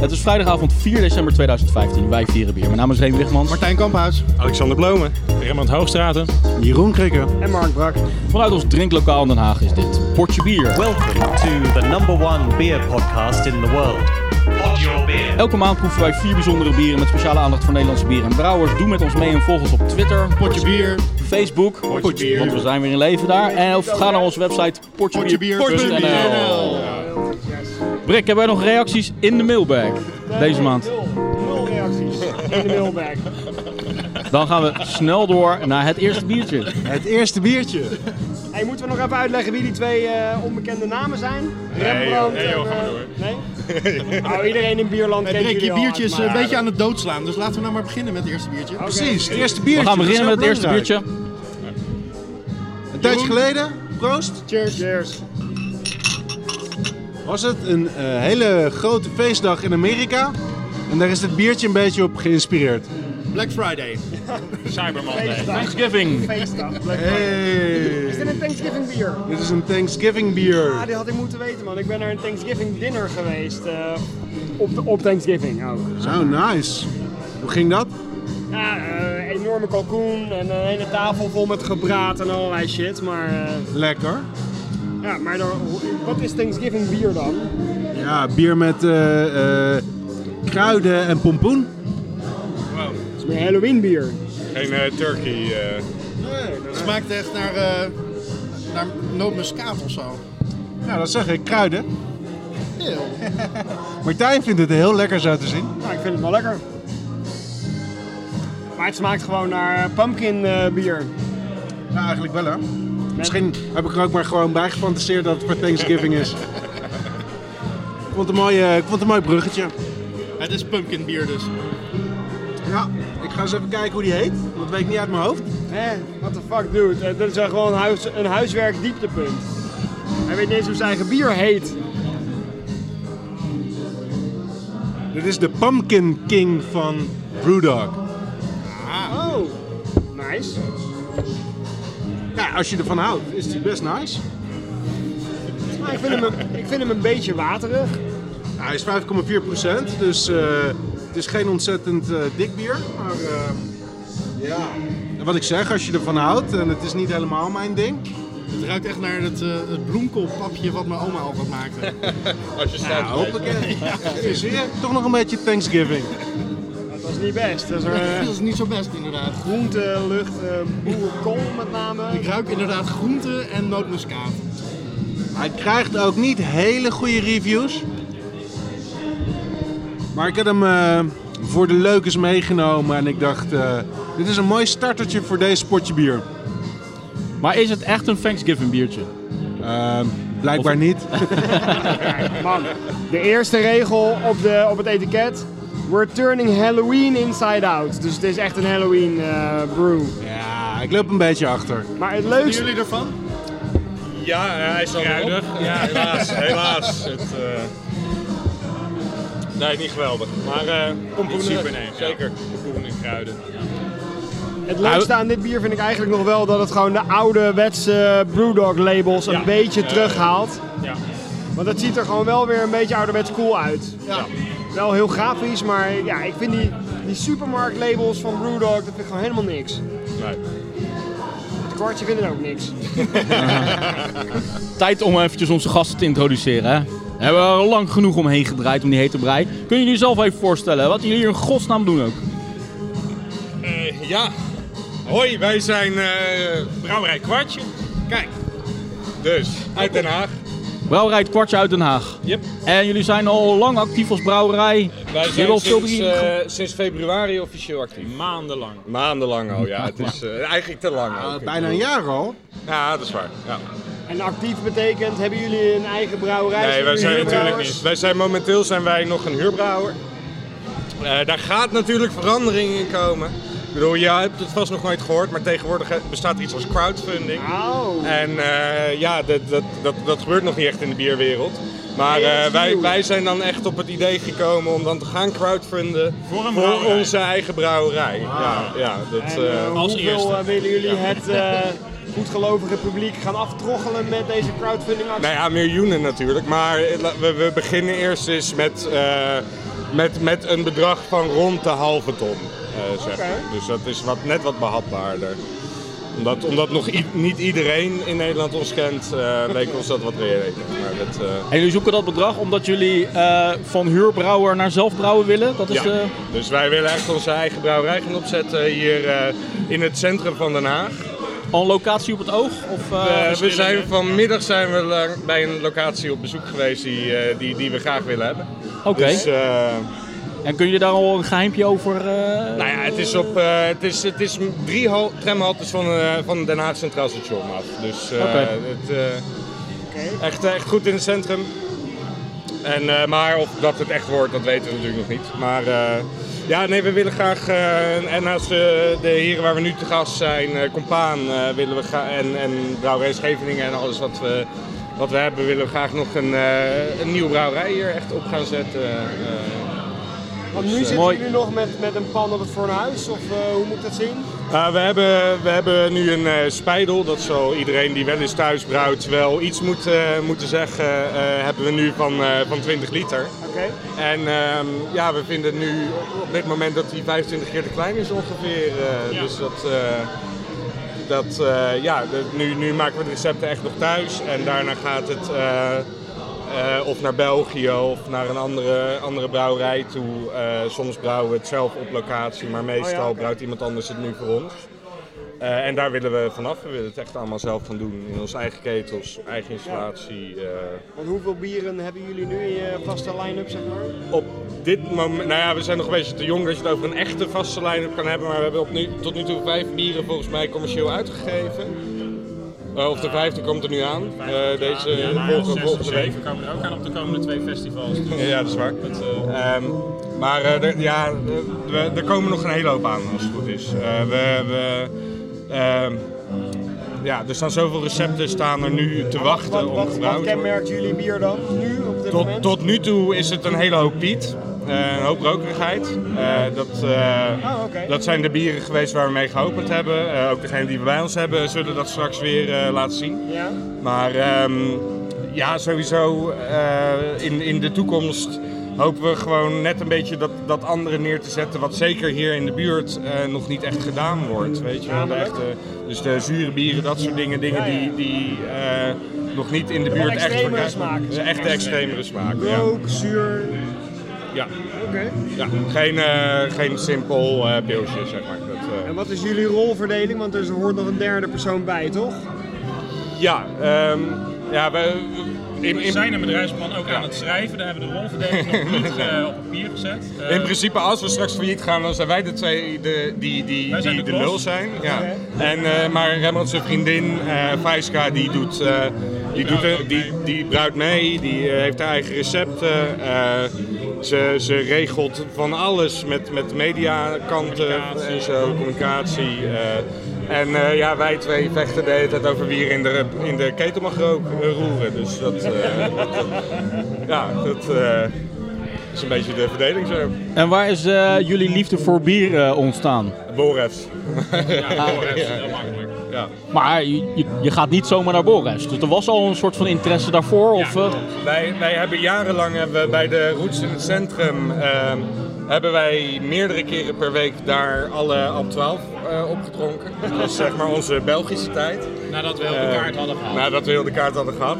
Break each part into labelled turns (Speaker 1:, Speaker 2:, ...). Speaker 1: Het is vrijdagavond 4 december 2015. Wij vieren bier. Mijn naam is Reen Wichmans.
Speaker 2: Martijn Kamphuis.
Speaker 3: Alexander Blomen. Raymond Hoogstraten.
Speaker 2: Jeroen Krikker.
Speaker 4: En Mark Brak.
Speaker 1: Vanuit ons drinklokaal in Den Haag is dit Portje Bier.
Speaker 5: Welcome to the number one beer podcast in the world. Pod your beer.
Speaker 1: Elke maand proeven wij vier bijzondere bieren met speciale aandacht voor Nederlandse bieren en brouwers. Doe met ons mee en volg ons op Twitter,
Speaker 2: Potje bier.
Speaker 1: Facebook,
Speaker 2: bier.
Speaker 1: want we zijn weer in leven daar. En of ga naar onze website portjebier.nl.
Speaker 2: Potjebier.nl.
Speaker 1: Brik, hebben wij nog reacties in de mailbag deze maand?
Speaker 4: Nul reacties in de mailbag.
Speaker 1: Dan gaan we snel door naar het eerste biertje.
Speaker 2: Het eerste biertje.
Speaker 4: Hey, moeten we nog even uitleggen wie die twee eh, onbekende namen zijn?
Speaker 3: joh.
Speaker 4: Rembrandt
Speaker 3: Nee, joh, ga
Speaker 4: en,
Speaker 3: maar
Speaker 4: eh,
Speaker 3: door.
Speaker 4: Nee? Nou, iedereen in Bierland kent
Speaker 2: Rick,
Speaker 4: jullie
Speaker 2: je
Speaker 4: al
Speaker 2: biertje is
Speaker 4: uit, maar-
Speaker 6: eh,
Speaker 2: een beetje aan het doodslaan, dus laten we nou maar beginnen met het eerste biertje.
Speaker 4: Precies,
Speaker 2: het eerste biertje.
Speaker 1: We gaan
Speaker 6: dus
Speaker 1: beginnen met het eerste biertje.
Speaker 2: Een tijdje geleden, proost.
Speaker 4: Cheers. eh, Cheers.
Speaker 2: Was het een eh, hele grote feestdag in Amerika. En daar is dit biertje een beetje op geïnspireerd. Black Friday.
Speaker 3: Cyberman.
Speaker 1: Thanksgiving.
Speaker 4: Feestdag. Black Friday. Is dit
Speaker 2: Hey.
Speaker 4: een Thanksgiving bier?
Speaker 2: Dit is een Thanksgiving bier.
Speaker 4: Ah, dit had ik moeten weten man. Ik ben naar een Thanksgiving dinner geweest. eh, op, de, op Thanksgiving ook.
Speaker 2: Zo, nice. Hoe ging dat?
Speaker 4: Ja, eh, enorme kalkoen en een hele tafel vol met gebraad en allerlei shit. Maar, eh,
Speaker 2: Lekker.
Speaker 4: ja, maar dan- wat is Thanksgiving bier dan?
Speaker 2: Ja, bier met eh, eh, kruiden en pompoen.
Speaker 4: Het is meer Halloween bier.
Speaker 3: Geen eh, turkey. eh.
Speaker 2: Het smaakt echt naar,
Speaker 6: eh,
Speaker 2: naar nootmuskaat of zo. Nou, dat zeg ik, kruiden. Martijn vindt het heel lekker zo te zien.
Speaker 4: Nou, ik vind het wel lekker. Maar het smaakt gewoon naar pumpkin eh, bier.
Speaker 2: Ja, eigenlijk wel hè. Misschien heb ik er ook maar gewoon bij gefantaseerd dat het voor Thanksgiving is. ik, vond het een mooi, eh, ik vond het een mooi bruggetje.
Speaker 6: Het is pumpkin bier dus.
Speaker 2: Ja, ik ga eens even kijken hoe die heet. want Dat weet ik niet uit mijn hoofd.
Speaker 4: Hé, what the fuck dude. Eh, dit is wel gewoon een, huis, een huiswerk dieptepunt. Hij weet niet eens hoe zijn eigen bier heet.
Speaker 2: Dit is de Pumpkin King van Brewdog.
Speaker 4: Oh, nice.
Speaker 2: Ja, als je ervan houdt, is die best nice.
Speaker 4: Maar Nou, ik vind hem, een- ik vind hem een beetje waterig.
Speaker 2: Ja, hij is 5,4 dus eh, het is geen ontzettend eh, dik bier. Maar eh, ja, En wat ik zeg, als je ervan houdt, en het is niet helemaal mijn ding.
Speaker 6: Het ruikt echt naar het, eh, het bloemkoolpapje wat mijn oma altijd maakte.
Speaker 3: Als je staat.
Speaker 2: Ja, hoppakee. Hier, Zie je, toch nog een beetje Thanksgiving.
Speaker 4: Dat was niet best. Dat is er
Speaker 6: dat
Speaker 4: eh,
Speaker 6: is niet zo best inderdaad.
Speaker 4: groente, lucht, eh, boerenkool met name.
Speaker 6: Ik ruik inderdaad groente en nootmuskaat.
Speaker 2: Hij krijgt ook niet hele goede reviews. Maar ik heb hem eh, voor de leukers meegenomen en ik dacht, eh, dit is een mooi startertje voor deze potje bier.
Speaker 1: Maar is het echt een Thanksgiving biertje?
Speaker 2: Eh, blijkbaar niet.
Speaker 4: Man, de eerste regel op, de, op het etiket. We're turning Halloween inside out. Dus het is echt een Halloween eh, brew.
Speaker 2: Ja, ik loop een beetje achter.
Speaker 4: Maar het leukste...
Speaker 6: Jullie ervan?
Speaker 3: Ja, eh, hij is kruidig. Ja, helaas. helaas. Het, eh, Nee, niet geweldig. Maar eh pompoenen. Super, nee. Zeker. Pompoenen en kruiden.
Speaker 4: Het
Speaker 3: Nou,
Speaker 4: leukste aan dit bier vind ik eigenlijk nog wel dat het gewoon de ouderwetse Brewdog labels een
Speaker 3: Ja.
Speaker 4: beetje
Speaker 3: Eh,
Speaker 4: terughaalt.
Speaker 3: Ja.
Speaker 4: Want het ziet er gewoon wel weer een beetje ouderwets cool uit.
Speaker 6: Ja.
Speaker 4: Wel heel grafisch, maar ja, ik vind die, die supermarkt labels van Brewdog, dat vind ik gewoon helemaal niks.
Speaker 3: Nee.
Speaker 4: Het kwartje vindt het ook niks.
Speaker 1: Tijd om eventjes onze gasten te introduceren. Hè? Daar hebben we al lang genoeg omheen gedraaid om die hete brei. Kunnen jullie zelf even voorstellen wat jullie hier in godsnaam doen ook?
Speaker 3: Eh, ja. Hoi, wij zijn eh, Brouwerij Kwartje. Kijk. Dus, uit Den Haag.
Speaker 1: Brouwerij Het Kwartje uit Den Haag.
Speaker 3: Yep.
Speaker 1: En jullie zijn al lang actief als brouwerij.
Speaker 7: Wij
Speaker 1: Jullie al
Speaker 7: zijn
Speaker 1: veel
Speaker 7: sinds,
Speaker 1: drie-
Speaker 7: eh, sinds februari officieel actief.
Speaker 3: Maandenlang.
Speaker 7: Maandenlang al, ja. Het is eh, eigenlijk te lang. ook.
Speaker 2: Bijna een jaar al.
Speaker 3: Ja, dat is waar. Ja.
Speaker 4: En actief betekent, hebben jullie een eigen brouwerij?
Speaker 3: Nee, wij
Speaker 4: jullie
Speaker 3: zijn
Speaker 4: huurbrouwers?
Speaker 3: natuurlijk niet. Wij zijn momenteel zijn wij nog een huurbrouwer. Eh, daar gaat natuurlijk verandering in komen. Ik bedoel, je hebt het vast nog nooit gehoord, maar tegenwoordig eh, bestaat er iets als crowdfunding.
Speaker 4: Auw.
Speaker 3: En eh, ja, dat, dat, dat, dat gebeurt nog niet echt in de bierwereld. Maar
Speaker 4: Nee, dat is
Speaker 3: eh, wij,
Speaker 4: nieuw.
Speaker 3: wij zijn dan echt op het idee gekomen om dan te gaan crowdfunden voor,
Speaker 7: brouwerij.
Speaker 3: onze eigen brouwerij. Ja, ja, dat,
Speaker 4: En, eh,
Speaker 3: eh,
Speaker 4: hoeveel eh, willen jullie het eh, goedgelovige publiek gaan aftroggelen met deze crowdfunding actie?
Speaker 3: Nou ja, miljoenen natuurlijk. Maar we, we beginnen eerst eens met eh,
Speaker 7: Met, met een bedrag van rond de halve ton, eh, zeg maar. Dus dat is wat, net wat behapbaarder. Omdat, omdat nog i- niet iedereen in Nederland ons kent, eh, leek ons dat wat reëler. Maar het, eh,
Speaker 1: En jullie zoeken dat bedrag omdat jullie eh, van huurbrouwer naar zelfbrouwen willen? Dat is eh,
Speaker 7: ja.
Speaker 1: de...
Speaker 7: Dus wij willen echt onze eigen brouwerij gaan opzetten hier eh, in het centrum van Den Haag.
Speaker 1: Al een locatie op het oog? Of, eh,
Speaker 7: Eh, we
Speaker 1: verschillende?
Speaker 7: zijn vanmiddag zijn we la- bij een locatie op bezoek geweest die, eh, die, die we graag willen hebben.
Speaker 1: Oké.
Speaker 7: Dus, eh,
Speaker 1: En kun je daar al een geheimpje over... eh,
Speaker 7: nou ja, het is, op, eh, het is, het is drie hal- tramhaltes van, eh, van Den Haag Centraal Station af. Dus eh,
Speaker 1: Oké.
Speaker 7: het, eh, echt, echt goed in het centrum. En, eh, maar of dat het echt wordt, dat weten we natuurlijk nog niet. Maar eh, ja, nee, we willen graag, eh, en naast de, de heren waar we nu te gast zijn, eh, Compaan, eh, willen we gra- en, en Brouwerij Scheveningen en alles wat we, wat we hebben, willen we graag nog een, eh, een nieuwe brouwerij hier echt op gaan zetten. eh.
Speaker 4: Want nu zitten
Speaker 1: mooi.
Speaker 4: jullie nog met, met een pan op het fornuis, of eh, hoe moet ik dat zien?
Speaker 7: Uh, we, hebben, we hebben nu een eh, spijdel. Dat zal iedereen die wel eens thuis brouwt wel iets moet, eh, moeten zeggen. eh, hebben we nu van, eh, van 20 liter.
Speaker 4: Oké.
Speaker 7: En ehm, ja, we vinden nu op dit moment dat die 25 keer te klein is ongeveer. eh, Dus dat, eh, dat eh, ja, de- nu, nu maken we de recepten echt nog thuis. En daarna gaat het eh, eh, of naar België of naar een andere, andere brouwerij toe. Eh, soms brouwen we het zelf op locatie, maar meestal
Speaker 4: oké.
Speaker 7: brouwt iemand anders het nu voor ons. Eh, en daar willen we vanaf. We willen het echt allemaal zelf gaan doen. In onze eigen ketels, eigen installatie. eh,
Speaker 4: Want hoeveel bieren hebben jullie nu in je vaste line-up, zeg maar?
Speaker 7: op dit moment. Nou ja, we zijn nog een beetje te jong dat je het over een echte vaste line-up kan hebben. Maar we hebben op nu, tot nu toe vijf bieren volgens mij commercieel uitgegeven. Eh, of de vijfde komt er nu aan. Eh, deze volgende, volgende week.
Speaker 8: komen er ook aan op de komende twee festivals.
Speaker 7: Ja, dat is waar. Ehm, maar eh, er, ja, eh, we, er komen nog een hele hoop aan als het goed is. Eh, we, we, ehm, ja, er staan zoveel recepten staan er nu te wachten
Speaker 4: Wat,
Speaker 7: om
Speaker 4: wat,
Speaker 7: gebruikt
Speaker 4: wat
Speaker 7: te worden.
Speaker 4: kenmerkt jullie bier dan, nu, op dit
Speaker 7: Tot,
Speaker 4: moment?
Speaker 7: tot nu toe is het een hele hoop piet. eh, een hoop rokerigheid. Eh, dat, eh,
Speaker 4: Ah, oké.
Speaker 7: dat zijn de bieren geweest waar we mee geopend hebben. Eh, ook degene die we bij ons hebben zullen dat straks weer eh, laten zien.
Speaker 4: Ja?
Speaker 7: Maar ehm, ja, sowieso eh, in, in de toekomst hopen we gewoon net een beetje dat, dat andere neer te zetten. Wat zeker hier in de buurt eh, nog niet echt gedaan wordt. Weet je? wel. De echte, dus de zure bieren, dat soort dingen. Dingen
Speaker 4: Ja, ja.
Speaker 7: die, die eh, nog niet in de buurt echt
Speaker 4: extremere
Speaker 7: verkrijg-
Speaker 4: smaken,
Speaker 7: De echte extremere smaken. Ja.
Speaker 4: Rook, zuur,
Speaker 7: Ja.
Speaker 4: oké.
Speaker 7: Ja, geen, eh, geen simpel eh pilsje, zeg maar. Dat, eh,
Speaker 4: En wat is jullie rolverdeling? Want er hoort nog een derde persoon bij, toch?
Speaker 7: ja, ehm, ja, we... In,
Speaker 8: We
Speaker 7: in,
Speaker 8: zijn een bedrijfsplan ook aan het schrijven, daar hebben we de rolverdeling nog niet eh, op papier gezet. Eh,
Speaker 7: in principe, als we straks failliet gaan, dan zijn wij de twee de, die, die,
Speaker 8: Wij zijn
Speaker 7: die de
Speaker 8: de
Speaker 7: lul
Speaker 8: klos.
Speaker 7: zijn. Ja. En, eh, maar Rembrandt zijn vriendin, eh Vaiska, die doet, eh, die, doet eh, die, die bruidt mee, die eh, heeft haar eigen recepten. eh, ze, ze regelt van alles met, met mediakanten en zo, communicatie. eh. en eh, ja, wij twee vechten de hele tijd over wie er in de, in de ketel mag rook- roeren. Dus dat, eh, dat, ja, dat eh, is een beetje de verdeling zo.
Speaker 1: En waar is eh, jullie liefde voor bier eh, ontstaan?
Speaker 7: Boris.
Speaker 1: Maar je, je, je gaat niet zomaar naar Boris. Dus er was al een soort van interesse daarvoor? Of, eh,
Speaker 7: Wij, wij hebben jarenlang hebben we bij de Roots in het Centrum ehm, hebben wij meerdere keren per week daar alle ab 12 eh, opgedronken. Dat is zeg maar onze Belgische tijd. Eh,
Speaker 8: Nadat we elkaar de kaart hadden gehad.
Speaker 7: Nadat we heel de kaart hadden gehad.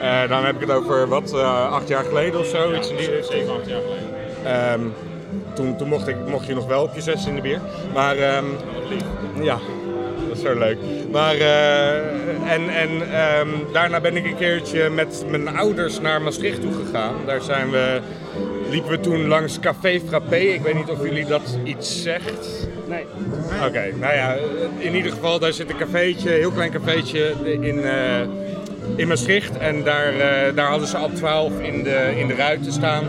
Speaker 7: Eh, dan heb ik het over wat, eh, acht jaar geleden of zo. iets in die richting.
Speaker 8: Zeven, acht jaar geleden.
Speaker 7: Ehm, toen toen mocht, ik, mocht je nog wel op je zes in de bier. Maar ehm, ja, dat is zo leuk. Maar eh, en, en ehm, daarna ben ik een keertje met mijn ouders naar Maastricht toe gegaan. Daar zijn we, liepen we toen langs Café Frappé. Ik weet niet of jullie dat iets zegt.
Speaker 4: Nee.
Speaker 7: Oké, nou ja, in ieder geval, daar zit een cafeetje, een heel klein cafeetje in, eh, in Maastricht. En daar, eh, daar hadden ze al 12 in de, in de ruiten staan.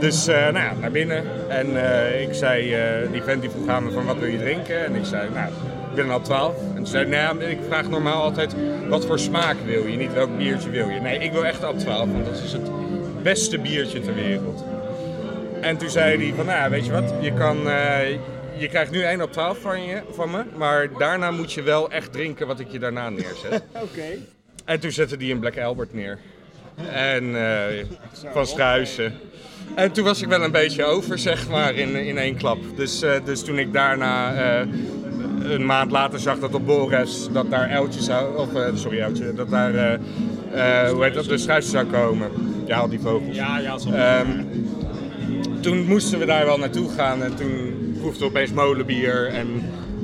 Speaker 7: Dus eh, nou ja, naar binnen. En eh, ik zei, eh, die vent die vroeg aan me van wat wil je drinken? En ik zei, nou, ik wil een al 12. En toen zei, nou ja, ik vraag normaal altijd, wat voor smaak wil je? Niet welk biertje wil je? Nee, ik wil echt al 12, want dat is het beste biertje ter wereld. En toen zei hij van, nou ja, weet je wat, je, kan, eh, je krijgt nu 1 op 12 van, je, van me, maar daarna moet je wel echt drinken wat ik je daarna neerzet.
Speaker 4: Oké.
Speaker 7: en toen zette hij een Black Albert neer. En eh, van Struisen.
Speaker 3: En toen was ik wel een beetje over, zeg maar, in, in één klap. Dus, eh, dus toen ik daarna eh, een maand later zag dat op Boris dat daar uiltjes zou, of eh, sorry uiltje, dat daar, eh, eh, hoe heet dat, de struisen zou komen. Ja, al die vogels.
Speaker 9: Ja, ja, zo.
Speaker 3: Ehm, toen moesten we daar wel naartoe gaan en toen proefde we opeens molenbier en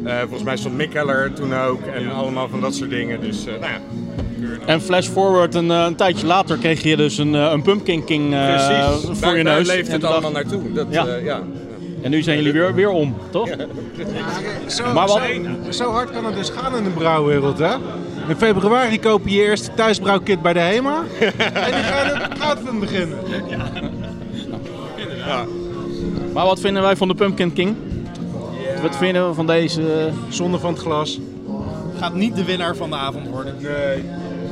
Speaker 3: eh, volgens mij stond Mick Heller toen ook en allemaal van dat soort dingen. Dus eh, nou ja,
Speaker 1: En flash forward, een, eh, een tijdje later kreeg je dus een, eh, een Pumpkin King eh,
Speaker 3: precies.
Speaker 1: voor
Speaker 3: daar,
Speaker 1: je
Speaker 3: daar
Speaker 1: neus.
Speaker 3: leeft
Speaker 1: En
Speaker 3: het
Speaker 1: dacht-
Speaker 3: allemaal naartoe. Dat,
Speaker 1: Ja.
Speaker 3: eh, ja.
Speaker 1: En nu zijn jullie weer, weer om, toch?
Speaker 2: Zo,
Speaker 1: Maar wat-
Speaker 2: zo, zo hard kan het dus gaan in de brouwwereld, hè? In februari koop je je eerste thuisbrouwkit bij de HEMA. en die gaan het goudfilm beginnen.
Speaker 1: Maar wat vinden wij van de Pumpkin King? Wat vinden we van deze? eh,
Speaker 2: Zonde van het glas.
Speaker 6: Gaat niet de winnaar van de avond worden.
Speaker 2: Nee,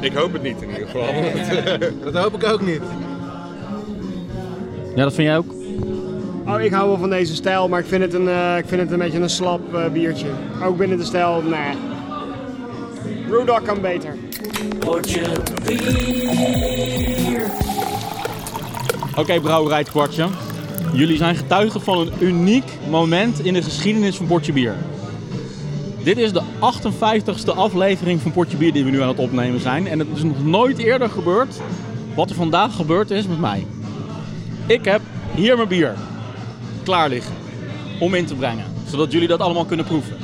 Speaker 3: Ik hoop het niet in ieder geval.
Speaker 2: dat hoop ik ook niet.
Speaker 1: Ja, dat vind jij ook?
Speaker 4: Oh, ik hou wel van deze stijl, maar ik vind het een, eh, ik vind het een beetje een slap eh, biertje. Ook binnen de stijl, nee. Brewdog kan beter.
Speaker 1: Oké, brouwerij het kwartje. Jullie zijn getuige van een uniek moment in de geschiedenis van Portje Bier. Dit is de 58ste aflevering van Portje Bier die we nu aan het opnemen zijn. En het is nog nooit eerder gebeurd wat er vandaag gebeurd is met mij. Ik heb hier mijn bier klaar liggen om in te brengen, zodat jullie dat allemaal kunnen proeven.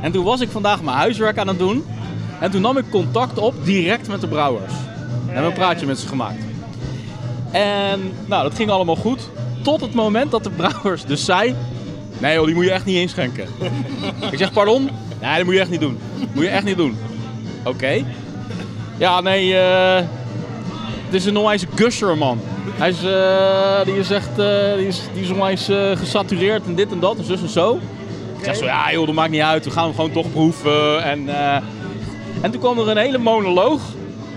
Speaker 1: En toen was ik vandaag mijn huiswerk aan het doen en toen nam ik contact op direct met de brouwers. En heb een praatje met ze gemaakt. En nou, dat ging allemaal goed. Tot het moment dat de brouwers dus zei... Nee joh, die moet je echt niet inschenken. ik zeg, pardon? Nee, dat moet je echt niet doen. Moet je echt niet doen. Oké. Ja, nee, eh, het is een onwijs gusher, man. Hij is, eh, die is echt, eh, die is, die is onwijs eh, gesatureerd en dit en dat en zus en zo. Ik zeg zo, ja joh, dat maakt niet uit. We gaan hem gewoon toch proeven. En, eh, en toen kwam er een hele monoloog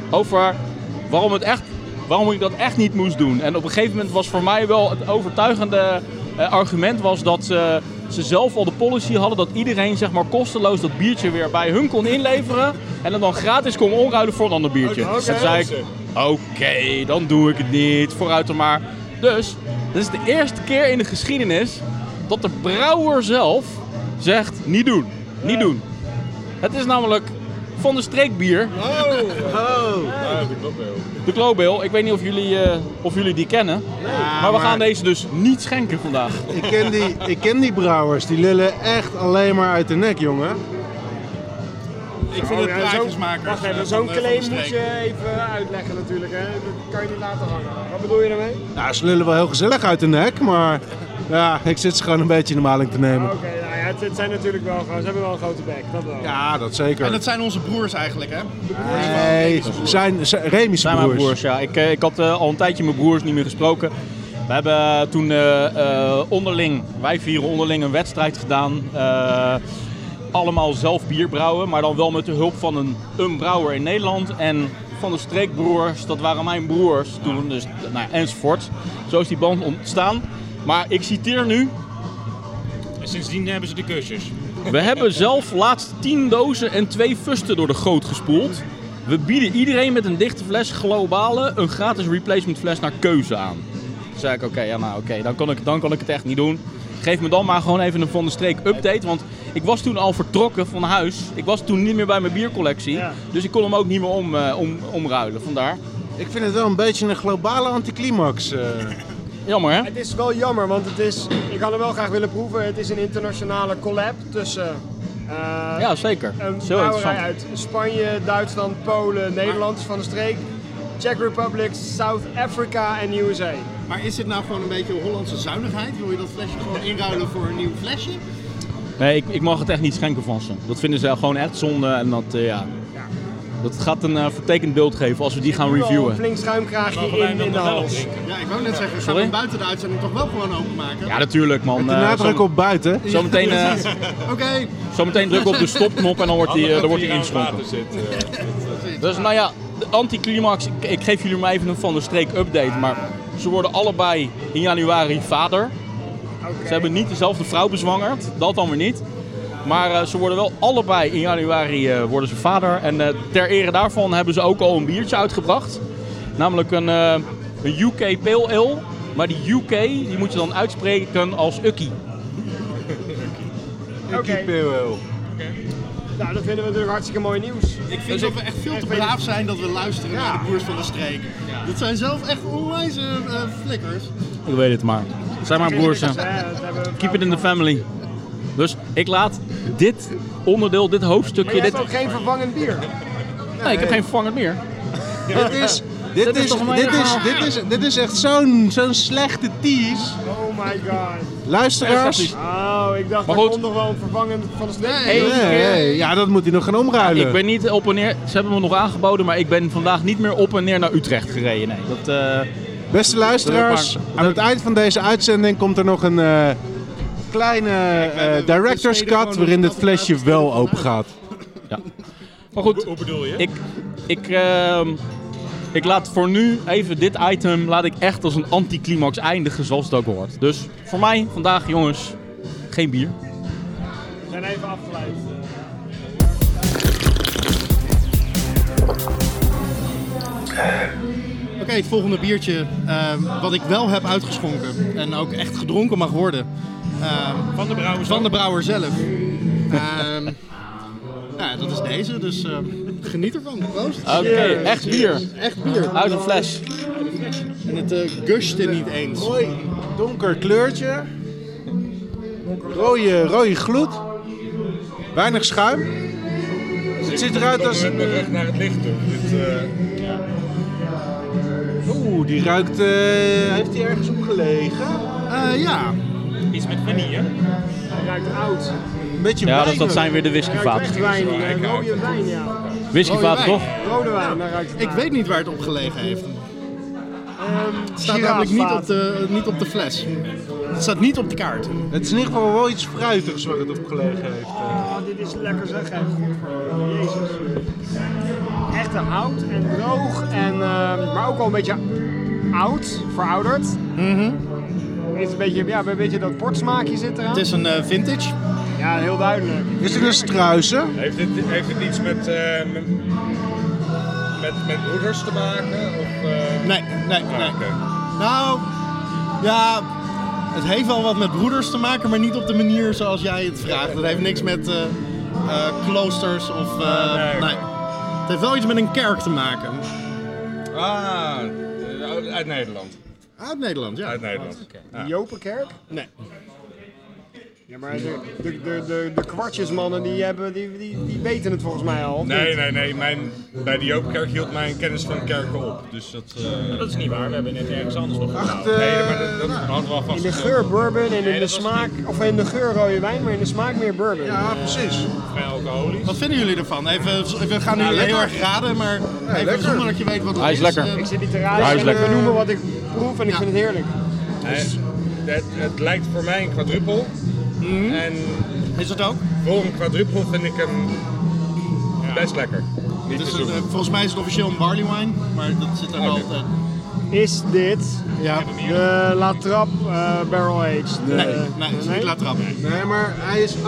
Speaker 1: over waarom, het echt, waarom ik dat echt niet moest doen. En op een gegeven moment was voor mij wel het overtuigende eh, argument was dat ze, ze zelf al de policy hadden dat iedereen zeg maar, kosteloos dat biertje weer bij hun kon inleveren. En dat dan gratis kon omruilen voor een ander biertje.
Speaker 4: Oké.
Speaker 1: En toen zei ik, oké, dan doe ik het niet. Vooruit dan maar. Dus, dit is de eerste keer in de geschiedenis dat de brouwer zelf zegt, niet doen, niet doen. Het is namelijk van de streekbier de Globeel, ik weet niet of jullie, eh, of jullie die kennen. maar we gaan deze dus niet schenken vandaag.
Speaker 2: Ik ken, die, ik ken die brouwers, die lullen echt alleen maar uit de nek, jongen.
Speaker 6: Ik vind het
Speaker 4: Oh ja, zo-
Speaker 6: plaatjesmakers.
Speaker 4: Wacht
Speaker 6: eh,
Speaker 4: even, zo'n
Speaker 6: van de- van de
Speaker 4: claim
Speaker 6: streek.
Speaker 4: moet je even uitleggen natuurlijk, hè. Dat kan je niet laten hangen. Wat bedoel je daarmee?
Speaker 2: Nou, ze lullen wel heel gezellig uit de nek, maar ja, ik zit ze gewoon een beetje in de maling te nemen.
Speaker 4: Oké, nou ja, het, het zijn natuurlijk wel gewoon, ze hebben wel een grote bek, dat wel.
Speaker 2: Ja, dat
Speaker 6: En
Speaker 2: zeker.
Speaker 6: dat zijn onze broers eigenlijk, hè?
Speaker 2: Nee, zijn, zijn Remy's
Speaker 1: Zijn mijn
Speaker 2: broers.
Speaker 1: broers, ja. Ik, eh, ik had eh, al een tijdje mijn broers niet meer gesproken. We hebben toen eh, eh, onderling, wij vieren onderling een wedstrijd gedaan. Eh, allemaal zelf bier brouwen, maar dan wel met de hulp van een, een brouwer in Nederland. En van de streekbroers, dat waren mijn broers toen, dus, nou, ja, enzovoort. Zo is die band ontstaan. Maar ik citeer nu
Speaker 9: En sindsdien hebben ze de kusjes.
Speaker 1: We hebben zelf laatst 10 dozen en twee fusten door de goot gespoeld. We bieden iedereen met een dichte fles globale een gratis replacement fles naar keuze aan. Toen zei ik, oké, ja, nou, oké, dan, kan ik- dan kan ik het echt niet doen. Geef me dan maar gewoon even een Van de Streek update, want ik was toen al vertrokken van huis. Ik was toen niet meer bij mijn biercollectie,
Speaker 4: Ja.
Speaker 1: dus ik kon hem ook niet meer om, eh, om, omruilen, vandaar.
Speaker 2: Ik vind het wel een beetje een globale anticlimax. eh.
Speaker 1: Jammer, hè?
Speaker 4: Het is wel jammer, want het is, ik had hem wel graag willen proeven. Het is een internationale collab tussen eh,
Speaker 1: Ja, zeker.
Speaker 4: een
Speaker 1: Zo
Speaker 4: brouwerij
Speaker 1: interessant.
Speaker 4: uit Spanje, Duitsland, Polen, Nederland van de streek, Czech Republic, South Africa en USA.
Speaker 6: Maar is dit nou gewoon een beetje Hollandse zuinigheid? Wil je dat flesje gewoon inruilen voor een nieuw flesje?
Speaker 1: Nee, ik, ik mag het echt niet schenken van ze. Dat vinden ze gewoon echt zonde en dat, eh, ja. Dat gaat een eh, vertekend beeld geven als we die gaan
Speaker 4: Nu al Een
Speaker 1: reviewen.
Speaker 4: flink schuimkraagje
Speaker 9: Mogen wij
Speaker 4: in,
Speaker 9: hem dan
Speaker 4: in de
Speaker 9: nog wel
Speaker 4: hals.
Speaker 9: opdrinken?
Speaker 6: Ja, ik wou net zeggen, gaan
Speaker 1: Sorry?
Speaker 6: we hem buiten de uitzending toch wel gewoon openmaken?
Speaker 1: Ja, natuurlijk man.
Speaker 2: de
Speaker 1: Eh,
Speaker 2: nadruk
Speaker 1: zo,
Speaker 2: op buiten.
Speaker 1: zometeen, eh,
Speaker 6: Oké,
Speaker 1: zometeen druk op de stopknop en dan wordt die, eh, dan wordt die
Speaker 7: Hier aan het
Speaker 1: ingeschonken.
Speaker 7: water zit. eh.
Speaker 1: Dus nou ja, de anticlimax. Ik, ik geef jullie maar even een van de streek update. Maar ze worden allebei in januari vader. Ze hebben niet dezelfde vrouw bezwangerd. Dat dan weer niet. Maar eh, ze worden wel allebei in januari eh, worden ze vader. En eh, ter ere daarvan hebben ze ook al een biertje uitgebracht. Namelijk een, eh, een UK Pale Ale. Maar die UK, die moet je dan uitspreken als Ukkie.
Speaker 4: Oké,
Speaker 2: Eeuw.
Speaker 4: nou dat vinden we natuurlijk hartstikke mooi nieuws.
Speaker 6: Ik vind dat we echt veel te
Speaker 4: echt ben-
Speaker 6: braaf zijn dat we luisteren
Speaker 4: Ja.
Speaker 6: naar de koers van de streek. Dat zijn zelf echt onwijze eh, flikkers.
Speaker 1: Ik weet het maar. Zijn maar broers. hè. Keep it in the family. Dus ik laat dit onderdeel, dit
Speaker 4: Maar je
Speaker 1: hoofdstukje, dit...
Speaker 4: hebt ook geen vervangend bier.
Speaker 1: Nee, ik heb geen vervangend meer.
Speaker 2: Dit is, dit,
Speaker 1: Dat is
Speaker 2: is,
Speaker 1: toch een
Speaker 2: dit, is,
Speaker 1: helemaal-
Speaker 2: dit, is, dit is echt zo'n zo'n slechte tease.
Speaker 4: Oh my god.
Speaker 2: Luisteraars.
Speaker 4: Oh, ik dacht,
Speaker 1: Maar
Speaker 4: er
Speaker 1: goed.
Speaker 4: komt nog wel een vervangend van de streek.
Speaker 1: Hey.
Speaker 2: Nee, nee, ja, dat moet hij nog gaan omruilen.
Speaker 1: Ik ben niet op en neer... Ze hebben me nog aangeboden, maar ik ben vandaag niet meer op en neer naar Utrecht gereden. Nee, dat...
Speaker 5: uh,
Speaker 1: eh,
Speaker 2: Beste luisteraars, aan het eind van deze uitzending komt er nog een eh, kleine eh, director's cut waarin het flesje wel open gaat.
Speaker 1: Maar goed,
Speaker 9: Hoe bedoel je?
Speaker 1: ik, ik, ehm, ik laat voor nu even dit item laat ik echt als een anticlimax eindigen zoals het ook hoort. Dus voor mij vandaag jongens, geen bier.
Speaker 4: We zijn even afgeleid.
Speaker 6: Oké, het volgende biertje eh, wat ik wel heb uitgeschonken en ook echt gedronken mag worden. eh,
Speaker 9: Van de Brouwers.
Speaker 6: van de brouwer zelf. Ehm, nou, ja, dat is deze, dus eh, geniet ervan. Proost.
Speaker 1: Oké, echt bier.
Speaker 6: Echt bier.
Speaker 1: Uit een fles.
Speaker 6: En het eh gushte niet eens.
Speaker 2: Mooi donker kleurtje. Rode, rode gloed. Weinig schuim. Het ziet eruit als
Speaker 7: Met
Speaker 2: een...
Speaker 7: mijn rug naar het licht toe. eh, Dit, eh,
Speaker 2: Oeh, die ruikt... eh, heeft hij ergens op gelegen?
Speaker 6: Eh, ja,
Speaker 9: Iets met vanille.
Speaker 4: Het ruikt oud.
Speaker 2: Een beetje
Speaker 1: Ja, dus dat,
Speaker 2: wijnig.
Speaker 1: dat zijn weer de
Speaker 4: Het ruikt echt
Speaker 1: whiskyvaten.
Speaker 4: wijn, eh, rode wijn, ja.
Speaker 1: Whiskyvaten
Speaker 6: Rode
Speaker 1: toch?
Speaker 6: wijn.
Speaker 4: Rode wijn, daar ruikt het
Speaker 6: ik
Speaker 4: naar.
Speaker 6: weet niet waar het op gelegen heeft.
Speaker 4: Ehm,
Speaker 6: Het staat namelijk niet op, de, niet op de fles. Het staat niet op de kaart.
Speaker 2: Het is in ieder geval wel iets fruitigs waar het op gelegen heeft. eh.
Speaker 4: Oh, dit is lekker zeg, hè. Jezus. Echt een hout en droog, en, ehm, maar ook wel een beetje oud, verouderd.
Speaker 6: Mhm.
Speaker 4: Heeft een beetje, ja, een beetje dat portsmaakje zit eraan.
Speaker 6: Het is een eh, vintage.
Speaker 4: Ja, heel duidelijk.
Speaker 2: Is het een struisen?
Speaker 7: heeft, dit, heeft dit iets met, eh, met, met, met broeders te maken? Of, eh,
Speaker 6: Nee, nee, nee.
Speaker 7: oké.
Speaker 6: Nou, ja, het heeft wel wat met broeders te maken, maar niet op de manier zoals jij het vraagt. Het heeft niks met eh, eh, kloosters of... eh,
Speaker 7: Nee.
Speaker 6: nee. Het heeft wel iets met een kerk te maken.
Speaker 7: Ah, eh, uit Nederland.
Speaker 6: Uit Nederland, ja.
Speaker 7: Uit Nederland.
Speaker 4: De Jopenkerk?
Speaker 6: Nee.
Speaker 4: Ja, maar de, de, de, de, de kwartjesmannen die, hebben, die, die, die weten het volgens mij al. of
Speaker 7: Nee,
Speaker 4: niet?
Speaker 7: nee, nee. Mijn, bij de Joopkerk hield mijn kennis van kerken op. Dus dat... eh, nou,
Speaker 9: Dat is niet waar, we hebben net ergens anders nog gedaan.
Speaker 7: nee, maar dat, dat hadden we alvast
Speaker 4: In de
Speaker 7: gezegd.
Speaker 4: geur bourbon en in de
Speaker 9: dat was
Speaker 4: smaak, of in de geur rode wijn, maar in de smaak meer bourbon.
Speaker 2: Ja, precies.
Speaker 9: Vrij alcoholisch.
Speaker 6: Wat vinden jullie ervan? Even, we gaan nu heel erg raden, maar even
Speaker 2: lekker.
Speaker 6: zonder dat je weet wat het
Speaker 1: Hij is lekker.
Speaker 6: Eh,
Speaker 4: Ik zit niet te
Speaker 1: Hij is
Speaker 4: raden, ik
Speaker 1: lekker.
Speaker 4: kan noemen wat ik proef en ik
Speaker 6: Ja.
Speaker 4: vind het heerlijk.
Speaker 7: Eh, het, het lijkt voor mij een quadruppel. En
Speaker 6: is het ook?
Speaker 7: voor een quadruppel vind ik hem best lekker. Niet
Speaker 6: Dus
Speaker 7: te
Speaker 6: het,
Speaker 7: zoeken.
Speaker 6: eh, volgens mij is het officieel een barley wine, maar dat zit er wel...
Speaker 7: Oké.
Speaker 6: eh,
Speaker 4: Is dit
Speaker 6: ja.
Speaker 4: de La Trappe eh, Barrel Aged? eh, De-
Speaker 6: Nee, nee, het is niet La Trappe.
Speaker 2: Nee, maar hij is 8,5%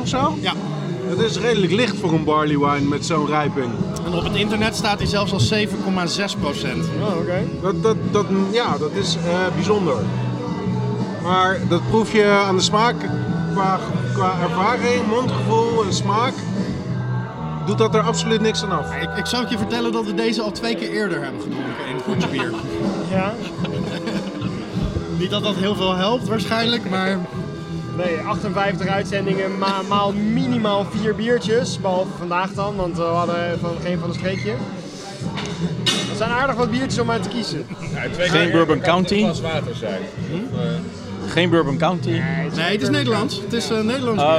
Speaker 2: of zo.
Speaker 6: Ja.
Speaker 2: Dat is redelijk licht voor een barley wine met zo'n rijping.
Speaker 6: En op het internet staat hij zelfs al 7,6 procent.
Speaker 4: Oh, oké.
Speaker 2: Dat, dat, dat, ja, dat is eh, bijzonder. Maar dat proef je aan de smaak, qua, qua ervaring, mondgevoel en smaak, doet dat er absoluut niks aan af.
Speaker 6: Ik, ik zou het je vertellen dat we deze al twee keer eerder hebben gedronken in Goedje Bier.
Speaker 4: Ja?
Speaker 6: Niet dat dat heel veel helpt waarschijnlijk, maar
Speaker 4: Nee, 58 uitzendingen, ma maal minimaal vier biertjes. Behalve vandaag dan, want eh, we hadden van, geen van een streekje. Dat zijn aardig wat biertjes om uit te kiezen.
Speaker 7: Ja, twee
Speaker 1: Geen
Speaker 7: keer
Speaker 1: Bourbon
Speaker 7: kan het
Speaker 1: County.
Speaker 7: een glas water zijn.
Speaker 1: Geen Bourbon County.
Speaker 6: nee, het is Nederlands. Het is eh, Nederlands bier.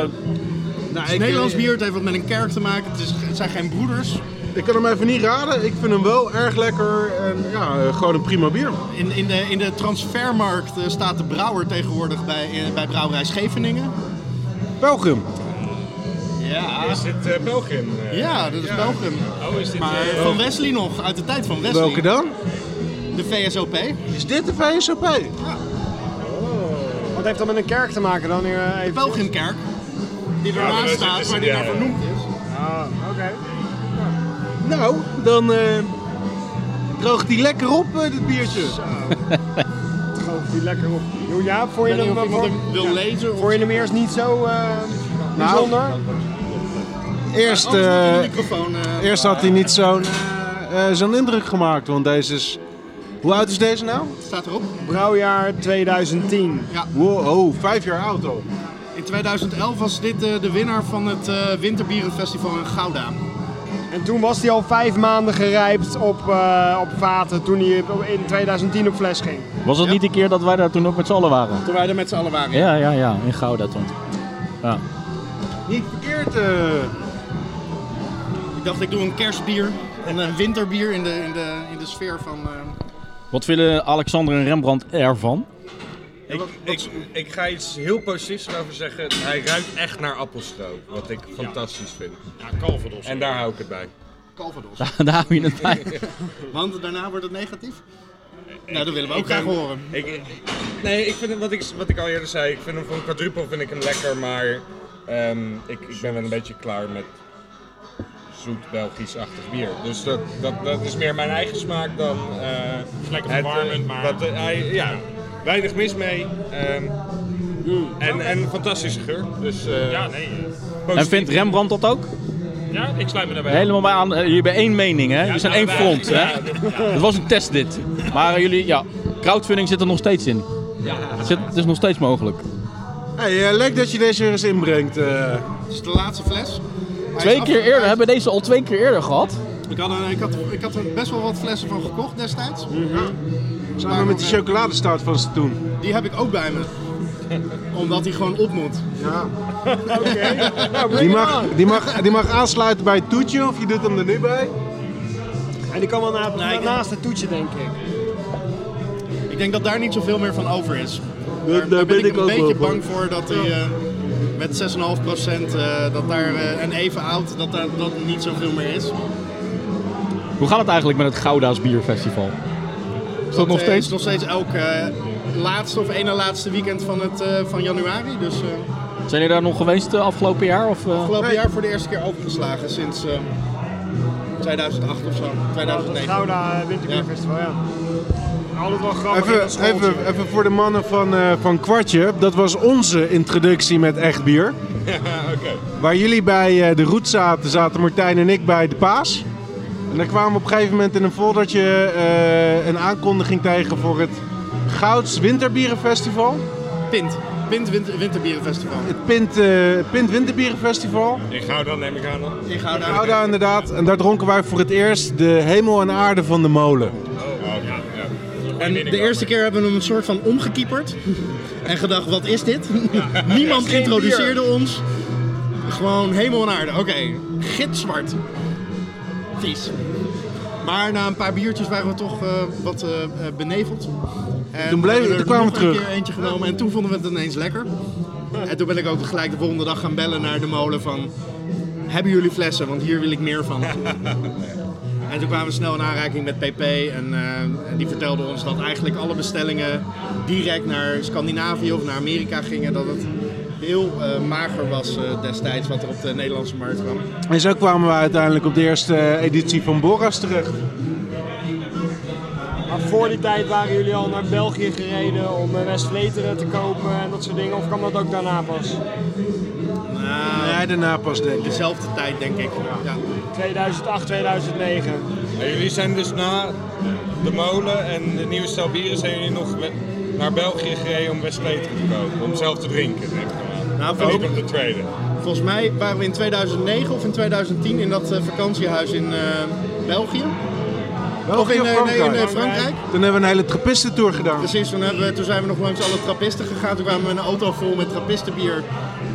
Speaker 1: Eh,
Speaker 6: het is Nederlands bier, het heeft wat met een kerk te maken. Het, is, het zijn geen broeders.
Speaker 2: Ik kan hem even niet raden. Ik vind hem wel erg lekker en ja, eh, gewoon een prima bier.
Speaker 6: In, in, de, in de transfermarkt eh, staat de brouwer tegenwoordig bij, eh, bij Brouwerij Scheveningen.
Speaker 2: Pelgrim.
Speaker 6: Ja,
Speaker 7: Is dit eh Belgium? eh?
Speaker 6: ja dat is Belgium.
Speaker 9: Oh, is dit...
Speaker 6: Maar
Speaker 9: eh,
Speaker 6: van Wesley nog, uit de tijd van Wesley.
Speaker 2: Welke dan?
Speaker 6: De VSOP.
Speaker 2: Is dit de VSOP?
Speaker 4: Wat heeft dat met een kerk te maken dan? Hier, eh,
Speaker 6: De
Speaker 4: even?
Speaker 6: Belgiumkerk. Die
Speaker 7: maar
Speaker 6: ernaast
Speaker 7: dat is- dat
Speaker 6: staat,
Speaker 7: is-
Speaker 6: maar die
Speaker 7: ja,
Speaker 6: daar
Speaker 7: ja.
Speaker 6: vernoemd is.
Speaker 4: Ah, oké.
Speaker 2: Nou, dan eh, droogt die lekker op, eh, dit biertje.
Speaker 4: Die lekker op. Jo, Jaap, vond je
Speaker 6: weet niet
Speaker 4: hem,
Speaker 6: of iemand
Speaker 4: vond-
Speaker 6: hem wil lezen of-
Speaker 4: vond je hem eerst niet zo eh, bijzonder?
Speaker 2: Eerst,
Speaker 6: Oh,
Speaker 2: eh,
Speaker 6: de microfoon. eh,
Speaker 2: eerst had hij niet zo'n eh, eh, zo'n indruk gemaakt, want deze is... Hoe oud is deze nou?
Speaker 6: staat erop.
Speaker 4: Brouwjaar 2010.
Speaker 2: Wow, oh, vijf jaar oud al.
Speaker 6: In 2011 was dit eh, de winnaar van het eh, Winterbierenfestival in Gouda.
Speaker 4: En toen was hij al vijf maanden gerijpt op, eh, op vaten toen hij op- in 2010 op fles ging.
Speaker 1: Was dat niet de keer dat wij daar toen ook met z'n allen waren?
Speaker 6: Toen wij er met z'n allen waren.
Speaker 1: Ja, ja, ja. In Gouda toen. Ja.
Speaker 2: Niet verkeerd. eh.
Speaker 6: Ik dacht, ik doe een kerstbier en een eh, winterbier in de, in de, in de sfeer van... eh,
Speaker 1: Wat vinden Alexander en Rembrandt ervan?
Speaker 3: Ik, ik, ik ga iets heel positiefs over zeggen. Hij ruikt echt naar appelstroop, wat ik fantastisch vind.
Speaker 9: Ja, Calvados.
Speaker 3: En daar hou ik het bij.
Speaker 6: Calvados.
Speaker 1: Daar daar hou je het bij.
Speaker 6: Want daarna wordt het negatief? Nou, dat willen we ook graag
Speaker 3: ben-
Speaker 6: horen.
Speaker 3: Ik, nee, ik vind hem, wat, ik, wat ik al eerder zei, ik vind hem voor een quadruple vind ik hem lekker, maar ehm, ik, ik ben wel een beetje klaar met zoet Belgisch-achtig bier. Dus dat, dat, dat is meer mijn eigen smaak dan... eh,
Speaker 9: lekker
Speaker 3: het, eh,
Speaker 9: verwarmend, maar-
Speaker 3: dat, eh, hij- ja, weinig mis mee. ehm, en, en een fantastische geur. Dus, eh,
Speaker 9: Mm. Ja, nee. eh.
Speaker 1: En
Speaker 3: positief.
Speaker 1: vindt Rembrandt dat ook?
Speaker 9: Ja, ik sluit me daarbij. aan.
Speaker 1: Helemaal bij aan. eh, Jullie bij één mening, hè? Jullie zijn
Speaker 9: nou,
Speaker 1: één front,
Speaker 9: wij-
Speaker 1: hè? Het was een test, dit. Maar eh, jullie, ja. Crowdfunding zit er nog steeds in. Het, zit, het is nog steeds mogelijk.
Speaker 2: Hey, eh, leuk dat je deze weer eens inbrengt. eh.
Speaker 6: Het is de laatste fles. Hij is
Speaker 1: Twee
Speaker 6: af-
Speaker 1: keer eerder. Hebben we deze al twee keer eerder gehad?
Speaker 6: Ik had, er- ik, had, ik had er best wel wat flessen van gekocht destijds.
Speaker 2: samen met die chocoladestaart van ze toen.
Speaker 6: Die heb ik ook bij me. Omdat die gewoon op moet.
Speaker 2: Die mag, die, mag, die mag aansluiten bij het toetje of je doet hem er nu bij.
Speaker 4: En die kan wel na, naast het toetje, denk ik.
Speaker 6: Ik denk dat daar niet zoveel meer van over is. Daar,
Speaker 2: daar
Speaker 6: daar ben,
Speaker 2: ben
Speaker 6: ik
Speaker 2: ik
Speaker 6: een
Speaker 2: ook
Speaker 6: beetje
Speaker 2: wel voor.
Speaker 6: bang voor dat die eh, met 6,5% eh, dat daar eh, en even oud dat daar dat niet zoveel meer is.
Speaker 1: Hoe gaat het eigenlijk met het Gouda's Bierfestival? Is dat nog
Speaker 6: eh,
Speaker 1: steeds?
Speaker 6: is nog steeds elk eh, laatste of ene laatste weekend van, het, eh, van januari. Dus eh
Speaker 1: Zijn jullie daar nog geweest eh, afgelopen jaar? Of, eh?
Speaker 6: afgelopen jaar voor de eerste keer opengeslagen sinds eh, 2008 of zo.
Speaker 4: Nou, Dat is het
Speaker 6: 2009.
Speaker 4: Gouda eh, Winterbierfestival, ja. Altijd wel grappig in dat
Speaker 2: Even,
Speaker 4: schooltje.
Speaker 2: even, even voor de mannen van, eh, van Kwartje. Dat was onze introductie met echt bier. Waar jullie bij eh, de roet zaten, zaten Martijn en ik bij de Paas. En daar kwamen we op een gegeven moment in een foldertje eh, een aankondiging tegen voor het Gouds Winterbierenfestival.
Speaker 6: Pint. Pint Winter, Winterbierenfestival.
Speaker 2: Het Pint, eh, Pint Winterbierenfestival.
Speaker 3: Ik hou dan, neem ik aan. dan.
Speaker 9: Oh,
Speaker 6: In Gouda.
Speaker 2: Gouda inderdaad. En daar dronken wij voor het eerst de hemel en aarde van de molen.
Speaker 6: En de eerste keer hebben we hem een soort van omgekieperd. En gedacht, wat is dit? Niemand introduceerde ons. Gewoon hemel en aarde. Oké, gitzwart. Vies. Maar na een paar biertjes waren we toch eh, wat eh, eh, beneveld. En
Speaker 2: Toen bleef-
Speaker 6: hebben
Speaker 2: toen kwamen we
Speaker 6: nog een
Speaker 2: terug.
Speaker 6: keer eentje genomen en toen vonden we het ineens lekker. En toen ben ik ook gelijk de volgende dag gaan bellen naar de molen van... Hebben jullie flessen? Want hier wil ik meer van. En toen kwamen we snel in aanraking met PP en, eh, en die vertelde ons dat eigenlijk alle bestellingen direct naar Scandinavië of naar Amerika gingen. Dat het heel eh, mager was eh, destijds wat er op de Nederlandse markt kwam.
Speaker 2: En zo kwamen we uiteindelijk op de eerste eh, editie van Boras terecht.
Speaker 4: Maar voor die tijd waren jullie al naar België gereden om eh, West Vleteren te kopen en dat soort dingen. Of kwam dat ook daarna pas?
Speaker 6: Nou,
Speaker 2: Nee, daarna pas denk ik.
Speaker 6: dezelfde tijd denk ik. Ja.
Speaker 4: 2008, 2009.
Speaker 3: En jullie zijn dus na de molen en de nieuwe stel bieren zijn jullie nog we- naar België gereden om Westpleter te kopen. Om zelf te drinken, neem ik aan.
Speaker 6: Nou,
Speaker 3: En
Speaker 6: volgens,
Speaker 3: niet op de tweede.
Speaker 6: volgens mij waren we in 2009 of in 2010 in dat eh, vakantiehuis in eh, België. Of in, eh, nee, in eh, Frankrijk.
Speaker 2: Toen hebben we een hele trappistentour gedaan.
Speaker 6: Precies, toen, hebben we- toen zijn we nog langs alle trappisten gegaan. Toen kwamen we een auto vol met trappistenbier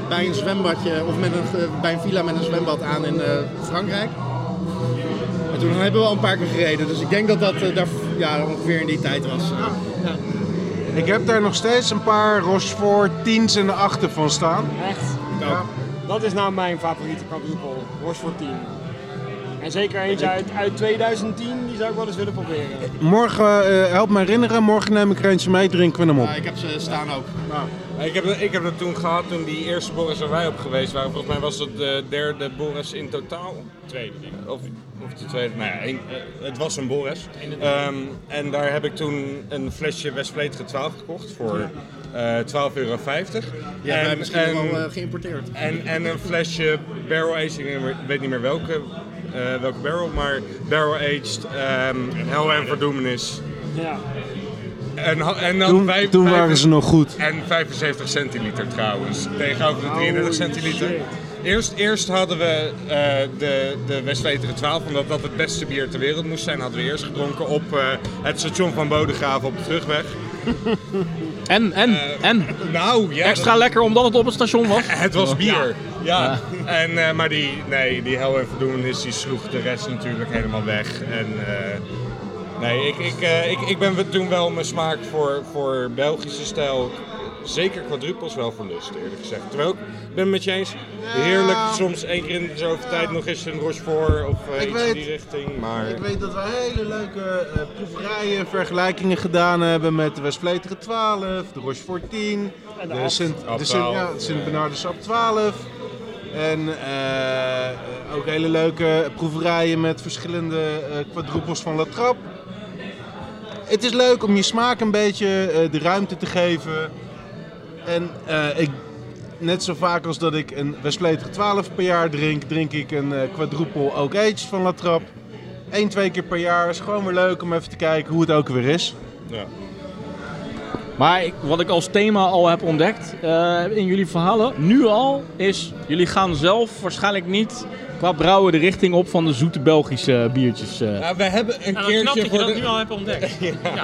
Speaker 6: bij een zwembadje of met een, eh, bij een villa met een zwembad aan in eh, Frankrijk. En toen hebben we al een paar keer gereden, dus ik denk dat dat eh, daar ja, ongeveer in die tijd was. eh.
Speaker 2: Ik heb daar nog steeds een paar Rochefort 10's en de achter van staan.
Speaker 4: Echt?
Speaker 6: Ja.
Speaker 4: Dat is nou mijn favoriete quadruple. Rochefort 10. En zeker eentje uit, uit 2010, die zou ik wel eens willen proberen.
Speaker 2: Morgen, eh, help me herinneren, morgen neem ik er eentje mee, drinken we hem op.
Speaker 6: Ja, ik heb ze staan ook.
Speaker 7: Ik heb, ik heb dat toen gehad toen die eerste Boris waar wij op geweest waren. Volgens mij was dat de derde Boris in totaal. Tweede denk ik. Of, of de tweede. Nou ja, één- eh, het was een Boris. Ehm, en daar heb ik toen een flesje Westvleteren 12 gekocht voor eh 12,50 euro.
Speaker 6: Ja,
Speaker 7: en,
Speaker 6: wij misschien
Speaker 7: en-
Speaker 6: wel eh, geïmporteerd.
Speaker 7: en, en een flesje barrel aging, ik weet niet meer welke, eh, welke barrel, maar barrel aged, ehm hel en verdoemenis.
Speaker 4: Ja.
Speaker 7: En, ha- en dan
Speaker 2: Toen,
Speaker 7: vijf-
Speaker 2: toen
Speaker 7: vijf-
Speaker 2: waren ze nog goed.
Speaker 7: En 75 centiliter trouwens, tegenover de 33
Speaker 4: Holy
Speaker 7: centiliter.
Speaker 4: Oh, shit.
Speaker 7: Eerst, eerst hadden we eh, de, de Westvleteren 12, omdat dat het beste bier ter wereld moest zijn, hadden we eerst gedronken op eh, het station van Bodegraven op de terugweg.
Speaker 1: En, en, en.
Speaker 7: Nou, ja,
Speaker 1: Extra lekker omdat het op het station was.
Speaker 7: Het was bier, ja. En, eh, maar die, nee, die hel en verdoemenis die sloeg de rest natuurlijk helemaal weg. En, eh, nee, ik, ik, eh, ik, ik ben toen wel mijn smaak voor, voor Belgische stijl, zeker quadrupels, wel verlust eerlijk gezegd. Terwijl ik ik ben het met je eens, heerlijk soms één keer in de zoveel tijd nog eens een Rochefort of eh,
Speaker 2: Ik
Speaker 7: iets
Speaker 2: weet-
Speaker 7: in die richting. Maar
Speaker 2: Ik weet dat we hele leuke eh, proeverijen, vergelijkingen gedaan hebben met de Westvleteren 12, de Rochefort 10,
Speaker 4: En de
Speaker 2: de
Speaker 4: Abt.
Speaker 2: Sint, de
Speaker 7: Abt
Speaker 2: Sint,
Speaker 7: 12,
Speaker 2: ja, de Sint Bernardus Abt 12. En eh, eh, ook hele leuke proeverijen met verschillende eh quadrupels van La Trappe. Het is leuk om je smaak een beetje eh, de ruimte te geven. En eh, ik, net zo vaak als dat ik een Westvleteren 12 per jaar drink, drink ik een eh quadrupel Oak Age van La Trappe. Eén, twee keer per jaar. Is gewoon weer leuk om even te kijken hoe het ook weer is.
Speaker 7: ja.
Speaker 1: Maar ik- wat ik als thema al heb ontdekt eh, in jullie verhalen, nu al, is jullie gaan zelf waarschijnlijk niet qua brouwen de richting op van de zoete Belgische biertjes. eh. Ja,
Speaker 7: Nou, we hebben een
Speaker 10: Ja, dat knap
Speaker 7: keertje
Speaker 10: dat je
Speaker 7: voor
Speaker 10: dat
Speaker 7: de...
Speaker 10: nu al hebt ontdekt.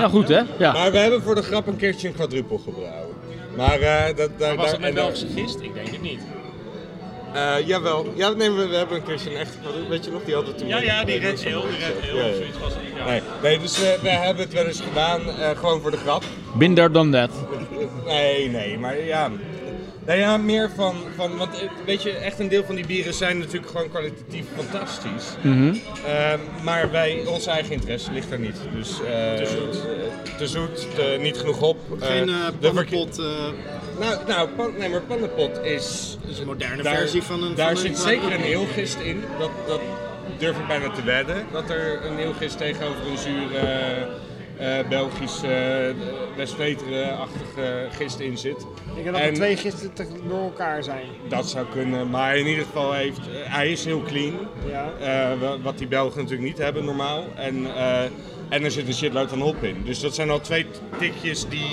Speaker 1: goed hè? Ja.
Speaker 7: Maar we hebben voor de grap een keertje een quadrupel gebrouwen. Maar eh, dat...
Speaker 10: Was
Speaker 7: daar- daar-
Speaker 10: dat met
Speaker 7: en daar-
Speaker 10: Belgische gist? Ik denk het niet.
Speaker 7: Eh, jawel. Ja, nee, we, we hebben een keertje een echte quadruple. Weet je nog, die hadden toen...
Speaker 10: Ja, ja, die Red
Speaker 7: heel,
Speaker 10: Ale, die Red Ale of zoiets was het. Ja.
Speaker 7: Nee, nee, dus we, we hebben het wel eens gedaan, eh, gewoon voor de grap.
Speaker 1: Been there, done that.
Speaker 7: Nee, nee, maar ja. Nou ja, meer van, van, want eh, weet je, echt een deel van die bieren zijn natuurlijk gewoon kwalitatief fantastisch. Eh, maar wij, ons eigen interesse ligt daar niet. Dus, eh, te zoet. Te zoet, te- niet genoeg op. eh,
Speaker 6: Geen eh
Speaker 7: de verke-
Speaker 6: pannenpot, eh,
Speaker 7: nou, nou pan, nee, maar pannenpot is...
Speaker 6: is een moderne versie van een-
Speaker 7: Daar
Speaker 6: van een-
Speaker 7: zit zeker een eelgist in. Dat, dat durf ik bijna te wedden. Dat er een eelgist tegenover een zure eh, eh, Belgische, eh, West-Veteren-achtige gist in zit.
Speaker 4: Ik denk dat
Speaker 7: En-
Speaker 4: er twee gisteren te- door elkaar zijn.
Speaker 7: Dat zou kunnen, maar in ieder geval heeft... eh, hij is heel clean.
Speaker 4: Ja.
Speaker 7: Eh, wa- wat die Belgen natuurlijk niet hebben normaal. En, eh, en er zit een shitload aan hop in. Dus dat zijn al twee tikjes die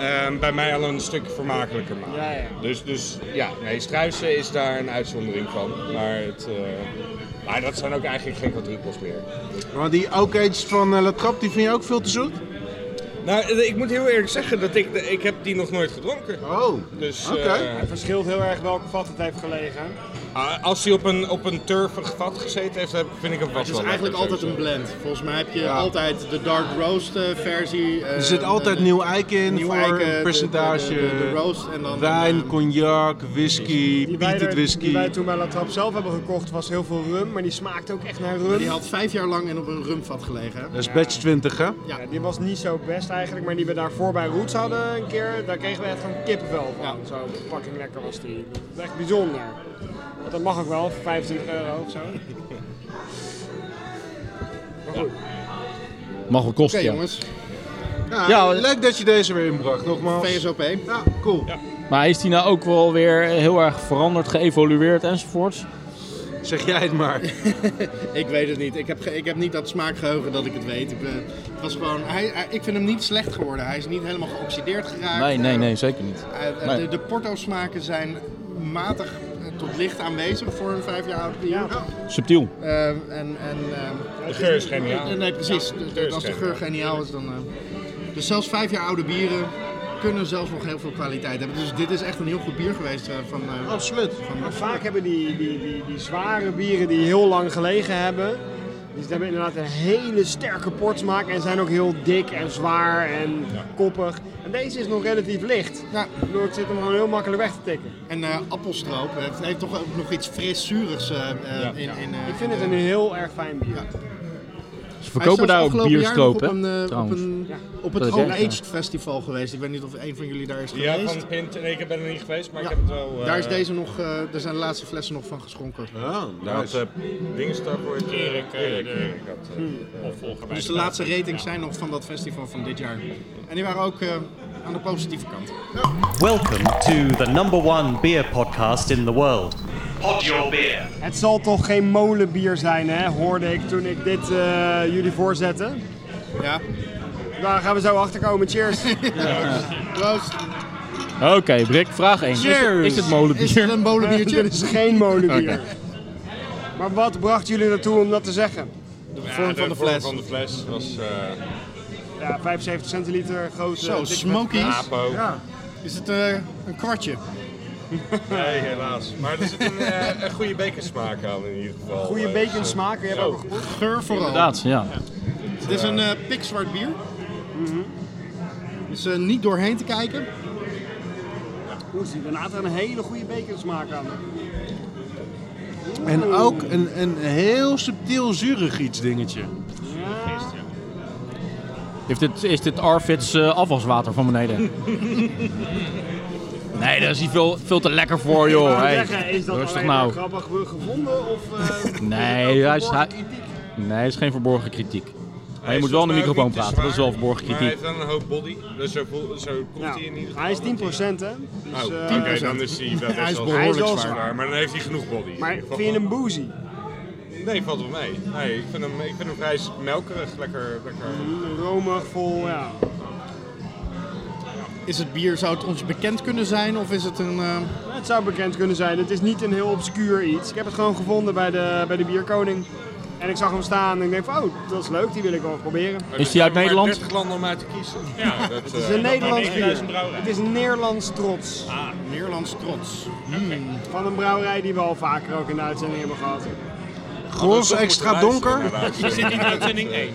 Speaker 7: eh, bij mij al een stuk vermakelijker maken.
Speaker 4: Ja, ja.
Speaker 7: Dus, dus ja, nee, struisen is daar een uitzondering van. Maar, het, eh, maar dat zijn ook eigenlijk geen quadruples meer.
Speaker 2: Maar die Oak Age van eh, La Trappe, die vind je ook veel te zoet?
Speaker 7: Nou, eh, ik moet heel eerlijk zeggen dat ik, ik heb die nog nooit gedronken.
Speaker 2: Oh,
Speaker 7: Dus
Speaker 2: Oké.
Speaker 7: eh,
Speaker 4: Het verschilt heel erg welke vat het heeft gelegen.
Speaker 7: ah, als die op een, op een turvig vat gezeten heeft, heb- vind ik hem vast
Speaker 6: Het is
Speaker 7: wel
Speaker 6: eigenlijk
Speaker 7: lekker,
Speaker 6: altijd een
Speaker 7: sowieso.
Speaker 6: blend. Volgens mij heb je altijd de dark roast eh, versie.
Speaker 2: er zit altijd nieuw eik in
Speaker 6: nieuw
Speaker 2: voor
Speaker 6: eiken, de-
Speaker 2: een percentage.
Speaker 6: De, de, de roast en dan.
Speaker 2: Wijn,
Speaker 6: eh,
Speaker 2: cognac, whisky,
Speaker 4: Die wij,
Speaker 2: peated
Speaker 4: er- die wij
Speaker 2: whisky.
Speaker 4: toen bij La Trappe zelf hebben gekocht was heel veel rum, maar die smaakte ook echt naar rum.
Speaker 6: die had vijf jaar lang in op een rumvat gelegen. hè?
Speaker 2: Dat is batch 20, hè?
Speaker 4: Ja, die was niet zo best eigenlijk, maar die we daarvoor bij Roots hadden een keer, daar kregen we echt gewoon kippenvel van.
Speaker 6: Ja.
Speaker 4: Zo fucking lekker was die. Dat is echt bijzonder. Want dat mag ook wel, voor 25 euro of zo. Maar goed,
Speaker 1: Mag wel
Speaker 6: Oké
Speaker 1: kosten. ja.
Speaker 6: jongens,
Speaker 2: Ja,
Speaker 1: Ja,
Speaker 2: leuk dat je deze weer inbracht, nogmaals.
Speaker 6: VSOP.
Speaker 2: Ja, cool.
Speaker 1: Maar is die nou ook wel weer heel erg veranderd, geëvolueerd enzovoorts?
Speaker 2: Zeg jij het maar.
Speaker 6: Ik weet het niet. Ik heb, ge- ik heb niet dat smaakgeheugen dat ik het weet. Ik, ben- het was gewoon, hij, hij- ik vind hem niet slecht geworden. Hij is niet helemaal geoxideerd geraakt.
Speaker 1: Nee, nee,
Speaker 6: Eh,
Speaker 1: nee, zeker niet.
Speaker 6: eh, eh,
Speaker 1: Nee.
Speaker 6: De, de porto smaken zijn matig eh, tot licht aanwezig voor een Oh, vijf jaar oud bier.
Speaker 1: Subtiel.
Speaker 6: Eh, en, en, eh,
Speaker 7: De geur is geniaal.
Speaker 6: nee, precies.
Speaker 7: de geur is
Speaker 6: Als de
Speaker 7: geniaal.
Speaker 6: geur geniaal is, dan... eh, dus zelfs vijf jaar oude bieren kunnen zelfs nog heel veel kwaliteit hebben. Dus dit is echt een heel goed bier geweest eh, van... eh,
Speaker 7: Oh.
Speaker 2: Absoluut.
Speaker 4: maar vaak hebben die, die, die, die zware bieren die heel lang gelegen hebben, Dus die hebben inderdaad een hele sterke portsmaak en zijn ook heel dik en zwaar en koppig. En deze is nog relatief licht.
Speaker 6: Ja.
Speaker 4: Waardoor het zit hem gewoon heel makkelijk weg te tikken.
Speaker 6: En eh, appelstroop, het heeft toch ook nog iets frissurigs eh, eh, in. in eh,
Speaker 4: Ik vind het een heel erg fijn bier.
Speaker 6: Ja.
Speaker 1: Ze
Speaker 6: Hij is
Speaker 1: verkopen
Speaker 6: zelfs
Speaker 1: daar ook
Speaker 6: afgelopen jaar
Speaker 1: bierstroop,
Speaker 6: nog
Speaker 1: hè?
Speaker 6: Op, een, eh, op,
Speaker 1: trouwens.
Speaker 6: een,
Speaker 4: Ja.
Speaker 6: op
Speaker 1: Dat
Speaker 6: het
Speaker 1: is
Speaker 6: All
Speaker 1: echt, ja.
Speaker 6: Aged Festival geweest. Ik weet niet of een van jullie daar is
Speaker 7: Ja,
Speaker 6: geweest.
Speaker 7: van Pint. Nee, ik ben er niet geweest, maar
Speaker 6: Ja.
Speaker 7: ik heb het wel... eh,
Speaker 6: Daar is deze nog, eh daar zijn de laatste flessen nog van geschonken.
Speaker 2: Ja,
Speaker 7: Daar had
Speaker 2: nice.
Speaker 7: eh, Dingenstar voor het
Speaker 11: Erik, eh,
Speaker 7: Erik,
Speaker 11: de-
Speaker 7: Erik had, eh,
Speaker 11: Opvolger bij
Speaker 6: Dus de laatste ratings zijn nog van dat festival van dit jaar. En die waren ook eh, aan de positieve kant.
Speaker 5: Welcome to the number one beer podcast in the world. Pod Your Beer.
Speaker 4: Het zal toch geen molenbier zijn, hè? hoorde ik toen ik dit eh, jullie voorzette.
Speaker 6: Ja,
Speaker 4: Daar gaan we zo achter komen. Cheers.
Speaker 6: Proost.
Speaker 1: Oké, Brik, vraag 1. Is,
Speaker 6: Cheers!
Speaker 1: het- is het
Speaker 6: Is het
Speaker 1: molenbier?
Speaker 6: een molenbiertje?
Speaker 4: Dit is geen molenbier. Maar wat bracht jullie ertoe om dat te zeggen?
Speaker 6: De
Speaker 7: ja,
Speaker 6: vorm van de
Speaker 7: vorm
Speaker 6: fles.
Speaker 7: van de fles was eh
Speaker 4: Ja, 75 centiliter, grote...
Speaker 6: Zo,
Speaker 4: dikke-
Speaker 6: smokies.
Speaker 7: Apo.
Speaker 4: Ja.
Speaker 6: Is het eh, een kwartje?
Speaker 7: Nee, helaas. Maar er zit een, eh, een goede baconsmaak aan in ieder geval.
Speaker 4: Goede
Speaker 7: Eh,
Speaker 4: bacon smaak, je hebt ook geproefd.
Speaker 6: Geur vooral.
Speaker 1: Inderdaad, ja.
Speaker 6: Het is een eh pikzwart bier. Dus eh, niet doorheen te kijken.
Speaker 4: Hoe zit inderdaad een hele goede bacon smaak aan.
Speaker 2: eh, En ook een, een heel subtiel zurig iets dingetje.
Speaker 1: Heeft dit, is dit Arvids eh, afwaswater van beneden? nee, daar is hij veel, veel te lekker voor,
Speaker 4: Ik
Speaker 1: joh.
Speaker 4: wou
Speaker 1: Hey,
Speaker 4: zeggen, is dat
Speaker 1: rustig
Speaker 4: alleen
Speaker 1: nou.
Speaker 4: maar grappig gevonden of... eh,
Speaker 1: Nee,
Speaker 4: is het ook
Speaker 1: hij is-
Speaker 4: verborgen
Speaker 1: hij-
Speaker 4: kritiek?
Speaker 1: Nee, het is geen verborgen kritiek. Maar
Speaker 7: hij
Speaker 1: je
Speaker 7: is
Speaker 1: moet wel in de
Speaker 7: volgens mij
Speaker 1: microfoon
Speaker 7: ook niet te
Speaker 1: praten, dat is
Speaker 7: zwaar,
Speaker 1: wel verborgen
Speaker 7: Maar hij
Speaker 1: kritiek.
Speaker 7: heeft wel een hoop body, dus zo, voel- zo komt
Speaker 4: Ja,
Speaker 7: hij in ieder geval.
Speaker 4: Hij is 10% hè? Dus,
Speaker 7: Oh,
Speaker 4: eh,
Speaker 7: Oké, dan is hij
Speaker 6: Hij
Speaker 7: wel
Speaker 6: is
Speaker 7: best wel
Speaker 6: behoorlijk
Speaker 4: Hij is wel
Speaker 6: zwaar.
Speaker 7: zwaar, Maar dan heeft hij genoeg body. in
Speaker 4: Maar
Speaker 7: ieder
Speaker 4: vind je
Speaker 7: geval.
Speaker 4: hem boozy?
Speaker 7: Nee, valt wel mee. Nee, ik vind hem, ik vind hem vrij melkerig, lekker... lekker.
Speaker 4: Romig, vol, ja.
Speaker 6: Is het bier, zou het ons bekend kunnen zijn of is het een... eh,
Speaker 4: Het zou bekend kunnen zijn. Het is niet een heel obscuur iets. Ik heb het gewoon gevonden bij de, bij de Bierkoning. En ik zag hem staan en ik denk van, oh, dat is leuk, die wil ik wel eens proberen.
Speaker 7: Maar
Speaker 1: Is
Speaker 7: er
Speaker 1: hij uit
Speaker 7: zijn maar
Speaker 1: Nederland?
Speaker 7: 30 landen om uit te kiezen.
Speaker 11: Ja,
Speaker 7: dat,
Speaker 4: Het is
Speaker 7: eh,
Speaker 4: een Nederlands
Speaker 11: maar
Speaker 4: bier.
Speaker 11: 9000 brouwerij.
Speaker 4: Het is Nederlands trots.
Speaker 6: ah, Nederlands trots.
Speaker 4: Van een brouwerij die we al vaker ook in de uitzending hebben gehad.
Speaker 2: Gros extra donker.
Speaker 11: Hij zit in uitzending 1.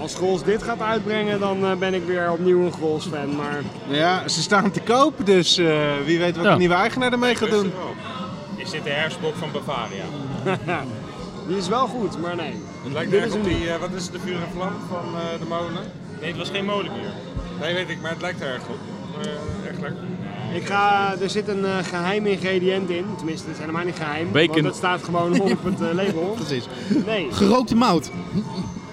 Speaker 4: Als Grols dit gaat uitbrengen, dan eh, ben ik weer opnieuw een Grols fan. Maar
Speaker 2: Ja, ze staan te koop, dus eh, wie weet wat
Speaker 1: Ja.
Speaker 2: de nieuwe eigenaar ermee gaat doen.
Speaker 11: Is dit de herfstbok van Bavaria?
Speaker 4: die is wel goed, maar nee.
Speaker 7: Het lijkt
Speaker 4: Dit
Speaker 7: erg
Speaker 4: is
Speaker 7: op
Speaker 4: hem
Speaker 7: die, eh, wat is het, de vuur en vlam van eh, de molen?
Speaker 11: Nee, het was geen molenbier.
Speaker 7: Nee, weet ik, maar het lijkt er erg op. Eh, echt lekker.
Speaker 4: Ik ga, er zit een eh, geheim ingrediënt in. Tenminste, het is helemaal niet geheim.
Speaker 1: Bacon.
Speaker 4: Want dat staat gewoon op het eh, label.
Speaker 6: Precies.
Speaker 4: Nee,
Speaker 6: Gerookte mout.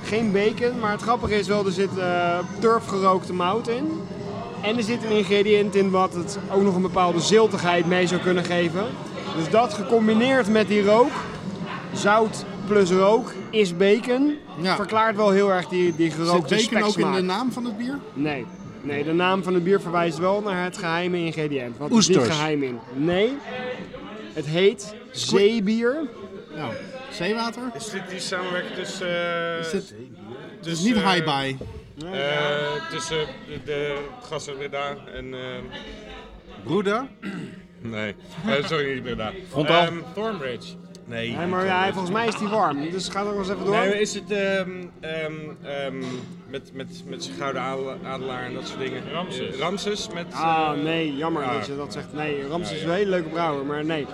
Speaker 4: geen bacon. Maar het grappige is wel, er zit eh turfgerookte mout in. En er zit een ingrediënt in wat het ook nog een bepaalde ziltigheid mee zou kunnen geven. Dus dat gecombineerd met die rook, zout plus rook, is bacon.
Speaker 6: Ja.
Speaker 4: Verklaart wel heel erg die, die
Speaker 6: Zit dus
Speaker 4: gerookte
Speaker 6: bacon ook in de
Speaker 4: speksmaak.
Speaker 6: naam van het bier?
Speaker 4: Nee. Nee, de naam van het bier verwijst wel naar het geheime ingrediënt. Wat is niet
Speaker 2: Oesters.
Speaker 4: geheim in? Nee. Het heet zeebier.
Speaker 6: Ja. Nou, Zeewater?
Speaker 7: Is dit die samenwerking tussen... eh,
Speaker 6: Is dit- Dus
Speaker 7: tussen,
Speaker 6: niet
Speaker 7: eh,
Speaker 6: high by.
Speaker 7: eh, tussen de, de gasten Breda en... eh,
Speaker 2: Broeder,
Speaker 7: nee, Eh, sorry, niet Breda.
Speaker 1: Frontaal.
Speaker 7: Ehm,
Speaker 11: Thornbridge.
Speaker 7: nee.
Speaker 4: Nee, maar ja, volgens mij is die warm. Dus ga er nog eens even door.
Speaker 7: Nee, maar is het ehm, ehm, ehm, met, met, met zijn gouden adela- adelaar en dat soort dingen?
Speaker 11: Ramses.
Speaker 7: Eh, Ramses met...
Speaker 4: Ah,
Speaker 7: eh,
Speaker 4: nee, jammer
Speaker 7: ja.
Speaker 4: dat je dat zegt. Nee, Ramses is een hele leuke brouwer, maar nee.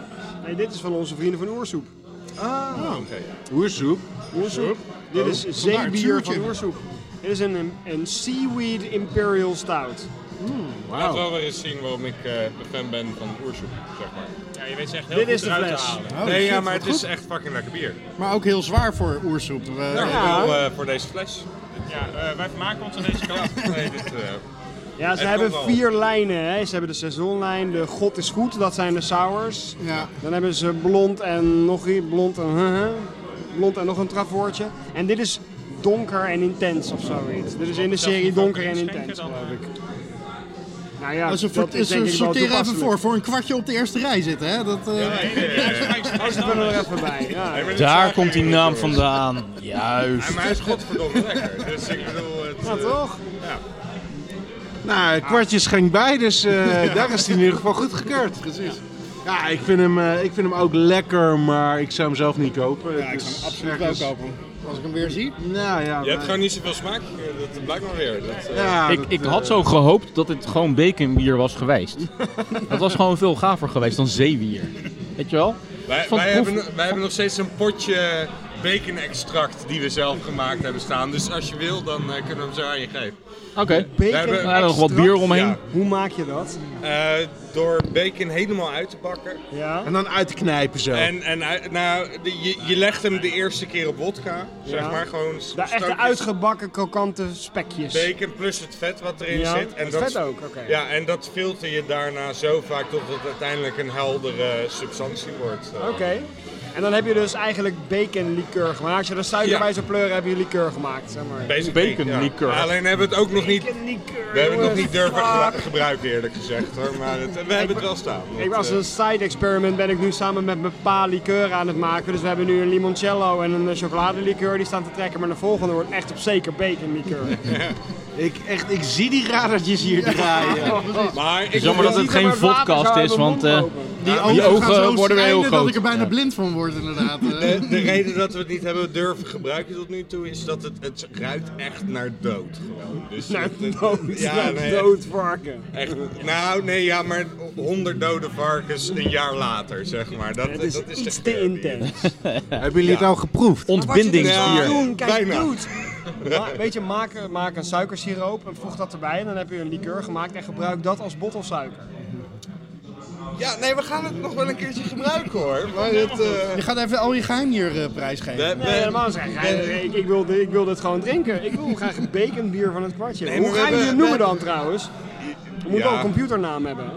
Speaker 4: Nee, dit is van onze vrienden van Oersoep.
Speaker 7: Ah, oké.
Speaker 2: oersoep.
Speaker 4: Oersoep? Dit is
Speaker 6: Oh. Vandaar het
Speaker 4: zeebier van
Speaker 6: zuurtje.
Speaker 4: Oersoep. Dit is een, een Seaweed Imperial Stout.
Speaker 7: Laat wel weer eens zien waarom ik eh, een fan ben van oersoep, zeg maar.
Speaker 11: Ja, je weet ze echt heel
Speaker 4: Dit
Speaker 11: goed
Speaker 4: is de
Speaker 11: eruit
Speaker 4: fles.
Speaker 11: te halen.
Speaker 6: Oh,
Speaker 7: nee,
Speaker 6: shit,
Speaker 7: ja, maar
Speaker 6: wat
Speaker 7: het is
Speaker 6: goed.
Speaker 7: echt fucking lekker bier.
Speaker 6: Maar ook heel zwaar voor oersoep. We-
Speaker 7: Dank je
Speaker 4: Ja.
Speaker 7: wel eh, voor deze fles.
Speaker 11: Ja, eh, wij vermaken ons aan deze kant.
Speaker 7: Ja, nee, dit, eh,
Speaker 4: Ja, ze
Speaker 7: Het
Speaker 4: hebben
Speaker 7: komt wel.
Speaker 4: vier lijnen. Hè. Ze hebben de seizoenlijn, de God is goed, dat zijn de sours.
Speaker 6: Ja.
Speaker 4: Dan hebben ze blond en nog iets, blond en huh, huh. blond en nog een travoortje. En dit is donker en intens of zoiets. Dit is in de serie donker en intens, geloof ik. Nou ja,
Speaker 6: Als een
Speaker 4: dat is denk ik wel
Speaker 6: sorteren even
Speaker 4: toepasselijk.
Speaker 6: voor. Voor een kwartje op de eerste rij zitten, hè? Dat, eh,
Speaker 4: Oh, ze kunnen er even bij. Ja.
Speaker 7: nee, maar dit
Speaker 1: Daar
Speaker 7: is
Speaker 1: komt die
Speaker 7: eigenlijk-
Speaker 1: naam vandaan.
Speaker 7: Ja,
Speaker 1: Juist.
Speaker 7: maar hij is godverdomme lekker. Dus ik bedoel, het,
Speaker 4: Ja,
Speaker 7: eh,
Speaker 4: toch?
Speaker 2: Nou, het kwartje ging bij, dus eh, daar is hij in ieder geval goed gekeurd. Ja, ik vind, hem, eh, ik vind hem ook lekker, maar ik zou hem zelf niet kopen.
Speaker 6: Ja, ik zou hem absoluut wel kopen. Als ik hem weer zie.
Speaker 2: Nou ja,
Speaker 7: Je hebt
Speaker 2: maar-
Speaker 7: gewoon niet zoveel smaak. eh, Dat blijkt maar weer. Dat, eh,
Speaker 2: ja,
Speaker 1: Ik,
Speaker 2: dat,
Speaker 1: ik
Speaker 2: eh,
Speaker 1: had zo gehoopt dat het gewoon baconbier was geweest. dat was gewoon veel gaver geweest dan zeewier. Weet je wel?
Speaker 7: Wij,
Speaker 1: Van
Speaker 7: wij,
Speaker 1: proef-
Speaker 7: hebben, wij hebben nog steeds een potje bacon-extract die we zelf gemaakt hebben staan. Dus als je wil, dan eh, kunnen we hem zo aan je geven.
Speaker 1: Oké.
Speaker 7: We
Speaker 4: Bacon.
Speaker 7: hebben-
Speaker 1: Nou, nog wat bier omheen.
Speaker 7: Ja.
Speaker 4: Hoe maak je dat?
Speaker 7: Eh, door bacon helemaal uit te bakken.
Speaker 4: Ja.
Speaker 2: En dan uitknijpen zo.
Speaker 7: En, en hij- nou, de- je, je legt hem de eerste keer op wodka. Zeg maar gewoon s-
Speaker 4: De echte
Speaker 7: strookjes
Speaker 4: uitgebakken krokante spekjes.
Speaker 7: bacon plus het vet wat erin
Speaker 4: Ja,
Speaker 7: zit. En
Speaker 4: het
Speaker 7: dat,
Speaker 4: vet ook, oké.
Speaker 7: Ja, en dat filter je daarna zo vaak tot het uiteindelijk een heldere substantie wordt. eh.
Speaker 4: Oké. En dan heb je dus eigenlijk bacon liqueur gemaakt. Als je er suiker
Speaker 7: Ja.
Speaker 4: bij zou pleuren, heb je liqueur gemaakt. Zeg maar.
Speaker 7: Basic
Speaker 1: Bacon
Speaker 7: ja.
Speaker 1: liqueur.
Speaker 7: Alleen hebben we het ook nog niet
Speaker 4: Bacon liqueur.
Speaker 7: We hebben het nog
Speaker 4: jongens. Ah.
Speaker 7: niet durven gebru-
Speaker 4: Fuck.
Speaker 7: gebruiken eerlijk gezegd hoor, maar het, we hebben het wel staan.
Speaker 4: Ik
Speaker 7: Dat,
Speaker 4: was
Speaker 7: eh,
Speaker 4: een side experiment, ben ik nu samen met mijn pa liqueur aan het maken. Dus we hebben nu een limoncello en een eh, chocoladeliqueur die staan te trekken. Maar de volgende wordt echt op zeker bacon liqueur.
Speaker 2: Ik, echt, ik zie die radertjes hier draaien.
Speaker 7: eh, Maar ik
Speaker 1: is jammer dat
Speaker 7: wil
Speaker 1: het
Speaker 7: niet-
Speaker 1: geen vodcast is, want eh,
Speaker 6: Die
Speaker 1: die
Speaker 6: ogen,
Speaker 1: ogen
Speaker 6: gaan zo
Speaker 1: worden weer heel
Speaker 6: schijnen
Speaker 1: groot.
Speaker 6: dat ik er bijna blind van word inderdaad. Eh,
Speaker 7: de, de reden dat we het niet hebben durven gebruiken tot nu toe is dat het, het ruikt echt naar dood. Gewoon. Dus
Speaker 4: Naar
Speaker 7: het- het-
Speaker 4: dood,
Speaker 7: Ja,
Speaker 4: naar
Speaker 7: nee,
Speaker 4: dood varken.
Speaker 7: Echt, nou, nee, ja, maar 100 dode varkens een jaar later, zeg maar. Dat,
Speaker 4: Het is,
Speaker 7: dat is eh, de
Speaker 4: iets te
Speaker 7: theorie.
Speaker 4: intens.
Speaker 2: Hebben jullie het al geproefd?
Speaker 1: ontbindingsbier.
Speaker 7: Ja.
Speaker 4: dus Doen, kijk,
Speaker 7: Bijna.
Speaker 4: doet. Ma- Weet je, maak, maak een suikersiroop en voeg dat erbij. En dan heb je een liqueur gemaakt en gebruik dat als bottelsuiker.
Speaker 7: Ja, nee, we gaan het nog wel een keertje gebruiken hoor. Maar het, eh,
Speaker 6: je gaat even al je geheim hier eh, prijsgeven.
Speaker 7: we-
Speaker 4: Nee, helemaal niet. Gein- Ik, ik, wil, dit- ik wil dit gewoon drinken. Ik wil graag een baconbier van het kwartje.
Speaker 7: Nee, maar
Speaker 4: Hoe
Speaker 7: we
Speaker 4: ga je
Speaker 7: hebben-
Speaker 4: het noemen
Speaker 7: we-
Speaker 4: dan trouwens? Je moet
Speaker 7: Ja.
Speaker 4: wel een computernaam hebben. hè?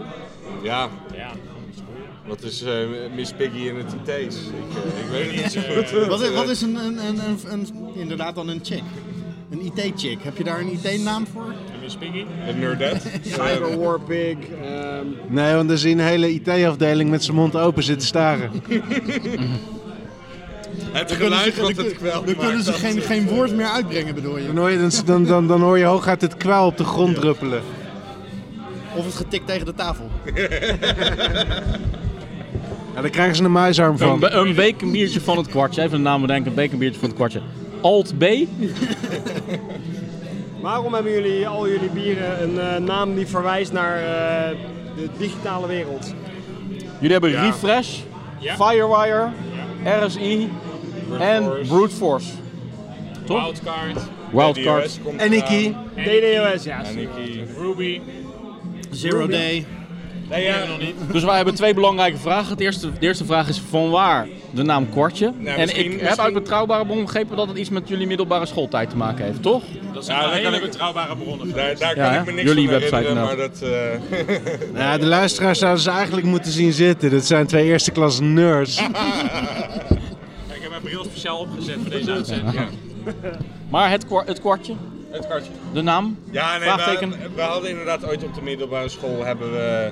Speaker 7: Ja. Wat is eh, Miss Piggy in het IT's? Ik, eh, ik weet het niet eh, zo goed.
Speaker 6: Wat is, wat is een, een, een, een, een- inderdaad dan een chick? Een IT-chick. Heb je daar een IT-naam voor?
Speaker 7: Een nerdette? Eh,
Speaker 4: Cyberwarpig. ehm
Speaker 2: Nee, want er is een hele IT-afdeling met zijn mond open zitten staren.
Speaker 7: Het
Speaker 6: Kunnen ze-
Speaker 7: geluid wat
Speaker 6: dan
Speaker 7: het
Speaker 6: kun-
Speaker 7: kwel
Speaker 6: dan kunnen ze
Speaker 7: maakt, dat-
Speaker 6: geen, geen woord meer uitbrengen, bedoel
Speaker 2: Dan
Speaker 6: je?
Speaker 2: hoor je, dan, dan, dan, dan hoor je hooguit het kwaal op de grond druppelen.
Speaker 6: Of het getikt tegen de tafel.
Speaker 2: Ja, daar krijgen ze een muisarm
Speaker 1: Een,
Speaker 2: van.
Speaker 1: ba- een baconbiertje van het kwartje. Even een naam bedenken, een baconbiertje van het kwartje. Alt B.
Speaker 4: waarom hebben jullie al jullie bieren een eh, naam die verwijst naar eh, de digitale wereld?
Speaker 1: Jullie hebben Refresh, Firewire, RSI en Brute Force. Toch?
Speaker 9: Wildcard,
Speaker 1: Wildcard.
Speaker 7: DOS komt
Speaker 2: En Nicky.
Speaker 4: DDoS, ja.
Speaker 7: eraan. Nicky.
Speaker 9: Ruby.
Speaker 6: Zero day.
Speaker 7: Nee, ja, nog niet.
Speaker 1: Dus wij hebben twee belangrijke vragen. Het eerste, de eerste vraag is van waar de naam kwartje? en ik
Speaker 7: Nou, misschien-
Speaker 1: heb
Speaker 7: misschien-
Speaker 1: uit betrouwbare bron begrepen dat het iets met jullie middelbare schooltijd te maken heeft, toch?
Speaker 9: Dat
Speaker 7: Ja,
Speaker 9: zijn
Speaker 7: daar
Speaker 9: hele
Speaker 7: kan ik-
Speaker 9: betrouwbare bronnen.
Speaker 7: Daar, daar
Speaker 1: Ja,
Speaker 7: kan
Speaker 1: hè?
Speaker 7: ik me niks
Speaker 1: Jullie
Speaker 7: van
Speaker 1: website
Speaker 7: herinneren,
Speaker 1: nou.
Speaker 7: maar dat... eh,
Speaker 2: Nou, de luisteraars zouden ze eigenlijk moeten zien zitten. Dat zijn twee eerste klas nerds.
Speaker 9: Kijk, ik heb mijn bril speciaal opgezet voor deze uitzending.
Speaker 1: Maar het, kwa- het kwartje,
Speaker 7: het kartje.
Speaker 1: de naam?
Speaker 7: Ja, nee,
Speaker 1: Vraagteken.
Speaker 7: we, we hadden inderdaad ooit op de middelbare school hebben we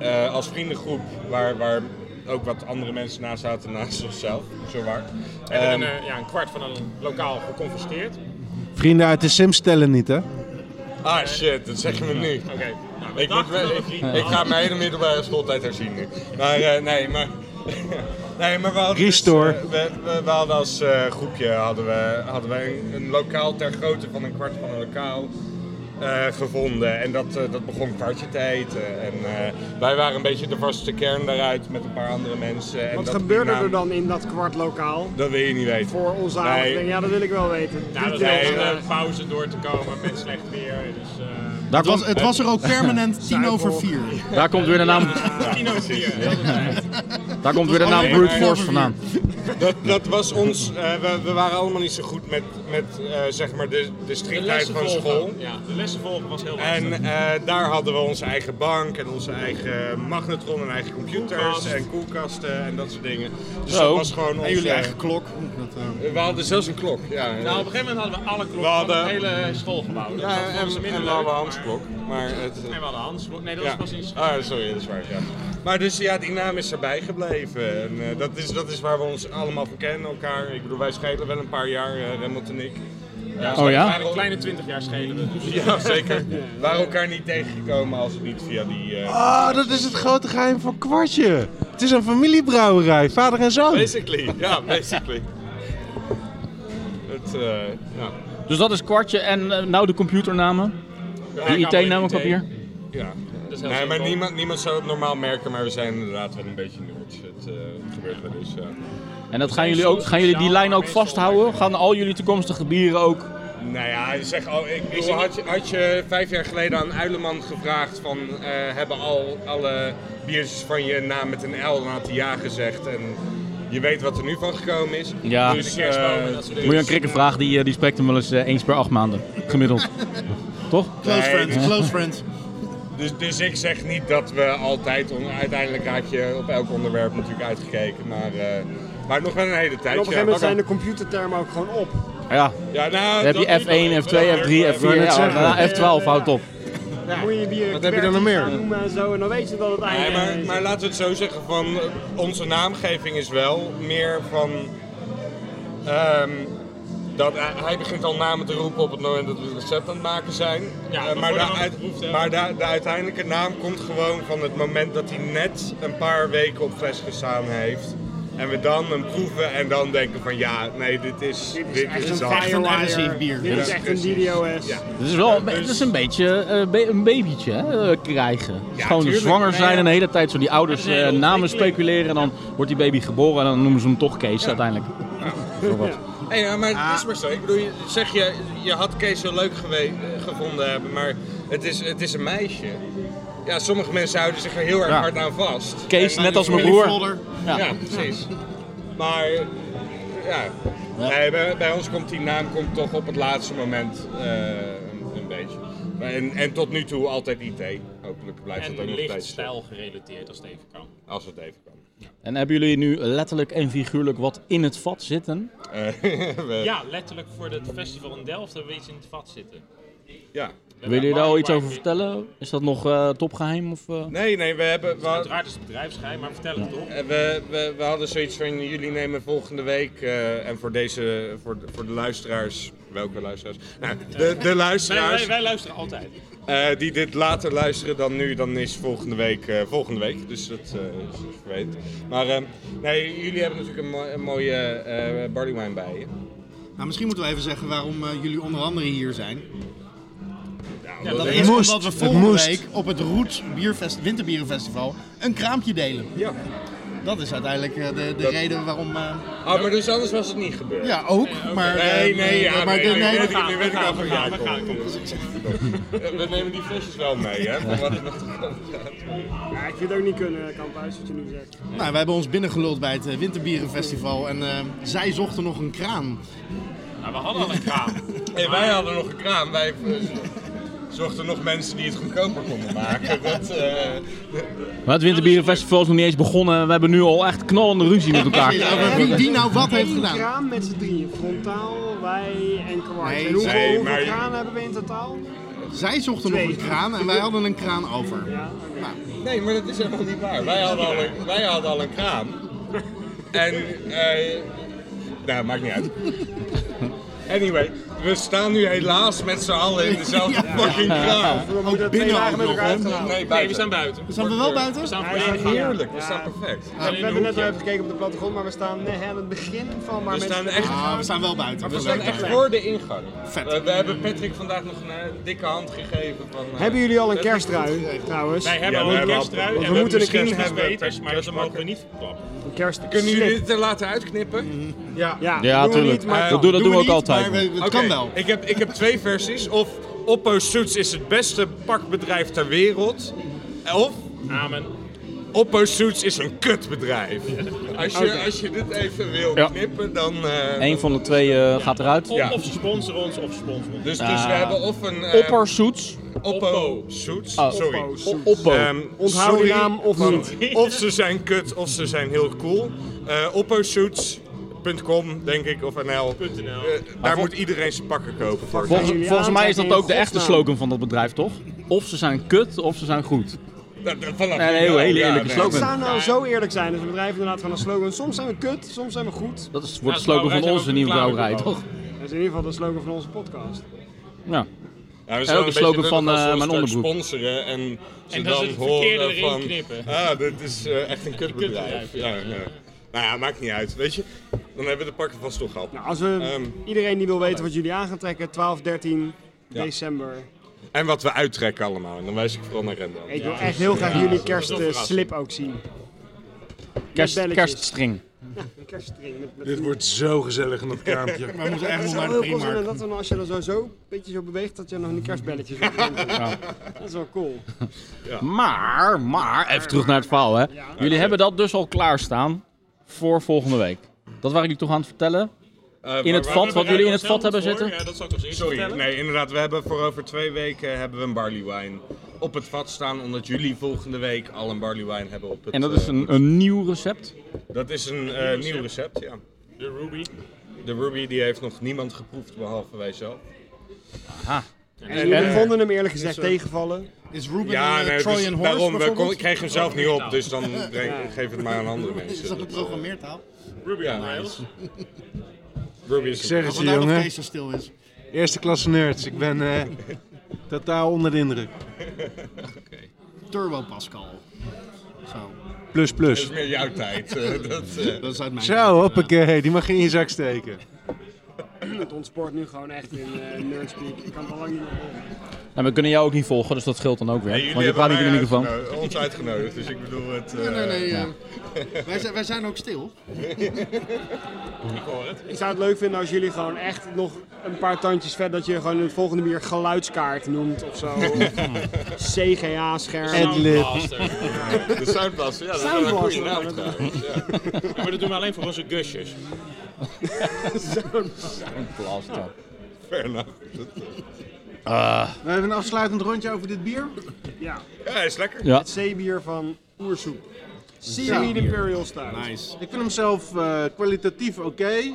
Speaker 7: eh, als vriendengroep, waar, waar ook wat andere mensen naast zaten, naast onszelf, zo waar.
Speaker 9: En
Speaker 7: Ehm,
Speaker 9: een, eh, ja, een kwart van een lokaal geconfiskeerd. Oké,
Speaker 2: Vrienden uit de Sims tellen niet, hè?
Speaker 7: ah shit, dat zeg je me nu.
Speaker 9: nou, we
Speaker 7: Ik, moet
Speaker 9: dachten
Speaker 7: wel-
Speaker 9: dat we
Speaker 7: ik,
Speaker 9: vrienden
Speaker 7: ik ga
Speaker 9: hadden.
Speaker 7: mijn hele middelbare schooltijd herzien nu. Maar eh, nee, maar... Nee, maar we hadden dus,
Speaker 2: Restore.
Speaker 7: eh, we, we, we hadden als eh, groepje hadden we, hadden we een, een lokaal ter grootte van een kwart van een lokaal eh, gevonden. En dat, eh, dat begon kwartje te eten. En eh, wij waren een beetje de vaste kern daaruit met een paar andere mensen. En
Speaker 4: Wat
Speaker 7: dat-
Speaker 4: gebeurde
Speaker 7: nou,
Speaker 4: er dan in dat kwart lokaal?
Speaker 7: Dat wil je niet weten.
Speaker 4: Voor onze
Speaker 7: Nee.
Speaker 4: avond. Ja, eh, dat wil ik wel weten.
Speaker 9: Nou, dat
Speaker 7: Nee,
Speaker 9: is
Speaker 4: Details
Speaker 9: om
Speaker 4: graag.
Speaker 9: de pauze door te komen met slecht weer. Dus, eh
Speaker 1: Daar
Speaker 6: Het was,
Speaker 1: komt,
Speaker 6: het was er ook permanent 10 over 4.
Speaker 1: daar komt weer de naam,
Speaker 9: Tien over vier, heel de tijd.
Speaker 1: daar komt weer de naam
Speaker 6: alleen
Speaker 1: Brute
Speaker 6: maar-
Speaker 1: Force vandaan.
Speaker 7: Dat, dat was ons... eh, we, we waren allemaal niet zo goed met, met eh, zeg maar de, de
Speaker 9: De
Speaker 7: striktheid
Speaker 9: lessen
Speaker 7: van school.
Speaker 9: volgen. Ja, de lessen volgen was heel
Speaker 7: En
Speaker 9: lastig.
Speaker 7: eh, daar hadden we onze eigen bank en onze eigen magnetron en eigen computers
Speaker 9: Koelkast.
Speaker 7: en koelkasten en dat soort dingen. Dus
Speaker 1: Zo.
Speaker 7: dat was gewoon onze...
Speaker 6: En jullie eigen klok.
Speaker 7: We hadden zelfs een klok, ja.
Speaker 9: Nou, op een gegeven moment hadden we alle klokken
Speaker 7: eh, We hadden-
Speaker 9: van het hele schoolgebouw. Dat
Speaker 7: ja
Speaker 9: was
Speaker 7: en,
Speaker 9: volgens
Speaker 7: en,
Speaker 9: mij
Speaker 7: we
Speaker 9: minder
Speaker 7: hadden
Speaker 9: leuk,
Speaker 7: Hans
Speaker 9: maar- eh,
Speaker 7: klok, maar het...
Speaker 9: En we hadden Hans. Nee, dat
Speaker 7: ja.
Speaker 9: was pas in school.
Speaker 7: Ah, sorry, dat is waar, ja. Maar dus ja, die naam is erbij gebleven. En eh, dat, is, dat is waar we ons allemaal voor kennen, elkaar. Ik bedoel, wij schelen wel een paar jaar, eh Remmelt en ik.
Speaker 1: Oh ja?
Speaker 9: Een kleine 20 jaar schelen we. Dus
Speaker 7: Ja, zeker. We waren elkaar niet tegengekomen als het niet via die... eh,
Speaker 2: Ah, dat is het grote geheim van Kwartje. Het is een familiebrouwerij, vader en zoon.
Speaker 7: Basically, ja, basically. Het, eh, ja.
Speaker 1: Dus dat is kwartje en eh, nou de computernamen. De IT-namen op hier.
Speaker 7: Ja.
Speaker 9: heel
Speaker 7: nee, maar
Speaker 9: simpel.
Speaker 7: niemand, niemand zou het normaal merken, maar we zijn inderdaad wel een beetje nerds. Het eh, gebeurt wel eens, ja.
Speaker 1: En dat gaan jullie, ook, gaan jullie die lijn ook vasthouden? Gaan al jullie toekomstige bieren ook?
Speaker 7: Nou ja, zeg, oh, ik bedoel, had, je, had je vijf jaar geleden aan Uileman gevraagd van... eh, hebben al alle biertjes van je naam met een L, dan had hij ja gezegd. En je weet wat er nu van gekomen is.
Speaker 1: Ja.
Speaker 7: dus,
Speaker 9: De kerstbomen,
Speaker 7: eh,
Speaker 9: dat soort
Speaker 1: Moet je een krikken vragen, die, eh, die spreekt hem wel eens eh, eens per acht maanden. Gemiddeld. Toch?
Speaker 6: Close
Speaker 7: Nee,
Speaker 6: friends,
Speaker 7: dit-
Speaker 6: close friends.
Speaker 7: Dus, dus ik zeg niet dat we altijd, on- uiteindelijk raak je op elk onderwerp natuurlijk uitgekeken, maar, eh, maar nog wel een hele
Speaker 4: En
Speaker 7: tijd.
Speaker 4: op een gegeven moment zijn de computertermen ook gewoon op.
Speaker 1: Ja.
Speaker 7: Ja, nou,
Speaker 1: Dan heb je
Speaker 7: dat
Speaker 1: F1,
Speaker 7: niet, maar-
Speaker 1: F2, F3, F4.
Speaker 2: net
Speaker 1: Ja,
Speaker 2: zeggen.
Speaker 1: daarna F12, houdt op.
Speaker 4: Dan moet je bier
Speaker 2: Wat heb je dan nog meer?
Speaker 4: noemen en zo. En dan weet je dat het
Speaker 7: Nee,
Speaker 4: einde
Speaker 7: maar,
Speaker 4: is.
Speaker 7: maar laten we het zo zeggen, van eh, onze naamgeving is wel meer van... ehm, dat, hij- hij begint al namen te roepen op het moment dat we het recept aan het maken zijn.
Speaker 9: Ja,
Speaker 7: Eh,
Speaker 9: maar
Speaker 7: maar
Speaker 9: voordat
Speaker 7: de,
Speaker 9: we
Speaker 7: uit-
Speaker 9: het geproefd hebben.
Speaker 7: maar de, de uiteindelijke naam komt gewoon van het moment dat hij net een paar weken op fles gestaan heeft. En we dan hem proeven en dan denken van ja, nee, dit is, dit is,
Speaker 4: echt een
Speaker 7: dat.
Speaker 6: Echt een aanzien
Speaker 4: firewire.
Speaker 6: bier.
Speaker 4: Dit is
Speaker 7: Ja,
Speaker 4: echt een
Speaker 7: precies.
Speaker 4: DDoS.
Speaker 7: Ja.
Speaker 1: Het is wel
Speaker 7: dus-
Speaker 1: het is een beetje eh, ba- een babytje hè, eh, krijgen. Het is gewoon
Speaker 7: tuurlijk.
Speaker 1: zwanger
Speaker 7: Nee,
Speaker 1: zijn
Speaker 7: ja.
Speaker 1: en de hele tijd zo die ouders
Speaker 9: Dat is een hele
Speaker 1: eh, namen
Speaker 9: ontwikkeling.
Speaker 1: speculeren. En dan wordt die baby geboren en dan noemen ze hem toch Kees uiteindelijk.
Speaker 7: Hey, ja, maar
Speaker 9: Ah.
Speaker 7: het is maar zo. Ik bedoel, je- zeg je, je had Kees zo leuk gewe- eh, gevonden hebben, maar het is, het is een meisje. Ja, sommige mensen houden zich er heel erg
Speaker 1: Ja.
Speaker 7: hard aan vast.
Speaker 1: Kees,
Speaker 7: En-
Speaker 1: net als mijn
Speaker 6: Willy
Speaker 1: broer.
Speaker 6: Volder.
Speaker 7: Ja, precies. Maar, ja. Nee, bij, bij ons komt die naam komt toch op het laatste moment eh, een, een beetje. Maar En, en tot nu toe altijd IT. Hopelijk blijft dat ook
Speaker 9: En
Speaker 7: nog
Speaker 9: licht
Speaker 7: steeds. zo,
Speaker 9: stijl gerelateerd als het even kan.
Speaker 7: Als het even kan.
Speaker 1: En hebben jullie nu letterlijk en figuurlijk wat in het vat zitten?
Speaker 7: Eh, we-
Speaker 9: Ja, letterlijk voor het festival in Delft hebben we iets in het vat zitten.
Speaker 7: ja.
Speaker 1: Willen jullie daar al iets over vertellen? Is dat nog eh, topgeheim? Of, eh?
Speaker 7: Nee, nee, we hebben... we-
Speaker 9: Uiteraard is het bedrijfsgeheim, maar vertel het toch.
Speaker 7: Eh, We, we, we hadden zoiets van jullie nemen volgende week eh, en voor deze voor de, voor de luisteraars welke luisteraars nou, de, de
Speaker 9: Wij,
Speaker 7: luisteraars
Speaker 9: wij, wij luisteren altijd.
Speaker 7: eh, die dit later luisteren dan nu dan is volgende week eh, volgende week dus dat eh, is weet maar eh, nee jullie hebben natuurlijk een, mo- een mooie eh barley wine bij je
Speaker 6: Nou, misschien moeten we even zeggen waarom eh, jullie onder andere hier zijn.
Speaker 9: Ja,
Speaker 6: Dat
Speaker 9: dat-
Speaker 6: is
Speaker 2: moest,
Speaker 6: omdat we
Speaker 2: het
Speaker 6: volgende
Speaker 2: moest.
Speaker 6: week op het Roots Bierfest, Winterbierenfestival een kraampje delen.
Speaker 7: ja
Speaker 6: Dat is uiteindelijk eh, de, de
Speaker 7: Dat-
Speaker 6: reden waarom... eh,
Speaker 7: ah, maar dus anders was het niet gebeurd
Speaker 6: ja, ook, maar...
Speaker 7: Nee,
Speaker 6: eh,
Speaker 7: nee, ja,
Speaker 6: maar
Speaker 7: nee,
Speaker 6: de-
Speaker 7: nu
Speaker 6: nee,
Speaker 7: weet
Speaker 6: dat-
Speaker 7: ik- nu weet ik al van
Speaker 9: gaan, we
Speaker 7: Jacob.
Speaker 9: gaan, kom.
Speaker 7: We nemen die flesjes wel mee, hè? Voor wat er nog te komen staat.
Speaker 4: Ja, ik vind het ook niet kunnen, Kamphuis, wat je nu zegt.
Speaker 6: nou, wij hebben ons binnengeluld bij het eh, Winterbierenfestival en eh, zij zochten nog een kraan.
Speaker 9: Nou, we hadden al een kraam.
Speaker 7: Hey, wij hadden nog een kraam. Wij eh, zochten nog mensen die het goedkoper konden maken. Dat, eh,
Speaker 1: Maar het Winterbierenfestival is nog niet eens begonnen. We hebben nu al echt knallende ruzie met elkaar.
Speaker 6: Over wie die nou wat heeft
Speaker 4: Eén
Speaker 6: gedaan.
Speaker 4: kraan met z'n drieën. Frontaal, wij en kwart.
Speaker 6: Nee,
Speaker 4: en hoeveel,
Speaker 7: nee,
Speaker 4: hoeveel
Speaker 7: maar-
Speaker 4: kranen hebben we in totaal?
Speaker 6: Zij zochten nog een kraan en wij hadden een kraan over.
Speaker 4: Ja,
Speaker 7: nee, maar dat is helemaal niet waar. Wij hadden al een, wij hadden al een kraam. En, eh, nou, maakt niet uit. Anyway, we staan nu helaas met z'n allen in dezelfde fucking kraam.
Speaker 4: we moeten twee
Speaker 6: binnen
Speaker 4: dagen
Speaker 6: ook
Speaker 4: met
Speaker 6: nog,
Speaker 4: elkaar
Speaker 6: hè?
Speaker 4: uitgaan.
Speaker 7: Nee,
Speaker 9: Nee, we
Speaker 7: buiten.
Speaker 9: staan buiten. We
Speaker 6: Zijn we wel buiten?
Speaker 9: staan
Speaker 4: Hij
Speaker 9: voor de
Speaker 4: staat
Speaker 9: ene gang.
Speaker 7: Heerlijk, we staan perfect.
Speaker 4: We hebben net al even gekeken op de plattegrond, maar we staan net aan het begin van waar
Speaker 7: We
Speaker 4: mensen...
Speaker 7: staan echt
Speaker 6: Ah, we staan wel buiten.
Speaker 7: we
Speaker 6: We
Speaker 7: staan
Speaker 6: zijn
Speaker 7: echt
Speaker 6: echt
Speaker 7: voor de ingang.
Speaker 6: Vet.
Speaker 7: We, we hebben Patrick vandaag nog een eh, dikke hand gegeven. Van, eh,
Speaker 4: Hebben jullie al een
Speaker 7: dat is
Speaker 4: kerstrui trouwens?
Speaker 9: Wij hebben
Speaker 7: Ja,
Speaker 9: al
Speaker 7: we
Speaker 9: een
Speaker 7: hebben al-
Speaker 9: kerstrui.
Speaker 7: want
Speaker 9: en
Speaker 7: we
Speaker 9: hebben
Speaker 7: moeten een
Speaker 9: misschien
Speaker 7: kerst
Speaker 9: iets
Speaker 7: hebben,
Speaker 9: beters, maar dat
Speaker 7: kerstpakken.
Speaker 9: mogen we niet verklappen.
Speaker 4: Een kerst...
Speaker 7: Kunnen jullie
Speaker 4: slip.
Speaker 7: dit er later uitknippen?
Speaker 2: Ja.
Speaker 4: Ja,
Speaker 1: Ja,
Speaker 4: doen we
Speaker 1: tuurlijk.
Speaker 4: niet, maar
Speaker 7: Eh,
Speaker 4: kan.
Speaker 1: Dat doen, dat doen we ook
Speaker 6: niet,
Speaker 1: altijd.
Speaker 6: maar we- het
Speaker 7: Oké,
Speaker 6: kan wel.
Speaker 7: Ik heb, ik heb twee versies. Of Oppo Suits is het beste pakbedrijf ter wereld. Of
Speaker 9: Amen.
Speaker 7: Oppo Suits is een kutbedrijf. Als je, als je dit even wil
Speaker 1: Ja.
Speaker 7: knippen, dan... eh,
Speaker 1: Eén van de twee eh, gaat eruit.
Speaker 9: Of,
Speaker 7: Ja.
Speaker 9: of ze sponsoren ons, of ze sponsoren ons.
Speaker 7: Dus, dus we
Speaker 1: Ah.
Speaker 7: hebben of een eh,
Speaker 1: Opper Suits.
Speaker 7: Oppo Suits.
Speaker 1: Oh.
Speaker 7: Sorry.
Speaker 4: Oppo
Speaker 1: O-
Speaker 4: Suits.
Speaker 1: Oppo.
Speaker 7: Ehm,
Speaker 4: Onthoud die
Speaker 7: sorry,
Speaker 4: naam of
Speaker 7: van-
Speaker 4: niet.
Speaker 7: Of ze zijn kut, of ze zijn heel cool. Eh Opposuits.com, denk ik, of NL.
Speaker 9: .nl.
Speaker 7: Eh, daar moet iedereen zijn pakken kopen voor.
Speaker 1: Volgens,
Speaker 4: jullie
Speaker 1: volgens mij is dat
Speaker 4: aantrekken
Speaker 1: ook de
Speaker 4: in
Speaker 1: echte
Speaker 4: godsnaam?
Speaker 1: slogan van dat bedrijf, toch? Of ze zijn kut, of ze zijn goed.
Speaker 7: Dat- dat- vanaf
Speaker 1: Nee,
Speaker 7: nu
Speaker 1: nee,
Speaker 7: wel,
Speaker 1: hele
Speaker 7: ja,
Speaker 1: eerlijke
Speaker 7: nee.
Speaker 1: slogan.
Speaker 4: Het zou nou zo eerlijk zijn als een bedrijf inderdaad van een slogan. Soms zijn we kut, soms zijn we goed.
Speaker 1: Dat is, wordt de
Speaker 9: Nou,
Speaker 1: slogan van
Speaker 9: brouwerij
Speaker 1: onze
Speaker 9: zijn
Speaker 1: nieuwe
Speaker 9: ook
Speaker 1: brouwerij,
Speaker 9: reclame
Speaker 1: toch?
Speaker 4: En is in ieder geval de slogan van onze podcast.
Speaker 1: Ja.
Speaker 7: Ja, we
Speaker 1: ook de slogan van,
Speaker 7: lullig als
Speaker 1: eh,
Speaker 7: we
Speaker 1: mijn
Speaker 7: straks
Speaker 1: onderbroek.
Speaker 7: sponsoren en ze
Speaker 9: En dat
Speaker 7: dan
Speaker 9: ze het verkeerde
Speaker 7: horen
Speaker 9: erin
Speaker 7: van...
Speaker 9: knippen.
Speaker 7: Ah, dit is eh, echt een kutbedrijf.
Speaker 9: kutbedrijf,
Speaker 7: Ja, ja. Nou ja, maakt niet uit. Weet je, dan hebben we de pakken vast toch gehad.
Speaker 4: Nou, als we
Speaker 7: Ehm,
Speaker 4: iedereen die wil weten wat jullie aan gaan trekken, 12, 13
Speaker 7: Ja.
Speaker 4: december.
Speaker 7: En wat we uittrekken allemaal. En dan wijs ik vooral naar Eh, Rendo.
Speaker 4: Ik wil echt heel graag jullie kerstslip ook zien.
Speaker 1: Kerst,
Speaker 4: belletjes.
Speaker 1: kerststring.
Speaker 4: Kerstring met, met
Speaker 2: Dit wordt zo gezellig in dat kraampje.
Speaker 6: Maar we moeten echt
Speaker 4: Het
Speaker 6: nog
Speaker 4: zou
Speaker 6: naar
Speaker 4: heel
Speaker 6: de
Speaker 4: cool zijn
Speaker 6: Primark.
Speaker 4: dat dan als je dan zo, zo een beetje zo beweegt, dat je nog een kerstbelletjes op Dat is wel cool.
Speaker 1: Maar, maar, even terug naar het verhaal hè. Jullie hebben dat dus al klaarstaan voor volgende week. Dat waren jullie toch aan het vertellen? In het vat, wat jullie in het vat hebben zitten?
Speaker 9: Ja, dat zou ik als eerste
Speaker 7: Sorry,
Speaker 9: vertellen.
Speaker 7: nee, inderdaad. We hebben voor over twee weken hebben we een barley wine op het vat staan. Omdat jullie volgende week al een barley wine hebben op het
Speaker 1: En dat is
Speaker 7: eh,
Speaker 1: een, een nieuw recept.
Speaker 7: dat is een eh, nieuw recept, ja.
Speaker 9: De Ruby.
Speaker 7: De Ruby die heeft nog niemand geproefd, behalve wij zelf.
Speaker 4: En we vonden hem eerlijk gezegd tegenvallen.
Speaker 6: Is Ruben
Speaker 7: Ja,
Speaker 6: een eh,
Speaker 7: nee,
Speaker 6: Trojan
Speaker 7: dus
Speaker 6: Horse
Speaker 7: daarom, we kon,
Speaker 6: bijvoorbeeld?
Speaker 7: ik kreeg hem zelf niet op, dus dan breng- geef het maar aan andere mensen.
Speaker 6: Is dat een programmeertaal?
Speaker 9: Ruby
Speaker 7: Ja,
Speaker 9: on Rails.
Speaker 7: Ruby is
Speaker 2: Ik zeg het
Speaker 6: Als
Speaker 2: je,
Speaker 6: nou nog
Speaker 2: jongen.
Speaker 6: steeds zo stil is.
Speaker 2: Eerste klasse nerds. Ik ben eh, totaal onder de indruk.
Speaker 6: Turbo Pascal. Zo.
Speaker 2: Plus,
Speaker 7: Dat is
Speaker 2: plus.
Speaker 7: meer jouw tijd. eh, dat, eh.
Speaker 6: Dat is uit mijn
Speaker 2: Zo, hoppakee. Die mag je in je zak steken.
Speaker 4: Het ontspoort nu gewoon echt in eh, nerdspeak. Ik kan het al lang niet meer volgen.
Speaker 1: Nou, we kunnen jou ook niet volgen, dus dat scheelt dan ook weer.
Speaker 7: Nee,
Speaker 1: want je praat niet in de
Speaker 7: hebben mij
Speaker 1: microfoon.
Speaker 7: uitgeno- ons uitgenodigd, dus ik bedoel het... eh,
Speaker 6: Nee, nee, nee. eh, wij, zijn, wij zijn ook stil.
Speaker 4: Ik zou het leuk vinden als jullie gewoon echt nog een paar tandjes verder dat je gewoon het volgende bier geluidskaart noemt of zo. CGA-scherm.
Speaker 9: Soundblaster.
Speaker 7: De Soundblaster, ja, dat is wel een goede
Speaker 4: Soundblaster.
Speaker 7: naam trouwens. ja.
Speaker 9: Ja, maar dat doen we alleen voor onze gusjes.
Speaker 7: Fair enough.
Speaker 2: We hebben een afsluitend rondje over dit bier.
Speaker 4: Ja,
Speaker 7: Ja, is lekker.
Speaker 1: Ja,
Speaker 4: het zeebier van Oersoep. Seaweed Imperial Stout.
Speaker 6: Nice.
Speaker 2: Ik vind hem zelf eh, kwalitatief oké, eh,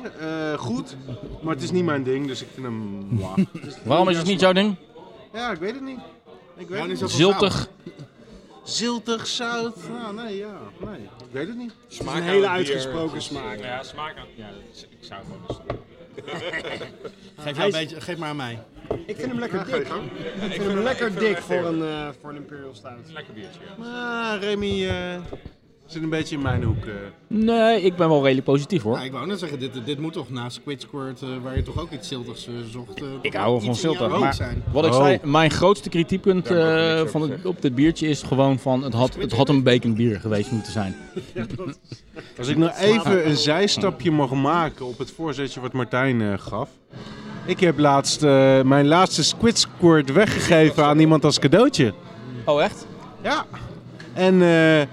Speaker 2: goed, maar het is niet mijn ding, dus ik vind hem... mwah.
Speaker 1: waarom is het niet jouw ding?
Speaker 2: Ja, ik weet het niet. Ik weet het niet.
Speaker 1: Ziltig.
Speaker 2: Ziltig, zout, nou, nee, ja, nee, ik weet het niet.
Speaker 7: Smaak
Speaker 4: Een
Speaker 7: aan
Speaker 4: hele
Speaker 7: het
Speaker 4: uitgesproken smaak.
Speaker 9: Ja, smaak aan. Ja, dat is- ik zou gewoon eens-
Speaker 6: Geef, jou een beetje, geef maar aan mij.
Speaker 4: Ik vind hem lekker dik. Ik vind hem lekker dik voor een, eh, voor een Imperial Stout.
Speaker 9: lekker biertje. ja.
Speaker 2: Ah, Remy eh, zit een beetje in mijn hoek. eh.
Speaker 1: Nee, ik ben wel redelijk positief hoor.
Speaker 6: Nou, ik wou net zeggen, dit, dit moet toch na Squid Squirt, eh, waar je toch ook iets ziltigs eh, zocht. eh,
Speaker 1: Ik
Speaker 6: toch
Speaker 1: hou wel
Speaker 6: iets
Speaker 1: van
Speaker 6: in
Speaker 1: zilter.
Speaker 6: jouw hoofd
Speaker 1: Maar
Speaker 6: zijn.
Speaker 1: wat ik
Speaker 2: Oh.
Speaker 1: zei, mijn grootste kritiekpunt
Speaker 7: Daar mag ik
Speaker 1: eh,
Speaker 7: niks over
Speaker 1: van het,
Speaker 7: zeggen.
Speaker 1: op dit biertje is gewoon van het had, het had een bacon bier geweest moeten zijn.
Speaker 2: Als ik nog even een zijstapje mag maken op het voorzetje wat Martijn eh, gaf. Ik heb laatst eh, mijn laatste Squid Squirt weggegeven aan iemand als cadeautje.
Speaker 1: Oh echt?
Speaker 2: Ja. En eh,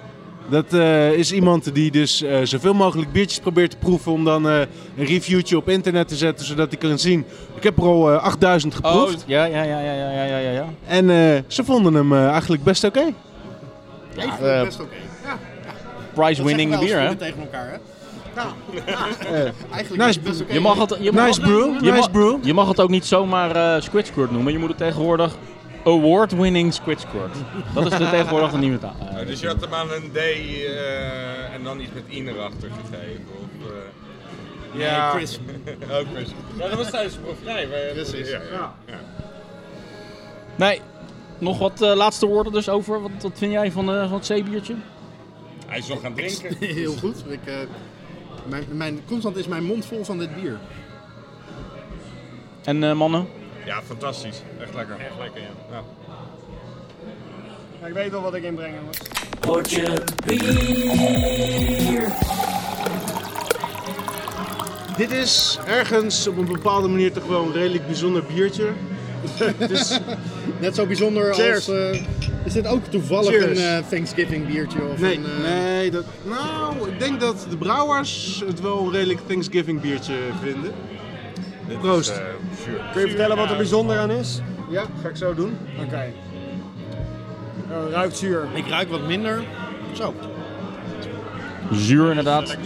Speaker 2: dat eh, is iemand die dus eh, zoveel mogelijk biertjes probeert te proeven om dan eh, een reviewtje op internet te zetten, zodat hij kan zien. Ik heb er al eh, 8000
Speaker 1: Oh,
Speaker 2: geproefd.
Speaker 1: ja, ja, ja, ja, ja, ja, ja, ja, ja.
Speaker 2: En eh, ze vonden hem eh, eigenlijk best oké.
Speaker 6: Ik vind
Speaker 1: eh,
Speaker 6: het best oké.
Speaker 1: Prize winning
Speaker 6: Dat zeggen wij als
Speaker 1: bier hè? Eh,
Speaker 6: vrienden tegen elkaar, hè? Eigenlijk
Speaker 2: Nice
Speaker 6: is het best oké.
Speaker 1: Je mag het, je mag,
Speaker 2: Nice brew,
Speaker 1: je
Speaker 2: nice
Speaker 1: mag-
Speaker 2: brew.
Speaker 1: Je mag het ook niet zomaar eh Squid Squirt noemen. Je moet het tegenwoordig award-winning Squid Squirt. Dat is de tegenwoordig een nieuwe taal.
Speaker 7: Ja, dus je had hem aan een D eh, en dan iets met I erachter gegeven. Of, eh ja,
Speaker 6: Chris.
Speaker 7: ook Chris. Ja, dat was tijdens de proeverij. maar-
Speaker 6: Precies.
Speaker 7: Ja, ja.
Speaker 1: Nee, nog wat eh, laatste woorden dus over. Wat, wat vind jij van, eh, van het zeebiertje?
Speaker 7: Hij is nog gaan drinken.
Speaker 6: Heel goed. Ik, eh, mijn, mijn, constant is mijn mond vol van dit bier.
Speaker 1: En eh, mannen?
Speaker 7: Ja, fantastisch. Echt lekker. Echt lekker, ja.
Speaker 4: Maar ik weet wel wat ik inbreng, jongens.
Speaker 2: Dit is ergens op een bepaalde manier toch wel een redelijk bijzonder biertje. Dus,
Speaker 6: Net zo bijzonder
Speaker 2: Cheers.
Speaker 6: als... eh, is dit ook toevallig
Speaker 2: Cheers.
Speaker 6: een eh, Thanksgiving biertje? Of
Speaker 2: Nee,
Speaker 6: een, eh,
Speaker 2: nee, dat, nou, ik denk dat de brouwers het wel een redelijk Thanksgiving biertje vinden. Proost.
Speaker 7: eh,
Speaker 4: Kun je vertellen wat er bijzonder aan is?
Speaker 2: Ja, ga ik zo doen.
Speaker 4: Oké. Eh, ruikt zuur.
Speaker 6: Ik ruik wat minder. Zo.
Speaker 1: Zuur inderdaad.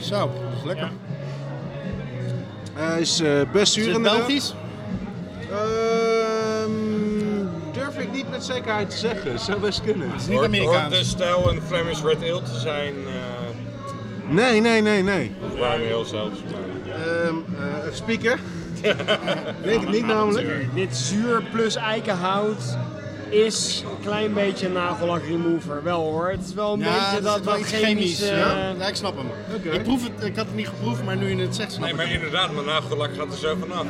Speaker 6: Zo. Dat is lekker.
Speaker 2: Hij is eh, best
Speaker 6: Is
Speaker 2: zuur
Speaker 6: het
Speaker 2: inderdaad.
Speaker 6: Belgisch?
Speaker 2: Ehm, durf ik niet met zekerheid te zeggen. Zou best kunnen.
Speaker 6: is niet Amerikaans.
Speaker 7: de stijl een Flemish Red Ale te zijn. eh
Speaker 2: Nee, nee, nee, nee.
Speaker 7: bruin ale zelfs. maar-
Speaker 2: Ehm, eh, spieken. Denk het niet namelijk.
Speaker 4: Dit zuur plus eikenhout is een klein beetje een nagellak remover. Wel hoor, het is wel een
Speaker 6: Ja,
Speaker 4: beetje
Speaker 6: dat
Speaker 4: dat
Speaker 6: is wel
Speaker 4: wat
Speaker 6: iets chemisch.
Speaker 4: chemisch... eh,
Speaker 6: Ja, Ja, ik snap hem.
Speaker 2: Oké.
Speaker 6: Ik, proef het, ik had het niet geproefd, maar nu je het zegt snap
Speaker 7: Nee,
Speaker 6: ik
Speaker 7: maar
Speaker 6: hem.
Speaker 7: inderdaad, mijn nagellak gaat er zo vanaf.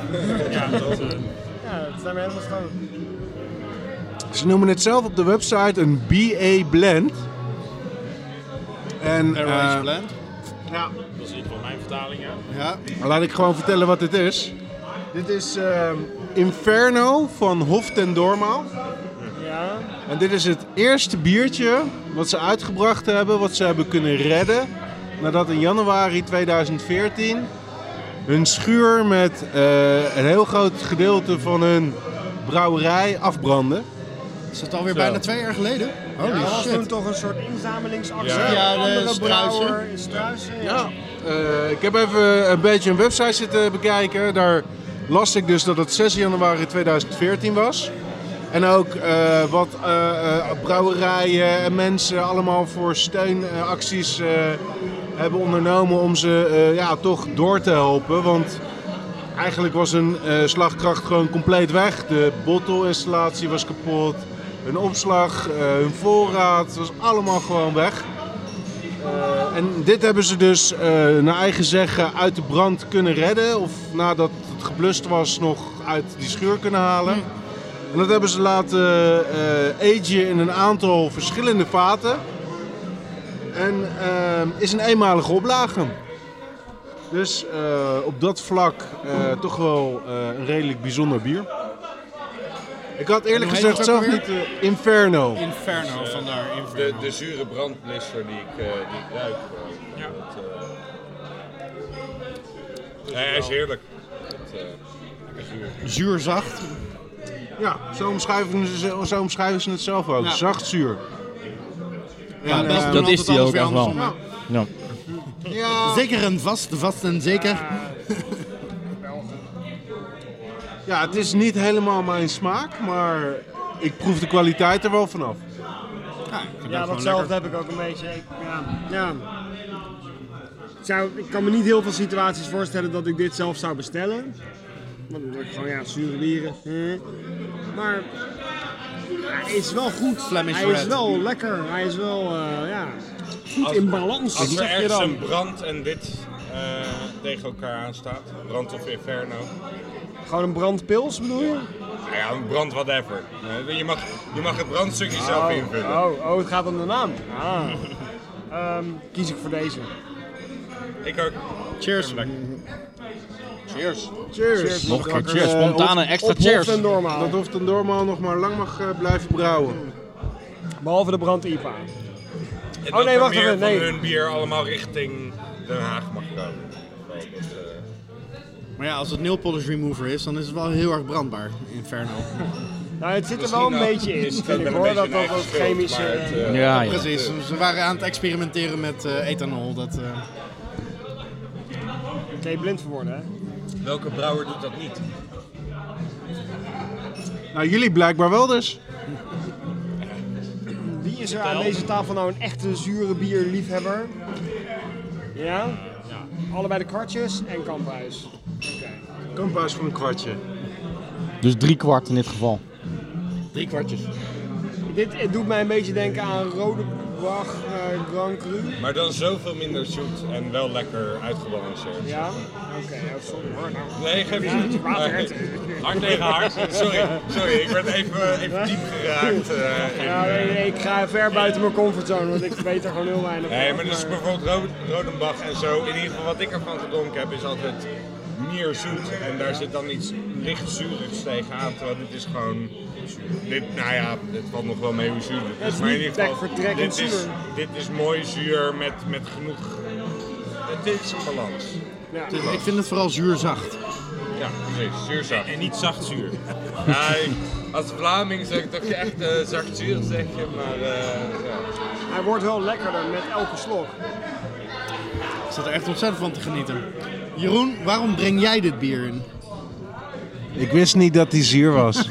Speaker 4: ja, het zijn we helemaal schoon.
Speaker 2: Ze noemen het zelf op de website een BA blend. En
Speaker 6: Arrow
Speaker 2: eh,
Speaker 6: is blend.
Speaker 2: ja,
Speaker 9: Dat is in ieder geval mijn vertaling, ja.
Speaker 6: Ja.
Speaker 2: laat ik gewoon vertellen wat dit is. Dit is ehm, Inferno van Hof ten Dormaal.
Speaker 4: Ja,
Speaker 2: En dit is het eerste biertje wat ze uitgebracht hebben, wat ze hebben kunnen redden. Nadat in januari 2014 hun schuur met eh, een heel groot gedeelte van hun brouwerij afbrandde.
Speaker 6: Is dat alweer bijna twee jaar geleden? Holy
Speaker 4: dat was toen
Speaker 6: shit.
Speaker 4: toch een soort inzamelingsactie.
Speaker 6: Ja. Ja, de
Speaker 4: Andere
Speaker 6: struisen.
Speaker 4: brouwer, een struisen.
Speaker 2: Ja, eh, ik heb even een beetje een website zitten bekijken. Daar las ik dus dat het 6 januari 2014 was. En ook eh, wat eh, eh, brouwerijen en mensen allemaal voor steunacties eh, hebben ondernomen om ze eh, ja, toch door te helpen. Want eigenlijk was hun eh, slagkracht gewoon compleet weg. De bottelinstallatie was kapot, hun opslag, eh, hun voorraad was allemaal gewoon weg. Eh, en dit hebben ze dus eh, naar eigen zeggen uit de brand kunnen redden. Of nadat het geblust was nog uit die schuur kunnen halen. En dat hebben ze laten eh agen in een aantal verschillende vaten. En eh, is een eenmalige oplage. Dus eh, op dat vlak eh, toch wel eh, een redelijk bijzonder bier. Ik had eerlijk
Speaker 6: En hoe heet
Speaker 2: gezegd
Speaker 6: het ook
Speaker 2: zelf niet eh, Inferno.
Speaker 6: Inferno vandaar.
Speaker 7: De, dus-
Speaker 6: Inferno.
Speaker 7: de zure brandblisser die ik, eh, die ik ruik. eh,
Speaker 9: Ja.
Speaker 7: dat, eh, nee, hij is heerlijk. Het, eh, lekker zuur.
Speaker 6: Zuurzacht.
Speaker 2: Ja, zo omschrijven ze, zo omschrijven ze het zelf ook.
Speaker 6: Ja.
Speaker 2: Zacht zuur.
Speaker 6: Ja,
Speaker 2: eh,
Speaker 6: doen
Speaker 1: dat
Speaker 6: altijd
Speaker 1: is die
Speaker 6: alles
Speaker 1: ook
Speaker 6: weer
Speaker 1: echt wel.
Speaker 6: andersom, hè?
Speaker 1: Ja.
Speaker 2: Ja,
Speaker 6: Zeker en vast, vast en zeker.
Speaker 2: ja, het is niet helemaal mijn smaak, maar ik proef de kwaliteit er wel vanaf.
Speaker 4: Ja, datzelfde heb ik ook een beetje. Ik, ja. Ja. Ik Zou, ik kan me niet heel veel situaties voorstellen dat ik dit zelf zou bestellen. Want dan word ik gewoon, ja, zure bieren. hè. Maar hij is wel goed.
Speaker 6: Flemish
Speaker 4: hij is
Speaker 6: Red.
Speaker 4: wel lekker. Hij is wel eh, ja, goed in balans,
Speaker 7: Als er
Speaker 4: zeg je
Speaker 7: ergens een
Speaker 4: dan.
Speaker 7: brand en dit eh, tegen elkaar aan staat, brand of inferno.
Speaker 4: Gewoon een brandpils bedoel je?
Speaker 7: Nou ja, een brand whatever. Eh, je, mag, je mag het brandstukje zelf
Speaker 4: Oh,
Speaker 7: invullen.
Speaker 4: oh, oh, het gaat om de naam. Ah. Ehm, kies ik voor deze.
Speaker 7: Ik
Speaker 4: Oh,
Speaker 7: ook.
Speaker 6: Cheers.
Speaker 7: Cheers.
Speaker 2: Cheers.
Speaker 1: Nog een keer
Speaker 2: Dat,
Speaker 1: cheers.
Speaker 2: eh,
Speaker 1: Spontane extra
Speaker 4: Op Hof
Speaker 1: cheers.
Speaker 4: en
Speaker 2: Hof-
Speaker 4: normaal. Hmm,
Speaker 2: Dat hoeft een doormaal nog maar lang mag eh, blijven brouwen.
Speaker 4: Behalve de brand IPA.
Speaker 7: En
Speaker 4: Oh, nee,
Speaker 7: dat er
Speaker 4: wacht
Speaker 7: meer
Speaker 4: even, nee.
Speaker 7: van hun bier allemaal richting Den Haag mag komen. Dat, eh,
Speaker 6: Maar ja, als het nail polish remover is, dan is het wel heel erg brandbaar. Inferno.
Speaker 4: Nou, het zit er wel een
Speaker 7: Misschien ook.
Speaker 4: beetje in,
Speaker 7: Is het
Speaker 4: vind ik
Speaker 7: wel een
Speaker 4: hoor.
Speaker 7: beetje
Speaker 4: Dat
Speaker 7: een
Speaker 4: dat
Speaker 7: eigen
Speaker 4: wat
Speaker 7: schuld,
Speaker 4: chemische...
Speaker 7: maar het, eh,
Speaker 2: Ah,
Speaker 1: Ja, ja.
Speaker 6: Precies, ze waren aan het experimenteren met eh, ethanol. Dat, eh,
Speaker 4: Oké, blind voor worden, hè?
Speaker 7: Welke brouwer doet dat niet?
Speaker 2: Nou, jullie blijkbaar wel dus.
Speaker 4: Wie is er aan deze tafel nou een echte zure bierliefhebber? Ja? Allebei de kwartjes en kamphuis.
Speaker 2: Kamphuis voor een kwartje.
Speaker 1: Dus drie kwart in dit geval.
Speaker 6: drie kwartjes.
Speaker 4: Dit eh, doet mij een beetje denken aan Rode Bach eh, Grand Cru.
Speaker 7: Maar dan zoveel minder zoet en wel lekker uitgebalanceerd.
Speaker 4: Ja? Oké, ja, sorry hoor. Nou,
Speaker 7: Nee, geef
Speaker 4: Ja,
Speaker 7: je
Speaker 4: het is
Speaker 7: niet.
Speaker 4: water, hè?
Speaker 7: Nee. Hard tegen hard. Sorry, sorry. Ik werd even, even diep geraakt. eh, in,
Speaker 4: Ja, nee, nee, ik ga ver buiten mijn comfortzone, want ik weet er gewoon heel weinig
Speaker 7: Nee,
Speaker 4: van,
Speaker 7: maar dus
Speaker 4: maar-
Speaker 7: bijvoorbeeld Ro- Rodenbach en zo. In ieder geval wat ik ervan gedronken heb is altijd meer zoet. En daar zit dan iets licht zuurigs tegenaan. Terwijl dit is gewoon... Dit, nou ja, dit valt nog wel mee hoe zuur dit
Speaker 4: Het
Speaker 7: is.
Speaker 4: is
Speaker 7: Maar in
Speaker 4: niet
Speaker 7: ieder geval,
Speaker 4: bekvertrekkend
Speaker 7: dit is,
Speaker 4: zuur.
Speaker 7: dit is mooi zuur met, met genoeg... Het is een balans.
Speaker 4: Ja.
Speaker 6: dus Ik vind het vooral zuurzacht.
Speaker 7: Ja, precies. Zuurzacht.
Speaker 9: En niet zacht zuur.
Speaker 7: Ja, ik- als Vlaming zeg ik dat je echt eh zacht zuur zeg je, maar eh, ja.
Speaker 4: Hij wordt wel lekkerder met elke slok.
Speaker 6: Ik zat er echt ontzettend van te genieten. Jeroen, waarom breng jij dit bier in?
Speaker 2: Ik wist niet dat die zuur was.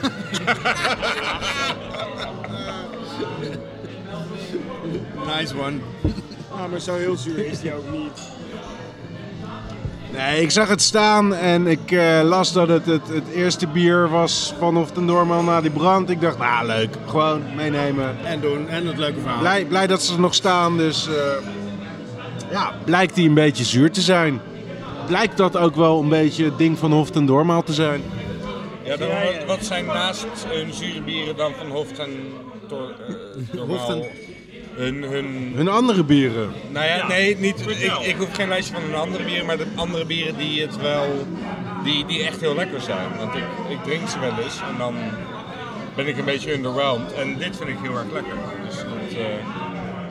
Speaker 6: Nice one.
Speaker 4: Ja, maar zo heel zuur is die ook niet.
Speaker 2: Nee, ik zag het staan en ik eh, las dat het, het het eerste bier was vanaf de Norman na die brand. Ik dacht, nou leuk, gewoon meenemen.
Speaker 6: En doen. En het leuke verhaal.
Speaker 2: Blij, blij dat ze er nog staan, dus eh, ja, blijkt die een beetje zuur te zijn. Blijkt dat ook wel een beetje het ding van Hoft en Dormaal te zijn.
Speaker 7: Ja, dan, wat, wat zijn naast hun zure bieren dan van Hoft en Tor, eh, Dormaal?
Speaker 6: Hoft en-
Speaker 7: Hun, hun,
Speaker 2: Hun andere bieren.
Speaker 7: nou ja, nee, niet, ik, ik hoef geen lijstje van hun andere bieren, maar de andere bieren die het wel, die, die echt heel lekker zijn. Want ik, ik drink ze wel eens en dan ben ik een beetje underwhelmed. En dit vind ik heel erg lekker. Dus dat, eh,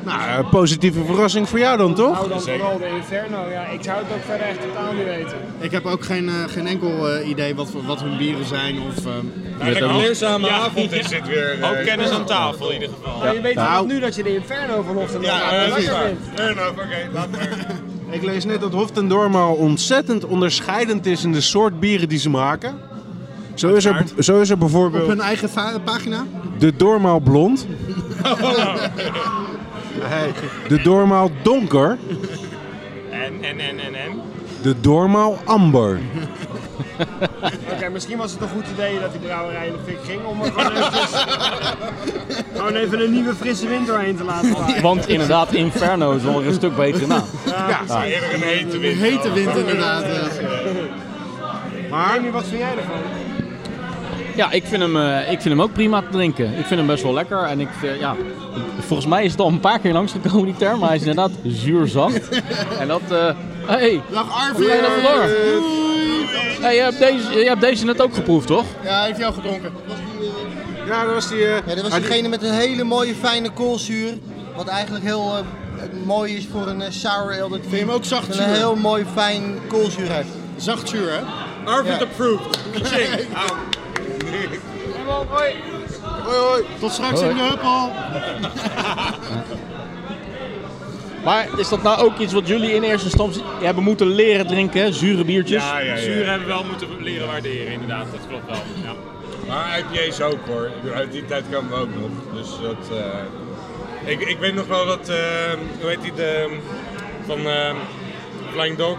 Speaker 2: Nou, eh, positieve verrassing voor jou dan toch?
Speaker 4: Nou dan
Speaker 7: Zeker.
Speaker 4: vooral de Inferno. Ja, ik zou het ook verder echt totaal niet weten.
Speaker 6: Ik heb ook geen, eh, geen enkel eh, idee wat, voor- wat hun bieren zijn. Of, ehm,
Speaker 7: Eigenlijk een leerzame avond is dit weer. eh,
Speaker 9: Ook kennis aan tafel in ieder geval.
Speaker 4: Maar je weet
Speaker 2: Nou.
Speaker 4: vanaf nu dat je de Inferno vanochtend nog
Speaker 7: Ja, dat is
Speaker 4: lekker
Speaker 7: waar.
Speaker 4: vindt.
Speaker 7: Fair enough, oké, laat maar.
Speaker 2: Ik lees net dat Hoft en Dormaal ontzettend onderscheidend is in de soort bieren die ze maken. Zo is er, zo is er
Speaker 6: op
Speaker 2: bijvoorbeeld
Speaker 6: hun eigen va- pagina.
Speaker 2: de Dormaal blond. Hey, de Dormaal donker.
Speaker 9: En, en, en, en, en.
Speaker 2: De Dormaal amber.
Speaker 4: Oké, misschien was het een goed idee dat die brouwerij in de fik ging om er gewoon eventjes- gewoon even een nieuwe frisse wind doorheen te laten waaien.
Speaker 1: Want inderdaad, Inferno is wel een stuk betere naam.
Speaker 7: Ja, eerder een hete
Speaker 6: Een
Speaker 7: wind.
Speaker 6: hete wind inderdaad. eh.
Speaker 4: Jamie, wat vind jij ervan?
Speaker 1: Ja, ik vind, hem, eh, ik vind hem ook prima te drinken. Ik vind hem best wel lekker. En ik, eh, ja, volgens mij is het al een paar keer langsgekomen, die term. Maar hij is inderdaad zuurzacht. En dat... eh, hey,
Speaker 6: Dag
Speaker 1: Hoe
Speaker 6: Arvid.
Speaker 1: ben je dat verloren?
Speaker 6: Doei.
Speaker 1: hey, je, hebt deze, je hebt deze net ook geproefd, toch?
Speaker 6: Ja, heeft hij al gedronken.
Speaker 2: Ja, dat was die. eh,
Speaker 12: Ja, dat was
Speaker 2: ah, die-
Speaker 12: diegene met een hele mooie fijne koolzuur. Wat eigenlijk heel eh, mooi is voor een eh, sour ale. Dat
Speaker 6: Vind je hem ook zacht
Speaker 12: een
Speaker 6: zuur?
Speaker 12: heel mooi fijn koolzuur heeft.
Speaker 6: Zacht zuur, hè?
Speaker 7: Arvid approved. Ching. Au.
Speaker 6: Tot straks in de huppel.
Speaker 1: Maar is dat nou ook iets wat jullie in eerste instantie hebben moeten leren drinken? hè? Zure biertjes?
Speaker 7: Ja, ja,
Speaker 9: Zuur
Speaker 7: ja.
Speaker 9: hebben we wel moeten leren waarderen, inderdaad. Dat klopt wel. Ja.
Speaker 7: Maar IPA's ook hoor. Ik bedoel, Uit die tijd komen we ook nog. Dus dat. eh, ik, ik weet nog wel dat. eh, hoe heet die? De, van eh, Flying Dog.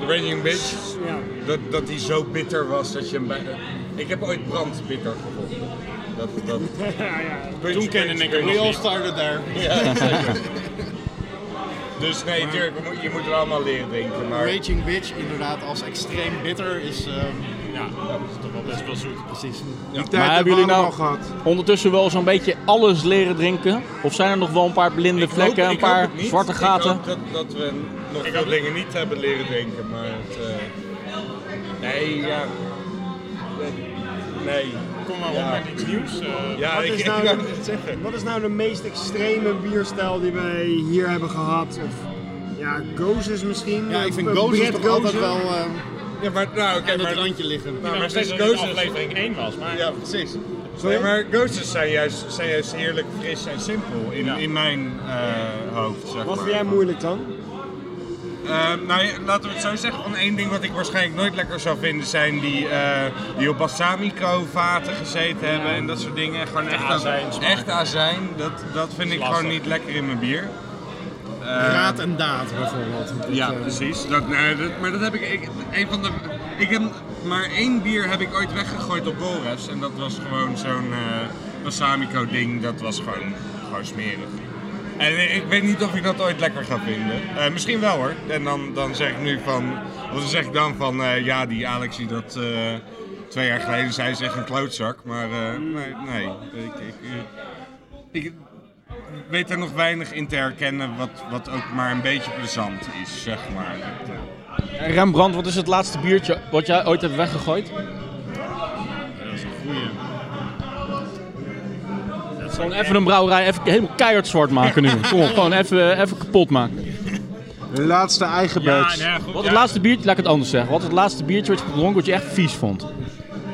Speaker 7: The Raging Bitch. Dat, dat die zo bitter was dat je hem bij. eh, Ik heb ooit brandbitter gevonden. Dat, dat,
Speaker 9: Toen kende ik hem
Speaker 7: hem
Speaker 9: nog niet.
Speaker 6: started there.
Speaker 7: Dus nee, tuurlijk, we moet- je moet er allemaal leren drinken. Maar
Speaker 6: Raging Bitch, inderdaad, als extreem bitter is. ehm,
Speaker 9: Ja, dat is toch wel best wel zoet.
Speaker 6: precies.
Speaker 2: die tijd
Speaker 1: Maar hebben
Speaker 2: hebben we
Speaker 1: jullie
Speaker 2: allemaal
Speaker 1: nou
Speaker 2: gehad.
Speaker 1: ondertussen wel zo'n beetje alles leren drinken? Of zijn er nog wel een paar blinde
Speaker 7: Ik hoop-
Speaker 1: vlekken,
Speaker 7: ik
Speaker 1: een
Speaker 7: hoop
Speaker 1: paar
Speaker 7: het niet.
Speaker 1: zwarte
Speaker 7: Ik
Speaker 1: gaten?
Speaker 7: hoop dat, dat we nog veel dingen niet hebben leren drinken, maar het... eh, nee, ja... Nee.
Speaker 9: Kom maar op
Speaker 7: Ja.
Speaker 9: met iets nieuws. eh,
Speaker 7: Ja,
Speaker 4: Wat
Speaker 7: ik,
Speaker 4: is
Speaker 7: ik
Speaker 4: nou
Speaker 7: wou
Speaker 4: de-
Speaker 7: het zeggen.
Speaker 4: Wat is nou de meest extreme bierstijl die wij hier hebben gehad? Of ja, gozes misschien?
Speaker 6: Ja, ik vind
Speaker 4: Een
Speaker 6: Gozer
Speaker 4: Brett
Speaker 6: toch altijd
Speaker 4: gozer?
Speaker 6: wel ehm
Speaker 7: Ja, maar nou, oké,
Speaker 6: aan het
Speaker 7: maar...
Speaker 6: randje liggen. Eh,
Speaker 7: nou, maar
Speaker 9: maar steeds
Speaker 7: steeds
Speaker 9: dat het
Speaker 7: gozers...
Speaker 9: aflevering 1 was, maar
Speaker 7: Ja, precies. Nee, maar gozers zijn juist, zijn juist heerlijk fris en simpel in, in mijn eh, hoofd, zeg
Speaker 4: Wat
Speaker 7: maar.
Speaker 4: vind jij moeilijk dan?
Speaker 7: Ehm, nou, ja, laten we het zo zeggen. Van één ding wat ik waarschijnlijk nooit lekker zou vinden zijn die, eh, die op balsamico vaten gezeten hebben en dat soort dingen. Gewoon echt
Speaker 9: azijn smaak.
Speaker 7: Echt azijn. Dat, dat vind ik
Speaker 9: lastig.
Speaker 7: gewoon niet lekker in mijn bier.
Speaker 6: Raad en daad bijvoorbeeld.
Speaker 7: Ja,
Speaker 6: Dat, eh,
Speaker 7: precies. Dat, nee, dat- maar dat heb ik, ik, een van de, ik heb maar één bier heb ik ooit weggegooid op Boris en dat was gewoon zo'n eh balsamico ding. Dat was gewoon, gewoon smerig. En ik weet niet of ik dat ooit lekker ga vinden. Eh, misschien wel hoor. En dan, dan zeg ik nu van, of dan zeg ik dan van, eh, ja die Alex die dat eh, twee jaar geleden zei, zegt een klootzak. Maar eh, nee, nee. Ik, ik, eh, ik weet er nog weinig in te herkennen wat, wat ook maar een beetje plezant is, zeg maar. Dat, eh,
Speaker 1: Rembrandt, wat is het laatste biertje wat jij ooit hebt weggegooid? Gewoon even een brouwerij, even helemaal keihard zwart maken nu. Kom op, gewoon even, even kapot maken.
Speaker 2: Hun laatste eigen
Speaker 9: Ja,
Speaker 2: badge.
Speaker 9: nou ja, goed,
Speaker 1: Wat
Speaker 9: ja.
Speaker 1: het laatste biertje, laat ik het anders zeggen. Wat het laatste biertje wat je gedronken wat je echt vies vond?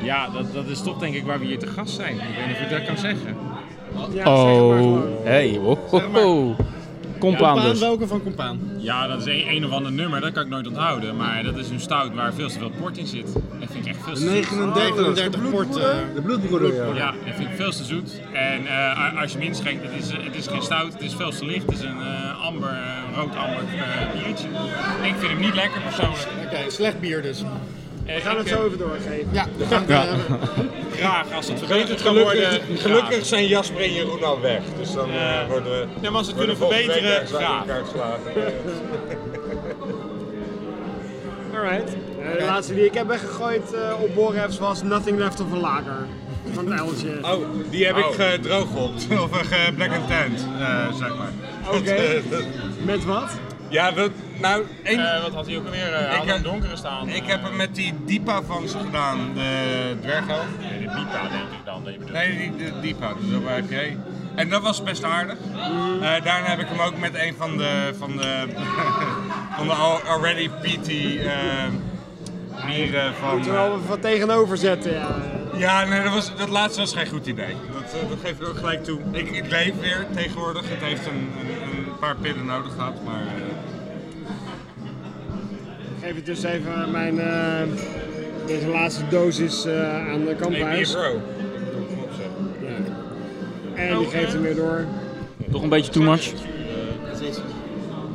Speaker 9: Ja, dat, dat is toch denk ik waar we hier te gast zijn. Ik weet niet of ik dat kan zeggen.
Speaker 4: Ja, zeg maar
Speaker 1: Oh,
Speaker 4: gewoon.
Speaker 1: hey, ho, ho, ho. Compaan
Speaker 6: Compaan,
Speaker 1: dus.
Speaker 6: welke van Compaan?
Speaker 9: Ja, dat is een, een of ander nummer, dat kan ik nooit onthouden. Maar dat is een stout waar veel te veel port in zit. Dat vind ik echt veel te zoet.
Speaker 6: 39 port. eh,
Speaker 2: De bloedbroeder, ja.
Speaker 9: Ja, dat vind ik veel te zoet. En eh, als je hem inschenkt, het is, het is geen stout, het is veel te licht. Het is een eh, amber, eh, rood amber eh, biertje. Ik vind hem niet lekker persoonlijk.
Speaker 6: Oké, slecht bier dus.
Speaker 9: Eh,
Speaker 4: We gaan
Speaker 9: ik,
Speaker 4: het
Speaker 9: eh,
Speaker 4: zo even doorgeven.
Speaker 6: Ja, we gaan het, eh,
Speaker 9: graag als het verbeterd kan
Speaker 7: Gelukkig,
Speaker 9: worden.
Speaker 7: gelukkig zijn Jasper en Jeroen al weg. Dus dan eh, worden we.
Speaker 9: Ja, maar als we
Speaker 7: worden
Speaker 9: het kunnen
Speaker 7: volgende week
Speaker 9: verbeteren,
Speaker 7: ergens uit
Speaker 9: graag.
Speaker 7: elkaar geslagen.
Speaker 4: Alright. Eh, de laatste die ik heb weggegooid eh, op Borrefs was Nothing Left of a Lager. Van het Eltje.
Speaker 7: Oh, die heb ik gedrooghopt. Of eh, ge black and tanned, eh, zeg maar. Oké.
Speaker 4: Met wat?
Speaker 7: ja, dat, nou, één,
Speaker 9: Eh, wat had hij ook alweer? eh had
Speaker 7: heb-
Speaker 9: een donkere staan. Eh,
Speaker 7: ik heb hem met die Diepa van ze gedaan, de dwergel.
Speaker 9: Nee, de Bita denk ik dan. dat je bedoelt.
Speaker 7: Nee, die, de Diepa, dus dat heb jij. En dat was best aardig. Eh, daarna heb ik hem ook met een van de, van de, van de al- already PT eh mieren van...
Speaker 4: Moeten we wel
Speaker 7: eh,
Speaker 4: even wat tegenover zetten, ja.
Speaker 7: Ja, nee, dat, was, dat laatste was geen goed idee. Dat, eh, dat geef ik ook gelijk toe. Ik, ik leef weer tegenwoordig. Het heeft een, een, een paar pillen nodig gehad, maar... eh,
Speaker 4: Ik geef het dus even mijn... eh, deze laatste dosis eh, aan de
Speaker 7: hey,
Speaker 4: kamphuis.
Speaker 7: bro.
Speaker 4: En
Speaker 6: Oh,
Speaker 4: die geeft
Speaker 6: eh.
Speaker 4: hem weer door.
Speaker 1: Toch een beetje too much.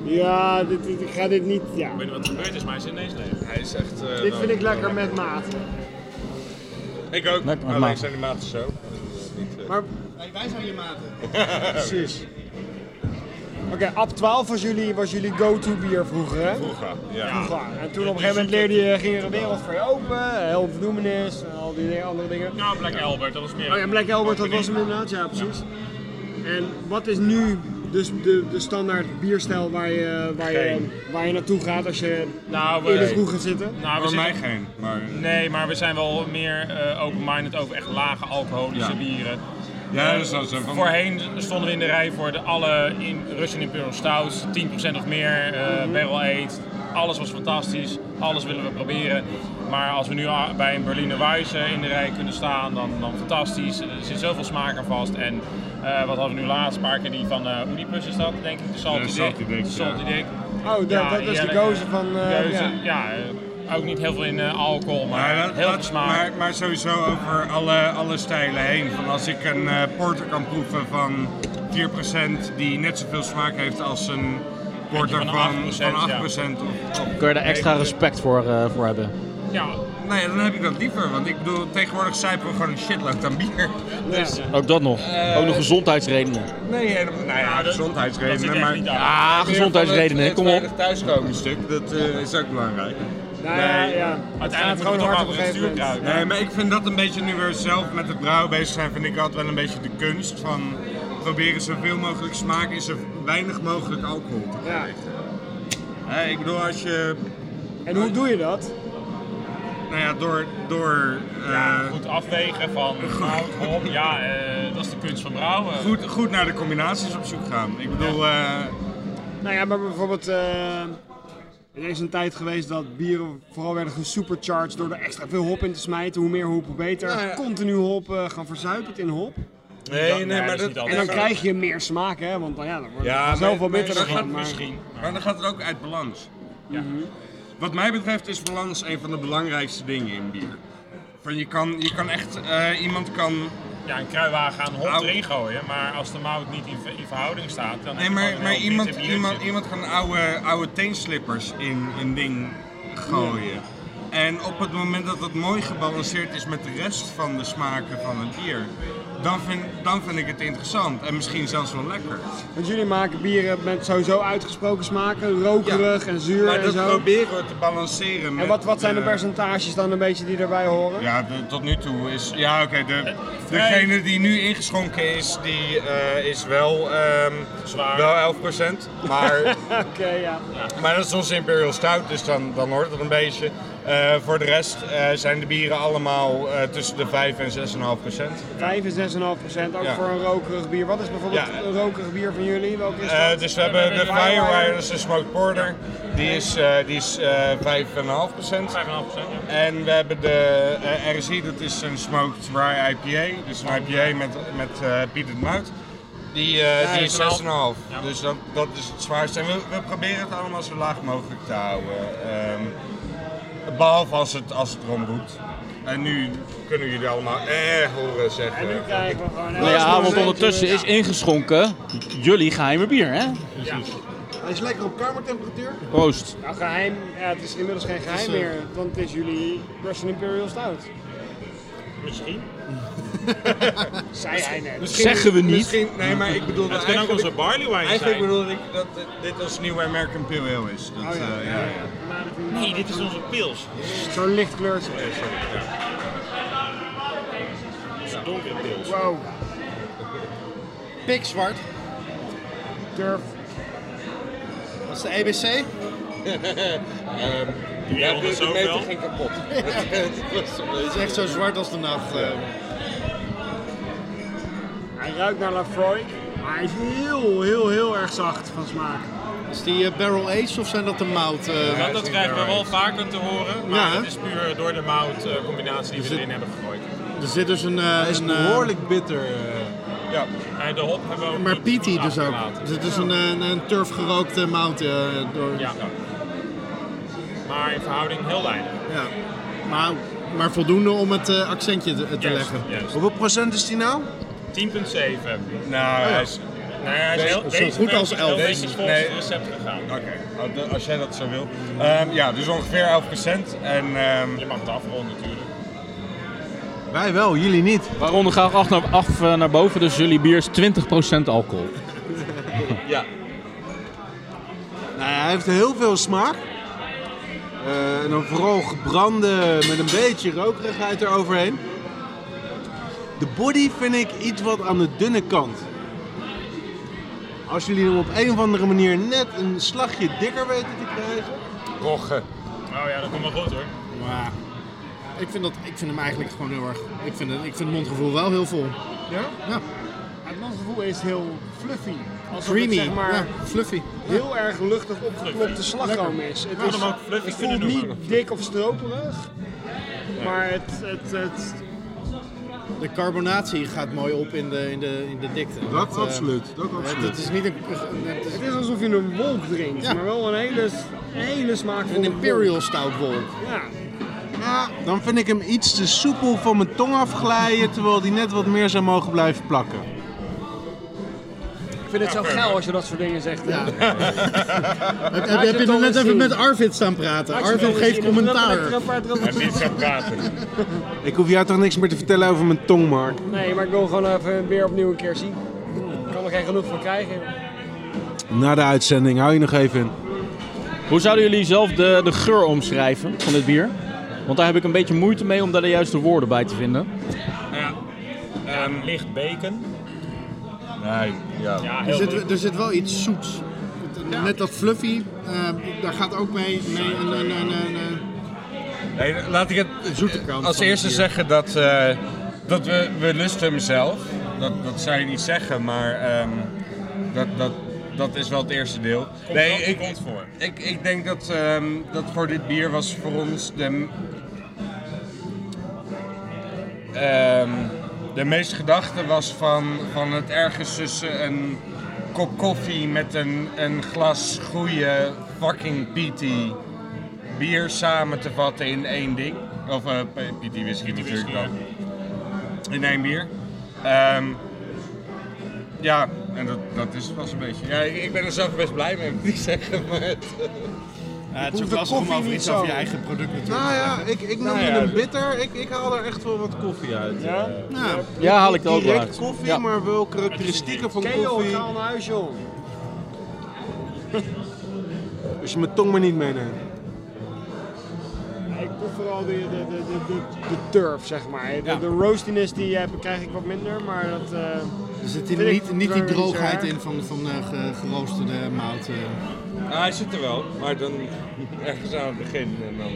Speaker 4: Ja, dit, dit- ik ga dit niet... Ja.
Speaker 9: Ik weet niet wat er gebeurd is, maar hij is ineens leeg.
Speaker 7: Hij is echt... eh,
Speaker 4: Dit vind ik
Speaker 7: wel-
Speaker 4: lekker met maat.
Speaker 7: Ik ook.
Speaker 1: Lekker met
Speaker 7: Alleen
Speaker 1: maat.
Speaker 7: zijn de maten zo.
Speaker 4: Maar
Speaker 6: hey, wij zijn je maten.
Speaker 4: precies. Oké, Ab 12 was jullie, was jullie go-to bier vroeger, hè?
Speaker 7: Vroeger, ja.
Speaker 4: Vroeger. En toen op een gegeven moment leerde je, ging er een wereld voor je open. eh, Heel verdoemenis en al die dingen- andere dingen.
Speaker 9: Nou, Black Albert, dat was meer.
Speaker 4: Oh ja, Black Albert, dat was hem inderdaad, ja precies. En wat is nu dus de, de standaard bierstijl waar je, waar, je, waar je naartoe gaat als je
Speaker 9: Nou, we,
Speaker 4: in de
Speaker 7: eh,
Speaker 4: vroeg gaat zitten?
Speaker 9: nou, we
Speaker 7: Voor mij
Speaker 9: zitten-
Speaker 7: geen, maar... eh,
Speaker 9: Nee, maar we zijn wel meer eh, open-minded over echt lage alcoholische
Speaker 7: Ja.
Speaker 9: bieren.
Speaker 7: Ja,
Speaker 9: Eh,
Speaker 7: dat is wel zo. Van-
Speaker 9: Voorheen stonden we in de rij voor de alle in Russian Imperial Stouts, 10% of meer, eh, barrel aged. Alles was fantastisch, alles willen we proberen. Maar als we nu a- bij een Berliner Weisse in de rij kunnen staan, dan, dan fantastisch. Er zit zoveel smaak aan vast. En eh, wat hadden we nu laatst? Een paar keer die van eh Oedipus is dat, denk ik. De Salty
Speaker 7: Ja,
Speaker 9: Dick.
Speaker 7: Salty Dick,
Speaker 9: De Salty Dick.
Speaker 4: Oh, dat, dat is de
Speaker 9: heerlijk,
Speaker 4: gozer
Speaker 9: eh,
Speaker 4: van... eh,
Speaker 9: geuze,
Speaker 4: ja.
Speaker 9: ja, eh, ook niet heel veel in eh, alcohol, maar,
Speaker 7: Maar, dat-
Speaker 9: heel veel
Speaker 7: dat-
Speaker 9: smaak.
Speaker 7: maar, maar sowieso over alle, alle stijlen heen. Van als ik een eh, porter kan proeven van 4% die net zoveel smaak heeft als een porter
Speaker 9: van
Speaker 7: van,
Speaker 9: 8%,
Speaker 7: van 8%.
Speaker 9: ja.
Speaker 7: of, of-
Speaker 1: Kun je daar extra respect voor, eh, voor hebben.
Speaker 9: ja,
Speaker 7: Nee, dan heb ik dat liever. Want ik bedoel, tegenwoordig zuipen we gewoon een shitload aan bier.
Speaker 1: Ook dat nog.
Speaker 9: Eh,
Speaker 1: Ook nog gezondheidsredenen.
Speaker 7: Nee, en, nou ja,
Speaker 9: dat- dat zit
Speaker 7: gezondheidsredenen.
Speaker 9: echt
Speaker 7: maar
Speaker 9: niet
Speaker 7: meer
Speaker 9: aan.
Speaker 1: Ah,
Speaker 7: van
Speaker 1: gezondheidsredenen,
Speaker 7: het-
Speaker 1: hè, kom op.
Speaker 7: Het veilig thuiskomen stuk, dat eh, is ook belangrijk.
Speaker 4: Nou ja,
Speaker 7: Nee.
Speaker 4: ja. Het gaat
Speaker 9: uiteindelijk moet
Speaker 4: gewoon hard
Speaker 9: het toch maar
Speaker 4: op een
Speaker 9: over het
Speaker 4: gegeven
Speaker 9: stuur
Speaker 4: moment.
Speaker 9: kruipen.
Speaker 7: Nee, maar ik vind dat een beetje nu weer zelf met het brouwen bezig zijn, vind ik altijd wel een beetje de kunst van proberen zoveel mogelijk smaak in zo weinig mogelijk alcohol te
Speaker 4: Ja.
Speaker 7: krijgen. Hè, ik bedoel, als je,
Speaker 4: En hoe doe je dat?
Speaker 7: nou ja, door, door eh,
Speaker 9: goed afwegen van hout, hop, ja, eh, dat is de kunst van brouwen.
Speaker 7: goed, goed naar de combinaties op zoek gaan. Ik bedoel, eh,
Speaker 4: Nou ja, maar bijvoorbeeld. eh, er is een tijd geweest dat bieren vooral werden gesupercharged door er extra veel hop in te smijten. Hoe meer hop, hoe beter.
Speaker 7: Nou ja.
Speaker 4: Continu hop, eh, gaan verzuipen in hop.
Speaker 7: nee, nee,
Speaker 9: dat
Speaker 7: maar
Speaker 9: is
Speaker 7: dat,
Speaker 9: niet altijd
Speaker 4: En dan
Speaker 9: zo.
Speaker 4: krijg je meer smaak, hè? Want nou ja, dan wordt
Speaker 7: Ja,
Speaker 4: het zelf
Speaker 7: maar-
Speaker 4: wel
Speaker 7: maar
Speaker 4: bitterder
Speaker 7: dat gaat
Speaker 4: van. Maar...
Speaker 9: Misschien.
Speaker 7: Maar dan gaat het ook uit balans. Wat mij betreft is balans een van de belangrijkste dingen in bier. Van je kan, je kan echt, eh, iemand kan
Speaker 9: Ja, een kruiwagen aan hop
Speaker 7: Au.
Speaker 9: erin gooien, maar als de mout niet in, ver- in verhouding staat, dan
Speaker 7: Nee,
Speaker 9: heb je
Speaker 7: maar,
Speaker 9: gewoon
Speaker 7: maar
Speaker 9: een heel
Speaker 7: iemand,
Speaker 9: bitter biertje.
Speaker 7: iemand, iemand kan oude, oude teenslippers in een ding gooien. En op het moment dat dat mooi gebalanceerd is met de rest van de smaken van het bier, dan vind, dan vind ik het interessant en misschien zelfs wel lekker.
Speaker 4: Want jullie maken bieren met sowieso uitgesproken smaken, rokerig en zuur
Speaker 7: Maar
Speaker 4: en
Speaker 7: dat
Speaker 4: zo.
Speaker 7: proberen we te balanceren. Met,
Speaker 4: En wat, wat zijn de
Speaker 7: eh,
Speaker 4: percentages dan een beetje die erbij horen?
Speaker 7: Ja, de- tot nu toe is. Ja, oké. de, degene die nu ingeschonken is, die eh, is wel. ehm,
Speaker 9: Zwaar.
Speaker 7: Wel 11%. Maar,
Speaker 4: Oké, ja.
Speaker 7: maar dat is onze Imperial Stout, dus dan, dan hoort het een beetje. Eh, voor de rest eh, zijn de bieren allemaal eh, tussen de 5 en 6,5%.
Speaker 4: 5 en 6,5 procent, ook
Speaker 7: Ja.
Speaker 4: voor een rokerig bier. Wat is bijvoorbeeld
Speaker 7: Ja.
Speaker 4: een rokerig bier van jullie? Welke is
Speaker 7: Eh
Speaker 4: dat?
Speaker 7: dus we hebben de Firewire, dat is een smoked porter. Die is, eh, die is eh 5,5%.
Speaker 9: 5,5%, ja.
Speaker 7: En we hebben de eh, RSI, dat is een smoked rye IPA. Dus een IPA met, met eh bietend mout. die, eh,
Speaker 3: Ja,
Speaker 7: die
Speaker 3: die
Speaker 7: is 6,5.
Speaker 3: is
Speaker 7: Dus dat, dat is het zwaarste. En we, we proberen het allemaal zo laag mogelijk te houden. Ehm, behalve als het, als het erom roept. En nu kunnen jullie allemaal eh horen zeggen.
Speaker 4: En nu krijgen we gewoon...
Speaker 1: Nou ja, want ondertussen is ingeschonken jullie geheime bier, hè?
Speaker 2: Hij is lekker op kamertemperatuur.
Speaker 1: Proost.
Speaker 4: Nou, geheim, ja, het is inmiddels geen geheim meer, want het is jullie Russian Imperial Stout. Misschien. Zei hij net.
Speaker 3: Misschien-
Speaker 1: Zeggen we niet.
Speaker 7: Misschien, nee, maar ik bedoel
Speaker 9: Het kan ook onze barley wine
Speaker 7: Eigenlijk
Speaker 9: zijn.
Speaker 7: bedoelde ik dat dit- dit als nieuwe American Pale Ale is. Dat,
Speaker 4: Oh ja,
Speaker 7: eh,
Speaker 4: ja,
Speaker 7: ja,
Speaker 4: ja.
Speaker 7: ja.
Speaker 9: Nee, dit is onze pils.
Speaker 4: Zo'n licht kleurtje.
Speaker 9: Onze donkere pils.
Speaker 4: Wow,
Speaker 6: Pikzwart.
Speaker 4: durf.
Speaker 6: Dat is de E EBC.
Speaker 9: Jij
Speaker 7: de-
Speaker 9: wil het
Speaker 7: de
Speaker 9: zo
Speaker 7: meter
Speaker 9: wel.
Speaker 7: ging kapot. Het was een
Speaker 6: Het
Speaker 7: beetje-
Speaker 6: is echt zo zwart als de nacht. eh.
Speaker 4: Hij ruikt naar Lafroy, maar hij is heel, heel, heel erg zacht van smaak.
Speaker 6: Is die eh, barrel aged of zijn dat de mout? eh?
Speaker 9: Want dat krijgen we wel vaker te horen, maar
Speaker 6: Ja, hè?
Speaker 9: het is puur door de mout eh, combinatie die we erin hebben gegooid.
Speaker 6: Er zit dus een... eh,
Speaker 2: Hij is
Speaker 6: een, eh,
Speaker 2: behoorlijk bitter. eh.
Speaker 9: Ja. En de hop hebben we ook
Speaker 6: maar
Speaker 9: niet
Speaker 6: Piti dus ook.
Speaker 9: achtergelaten.
Speaker 6: Dus het is een, eh, een, een turfgerookte mout. eh, door,
Speaker 9: Ja. Maar in verhouding heel weinig.
Speaker 6: Ja. Maar, maar voldoende om het eh, accentje te, te
Speaker 9: Juist,
Speaker 6: leggen.
Speaker 9: juist.
Speaker 2: Hoeveel procent is die nou?
Speaker 9: 10,7.
Speaker 7: Nou, hij is-
Speaker 9: Nou ja, hij is
Speaker 7: Deze-
Speaker 9: heel,
Speaker 6: zo
Speaker 9: deze
Speaker 6: goed als
Speaker 9: is
Speaker 6: elf.
Speaker 9: heel netjes volgens
Speaker 7: Nee.
Speaker 9: het recept gegaan.
Speaker 7: Oké, oh, de- als jij dat zo wil. Ehm, ja, dus ongeveer 11%. En ehm,
Speaker 9: Je mag het afronden natuurlijk.
Speaker 2: Wij wel, jullie niet.
Speaker 1: Waaronder gaat acht naar, af eh, naar boven, dus jullie bier is 20% alcohol.
Speaker 2: Nou, hij heeft heel veel smaak. Eh, en dan vooral gebrande met een beetje rokerigheid eroverheen. De body vind ik iets wat aan de dunne kant. Als jullie hem op een of andere manier net een slagje dikker weten te krijgen.
Speaker 7: roggen.
Speaker 9: Nou ja, dat komt wel goed hoor.
Speaker 6: Maar ik vind, dat, ik vind hem eigenlijk gewoon heel erg... Ik vind het, ik vind het mondgevoel wel heel vol.
Speaker 4: Ja?
Speaker 6: Ja,
Speaker 4: Het mondgevoel is heel fluffy. Alsof
Speaker 6: creamy.
Speaker 4: Het, zeg maar,
Speaker 6: ja, fluffy.
Speaker 4: heel erg luchtig opgeklopte slagroom is. Het,
Speaker 9: Laat
Speaker 4: is,
Speaker 9: hem ook fluffy
Speaker 4: het voelt
Speaker 9: kunnen
Speaker 4: niet
Speaker 9: noemen.
Speaker 4: dik of stroperig, maar het, het, het,
Speaker 6: De carbonatie gaat mooi op in de, in de, in de dikte. eh,
Speaker 2: dat
Speaker 6: Het, het is niet een, het is
Speaker 4: het is alsof je een wolk drinkt,
Speaker 6: Ja.
Speaker 4: maar wel een hele, een hele smaakvolle
Speaker 6: een
Speaker 4: wolk.
Speaker 6: imperial stout wolk.
Speaker 4: Ja,
Speaker 2: Ja, dan vind ik hem iets te soepel van mijn tong afglijden, terwijl die net wat meer zou mogen blijven plakken.
Speaker 4: ik vind het zo geil als je dat soort dingen zegt.
Speaker 6: Ja.
Speaker 4: Laat
Speaker 6: Heb,
Speaker 4: je
Speaker 6: heb je
Speaker 4: het
Speaker 6: er
Speaker 4: dan
Speaker 6: net
Speaker 4: eens
Speaker 6: even
Speaker 4: zien.
Speaker 6: met Arvid staan praten?
Speaker 4: je
Speaker 6: Arvid
Speaker 4: het
Speaker 6: geeft
Speaker 4: zien.
Speaker 6: commentaar.
Speaker 7: En niet gaan praten.
Speaker 2: Ik hoef jou toch niks meer te vertellen over mijn tong, Mark.
Speaker 4: Nee, maar ik wil gewoon even weer opnieuw een keer zien. Ik kan er geen genoeg van krijgen.
Speaker 2: Na de uitzending, hou je nog even in.
Speaker 1: Hoe zouden jullie zelf de, de geur omschrijven van dit bier? Want daar heb ik een beetje moeite mee om daar de juiste woorden bij te vinden.
Speaker 9: Nou ja, ehm, licht bacon.
Speaker 7: Nee, ja.
Speaker 9: Ja,
Speaker 6: Er
Speaker 9: heel goed.
Speaker 6: zit, er zit wel iets zoets. Net dat fluffy, eh, daar gaat ook mee, mee eh, een, een, een, een, een-
Speaker 7: Nee, laat ik het
Speaker 6: zoete kant van
Speaker 7: als
Speaker 6: het
Speaker 7: eerste
Speaker 6: bier.
Speaker 7: zeggen dat, eh, dat we, we lusten hem zelf. Dat, dat zou je niet zeggen, maar ehm, dat, dat, dat is wel het eerste deel. nee, ik,
Speaker 9: komt voor.
Speaker 7: Ik, ik denk dat, ehm, dat voor dit bier was voor ons de, m- ehm, de meeste gedachte was van, van het ergens tussen een kop koffie met een, een glas goede fucking PT bier samen te vatten in één ding. Of eh PT whisky natuurlijk dan. In één bier. Ehm, ja, en dat, dat is, was een beetje. Ja, ik, ik ben er zelf best blij mee, moet ik zeggen. Maar het,
Speaker 6: het
Speaker 2: is ook lastig om over iets over je
Speaker 6: eigen product natuurlijk.
Speaker 2: Nou ja, ik, ik noemde
Speaker 7: ja,
Speaker 2: hem bitter. Ik, ik haal er echt wel wat koffie uit.
Speaker 4: Ja?
Speaker 6: Nou,
Speaker 1: Ja, haal ik er ook wel
Speaker 2: Direct
Speaker 1: uit.
Speaker 2: koffie,
Speaker 1: Ja.
Speaker 2: maar wel karakteristieken van
Speaker 4: Keel,
Speaker 2: koffie.
Speaker 4: ga al naar huis, joh.
Speaker 2: Als je mijn tong maar niet meeneemt.
Speaker 4: Ik proef vooral de, de, de, de, de, de turf, zeg maar. De, de roastiness die je hebt, krijg ik wat minder, maar dat... eh,
Speaker 6: er zit hier
Speaker 4: Vind ik
Speaker 6: niet, niet die
Speaker 4: er niet zo
Speaker 6: droogheid
Speaker 4: erg.
Speaker 6: in van, van eh, ge- geroosterde mout. eh.
Speaker 7: Ah, hij zit er wel, maar dan ergens aan het begin en dan...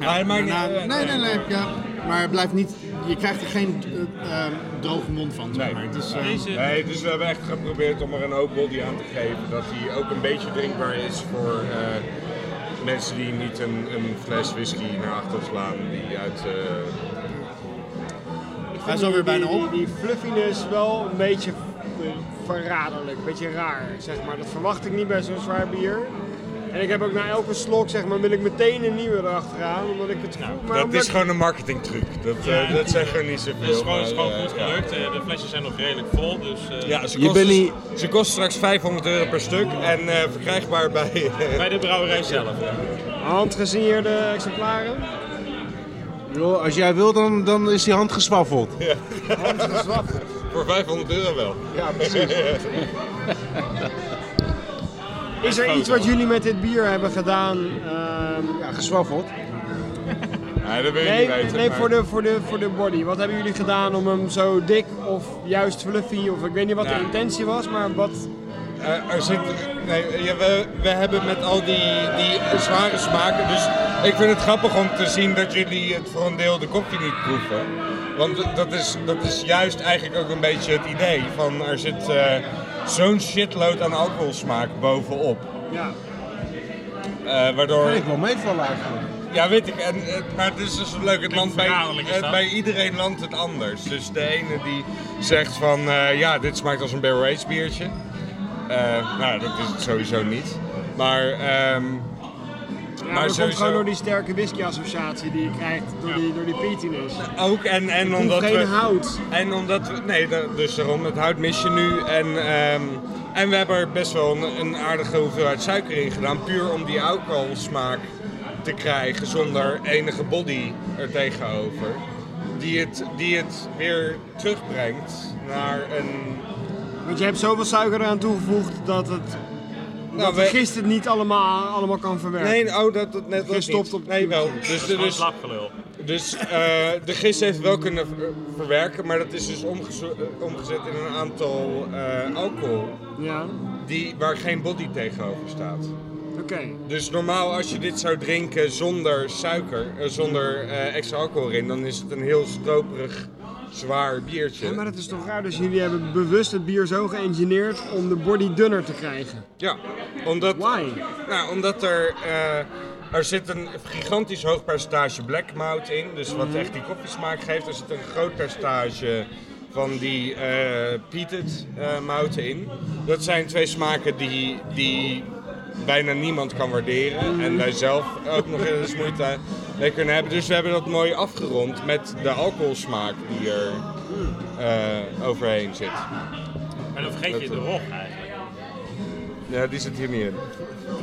Speaker 6: Ja,
Speaker 7: hij maakt niet
Speaker 6: daarna-
Speaker 7: uit.
Speaker 6: Nou, nee, nee, nee. Ja. Maar het blijft niet, je krijgt er geen eh, eh, droge mond van. Zeg
Speaker 7: Nee.
Speaker 6: maar. het is, eh,
Speaker 7: Nee, dus we hebben echt geprobeerd om er een hoop body aan te geven. Dat hij ook een beetje drinkbaar is voor eh, mensen die niet een, een fles whisky naar achter slaan. Die uit... eh,
Speaker 4: ik
Speaker 6: Hij is
Speaker 4: vind
Speaker 6: alweer
Speaker 4: die-
Speaker 6: bijna
Speaker 4: Oh, die-
Speaker 6: op.
Speaker 4: Die, die fluffiness wel een beetje eh, verraderlijk, een beetje raar, zeg maar. Dat verwacht ik niet bij zo'n zwaar bier. En ik heb ook na elke slok, zeg maar, wil ik meteen een nieuwe erachteraan, omdat ik het voel. Maar
Speaker 7: Dat
Speaker 4: omdat
Speaker 7: is
Speaker 4: ik-
Speaker 7: gewoon een marketingtruc. Dat, eh, dat zegt er niet zoveel.
Speaker 9: Het is gewoon, het is
Speaker 7: maar,
Speaker 9: gewoon
Speaker 7: eh,
Speaker 9: goed
Speaker 7: ja.
Speaker 9: gelukt. Eh, De flesjes zijn nog redelijk vol, dus... eh,
Speaker 7: Ja, ze
Speaker 1: Je
Speaker 7: kost,
Speaker 1: bent niet-
Speaker 7: ze kost straks 500 euro per stuk en eh, verkrijgbaar bij...
Speaker 9: Bij de brouwerij zelf.
Speaker 7: Dus-
Speaker 4: Handgesigneerde exemplaren.
Speaker 2: Joh, als jij wil, dan, dan is die hand geswaffeld.
Speaker 7: voor 500 euro wel.
Speaker 2: Ja, precies.
Speaker 4: Is er iets wat jullie met dit bier hebben gedaan? ehm,
Speaker 2: Ja, geswaffeld.
Speaker 7: Nee, dat wil je
Speaker 4: nee,
Speaker 7: niet weten.
Speaker 4: nee
Speaker 7: maar-
Speaker 4: voor, de, voor, de, voor de body. Wat hebben jullie gedaan om hem zo dik of juist fluffy of ik weet niet wat
Speaker 7: Nou.
Speaker 4: de intentie was, maar wat...
Speaker 7: Eh, er zit, nee, ja, we, we hebben met al die, die eh, zware smaken, dus ik vind het grappig om te zien dat jullie het voor een deel de koffie niet proeven. Want dat is, dat is juist eigenlijk ook een beetje het idee van er zit eh, zo'n shitload aan alcoholsmaak bovenop.
Speaker 4: Ja.
Speaker 7: Eh, waardoor...
Speaker 2: Kan ik wel meevallen eigenlijk.
Speaker 7: Ja, weet ik. En, het- maar het is dus leuk. Het land bij,
Speaker 9: verraderlijk is
Speaker 7: het-
Speaker 9: dat.
Speaker 7: bij iedereen landt het anders. Dus de ene die zegt van eh, ja, dit smaakt als een barrel aged biertje. Eh, nou, dat is het sowieso niet. Maar, ehm,
Speaker 4: Ja,
Speaker 7: maar
Speaker 4: maar dat komt
Speaker 7: sowieso
Speaker 4: gewoon door die sterke whisky-associatie die je krijgt door die, door die peatiness.
Speaker 7: ook. En, en
Speaker 4: Hoef
Speaker 7: omdat
Speaker 4: geen
Speaker 7: we.
Speaker 4: hout.
Speaker 7: En omdat we. Nee, da- dus daarom, het hout mis je nu. En, ehm, en we hebben er best wel een, een aardige hoeveelheid suiker in gedaan. Puur om die alcoholsmaak te krijgen zonder enige body er tegenover. Die het, die het weer terugbrengt naar een.
Speaker 4: Want je hebt zoveel suiker eraan toegevoegd dat het
Speaker 7: Nou,
Speaker 4: de
Speaker 7: we-
Speaker 4: gist het niet allemaal, allemaal kan verwerken.
Speaker 7: Nee, oh, dat, dat net was
Speaker 4: Gestopt
Speaker 7: niet.
Speaker 4: op-
Speaker 7: Nee, wel. Dus,
Speaker 9: Dus,
Speaker 7: dus,
Speaker 9: slapgelul.
Speaker 7: Dus eh, de gist heeft wel kunnen ver- verwerken, maar dat is dus omgezo- eh, omgezet in een aantal eh, alcohol
Speaker 4: Ja,
Speaker 7: die, waar geen body tegenover staat.
Speaker 4: oké.
Speaker 7: Dus normaal als je dit zou drinken zonder suiker, eh, zonder eh, extra alcohol erin, dan is het een heel stroperig, zwaar biertje.
Speaker 4: Ja, maar dat is toch raar, dus jullie hebben bewust het bier zo geëngineerd om de body dunner te krijgen.
Speaker 7: Ja, omdat,
Speaker 4: Why?
Speaker 7: nou, omdat er, eh, er zit een gigantisch hoog percentage black malt in, dus wat echt die koffiesmaak geeft. Er zit een groot percentage van die eh peated eh, mouten in. Dat zijn twee smaken die, die bijna niemand kan waarderen en wij zelf ook nog eens moeite mee kunnen hebben. Dus we hebben dat mooi afgerond met de alcoholsmaak die er eh, overheen zit.
Speaker 9: Maar dan vergeet je de rog eigenlijk.
Speaker 7: Ja, die zit hier niet in.
Speaker 9: Er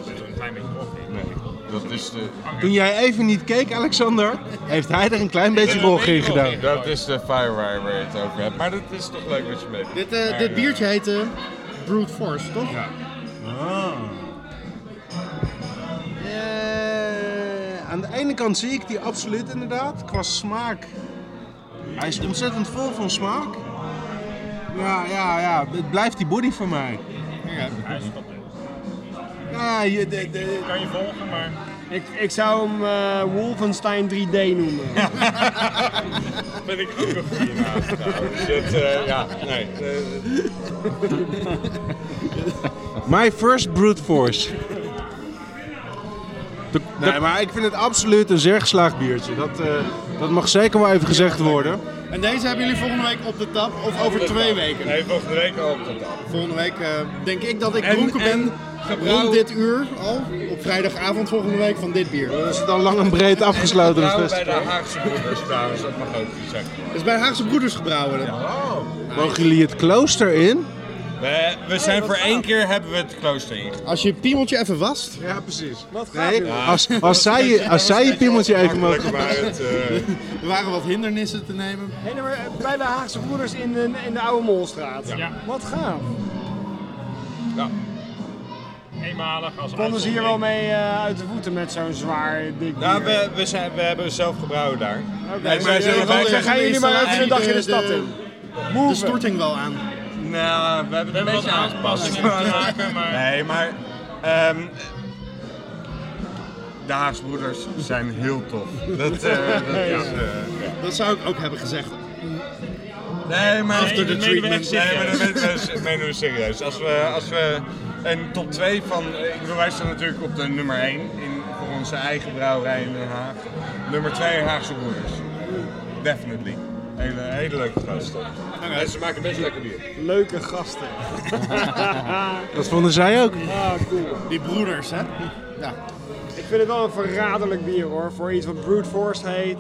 Speaker 9: zit een klein beetje rog in.
Speaker 7: Nee, dat is de...
Speaker 2: Toen jij even niet keek, Alexander, heeft hij er een klein beetje rog in gedaan.
Speaker 7: Dat is de firewire waar je het over hebt. Maar dat is toch leuk wat je mee doet.
Speaker 6: Dit, eh, dit biertje heet eh, Brute Force, toch? Ja.
Speaker 2: Eh, aan de ene kant zie ik die absoluut inderdaad, qua smaak. Hij is ontzettend vol van smaak. Ja, ja, ja, het blijft die body voor mij. Ja, je, de, de,
Speaker 9: Kan je volgen, maar...
Speaker 4: Ik, ik zou hem eh, Wolfenstein 3D noemen.
Speaker 7: vind ik ook een goede naam trouwens. Het, eh, ja, nee. eh,
Speaker 2: My first brute force. Nee, maar ik vind het absoluut een zeer geslaagd biertje. Dat, eh, dat mag zeker wel even gezegd worden.
Speaker 6: En deze hebben jullie volgende week op de tap of over twee weken.
Speaker 7: Nee, volgende week al op de tafel.
Speaker 2: Dus
Speaker 6: Volgende week eh, denk ik dat ik
Speaker 7: En-
Speaker 6: dronken ben.
Speaker 7: en gebrouw-
Speaker 6: Rond dit uur al. Op vrijdagavond volgende week van dit bier.
Speaker 2: Dat is dan lang en breed afgesloten.
Speaker 7: Nou,
Speaker 2: Dus
Speaker 7: bij de Haagse broeders trouwens, dat mag ook niet zeggen.
Speaker 6: Dat is bij Haagse Broeders gebrouwen.
Speaker 2: mogen jullie het klooster in?
Speaker 7: We, we zijn voor één keer hebben we het klooster ingegaan.
Speaker 6: Als je je piemeltje even wast.
Speaker 2: Ja, precies.
Speaker 4: Wat gaat
Speaker 2: Nee, als, als, zij, je- als zij je piemeltje even mogen...
Speaker 7: Maar het, eh,
Speaker 6: Er waren wat hindernissen te nemen.
Speaker 4: Hey, nee, maar, eh, bij de Haagse Broeders in de, in de Oude Molstraat.
Speaker 9: Ja.
Speaker 4: Wat gaaf.
Speaker 9: Eenmalig als
Speaker 4: Konden ze hier wel
Speaker 9: uitzondering.
Speaker 4: mee eh, uit de voeten met zo'n zwaar dik bier?
Speaker 7: nou, we, we, zijn, we hebben zelf gebrouwen daar.
Speaker 4: Oké,
Speaker 7: Nee, zij
Speaker 4: maar,
Speaker 7: zijn
Speaker 4: eh,
Speaker 7: er bij.
Speaker 4: dan gaan jullie maar even een dag in de stad in.
Speaker 6: De
Speaker 4: Move.
Speaker 6: storting wel aan.
Speaker 7: Nou, we hebben
Speaker 9: We
Speaker 7: het een
Speaker 9: hebben wat
Speaker 7: beetje aangepast.
Speaker 9: aanpassingen te maken, maar...
Speaker 7: Nee, maar ehm, de Haagse broeders zijn heel tof. Dat, eh, dat is, eh,
Speaker 6: Dat zou ik ook hebben gezegd.
Speaker 7: nee, maar
Speaker 9: After the
Speaker 7: dat
Speaker 9: treatment.
Speaker 7: menen we echt serieus. Nee, maar dat menen we- menen we serieus. Als we, als we een top 2 van, eh, ik bedoel, wij staan natuurlijk op de nummer 1 in voor onze eigen brouwerij in Den Haag. Nummer 2 Haagse broeders. Definitely. Hele, hele leuke gasten. En ze maken best lekker bier.
Speaker 4: Leuke gasten.
Speaker 2: Dat vonden zij ook.
Speaker 4: Ah, cool.
Speaker 6: Die broeders, hè?
Speaker 4: Ik vind het wel een verraderlijk bier hoor. Voor iets wat Brute Force heet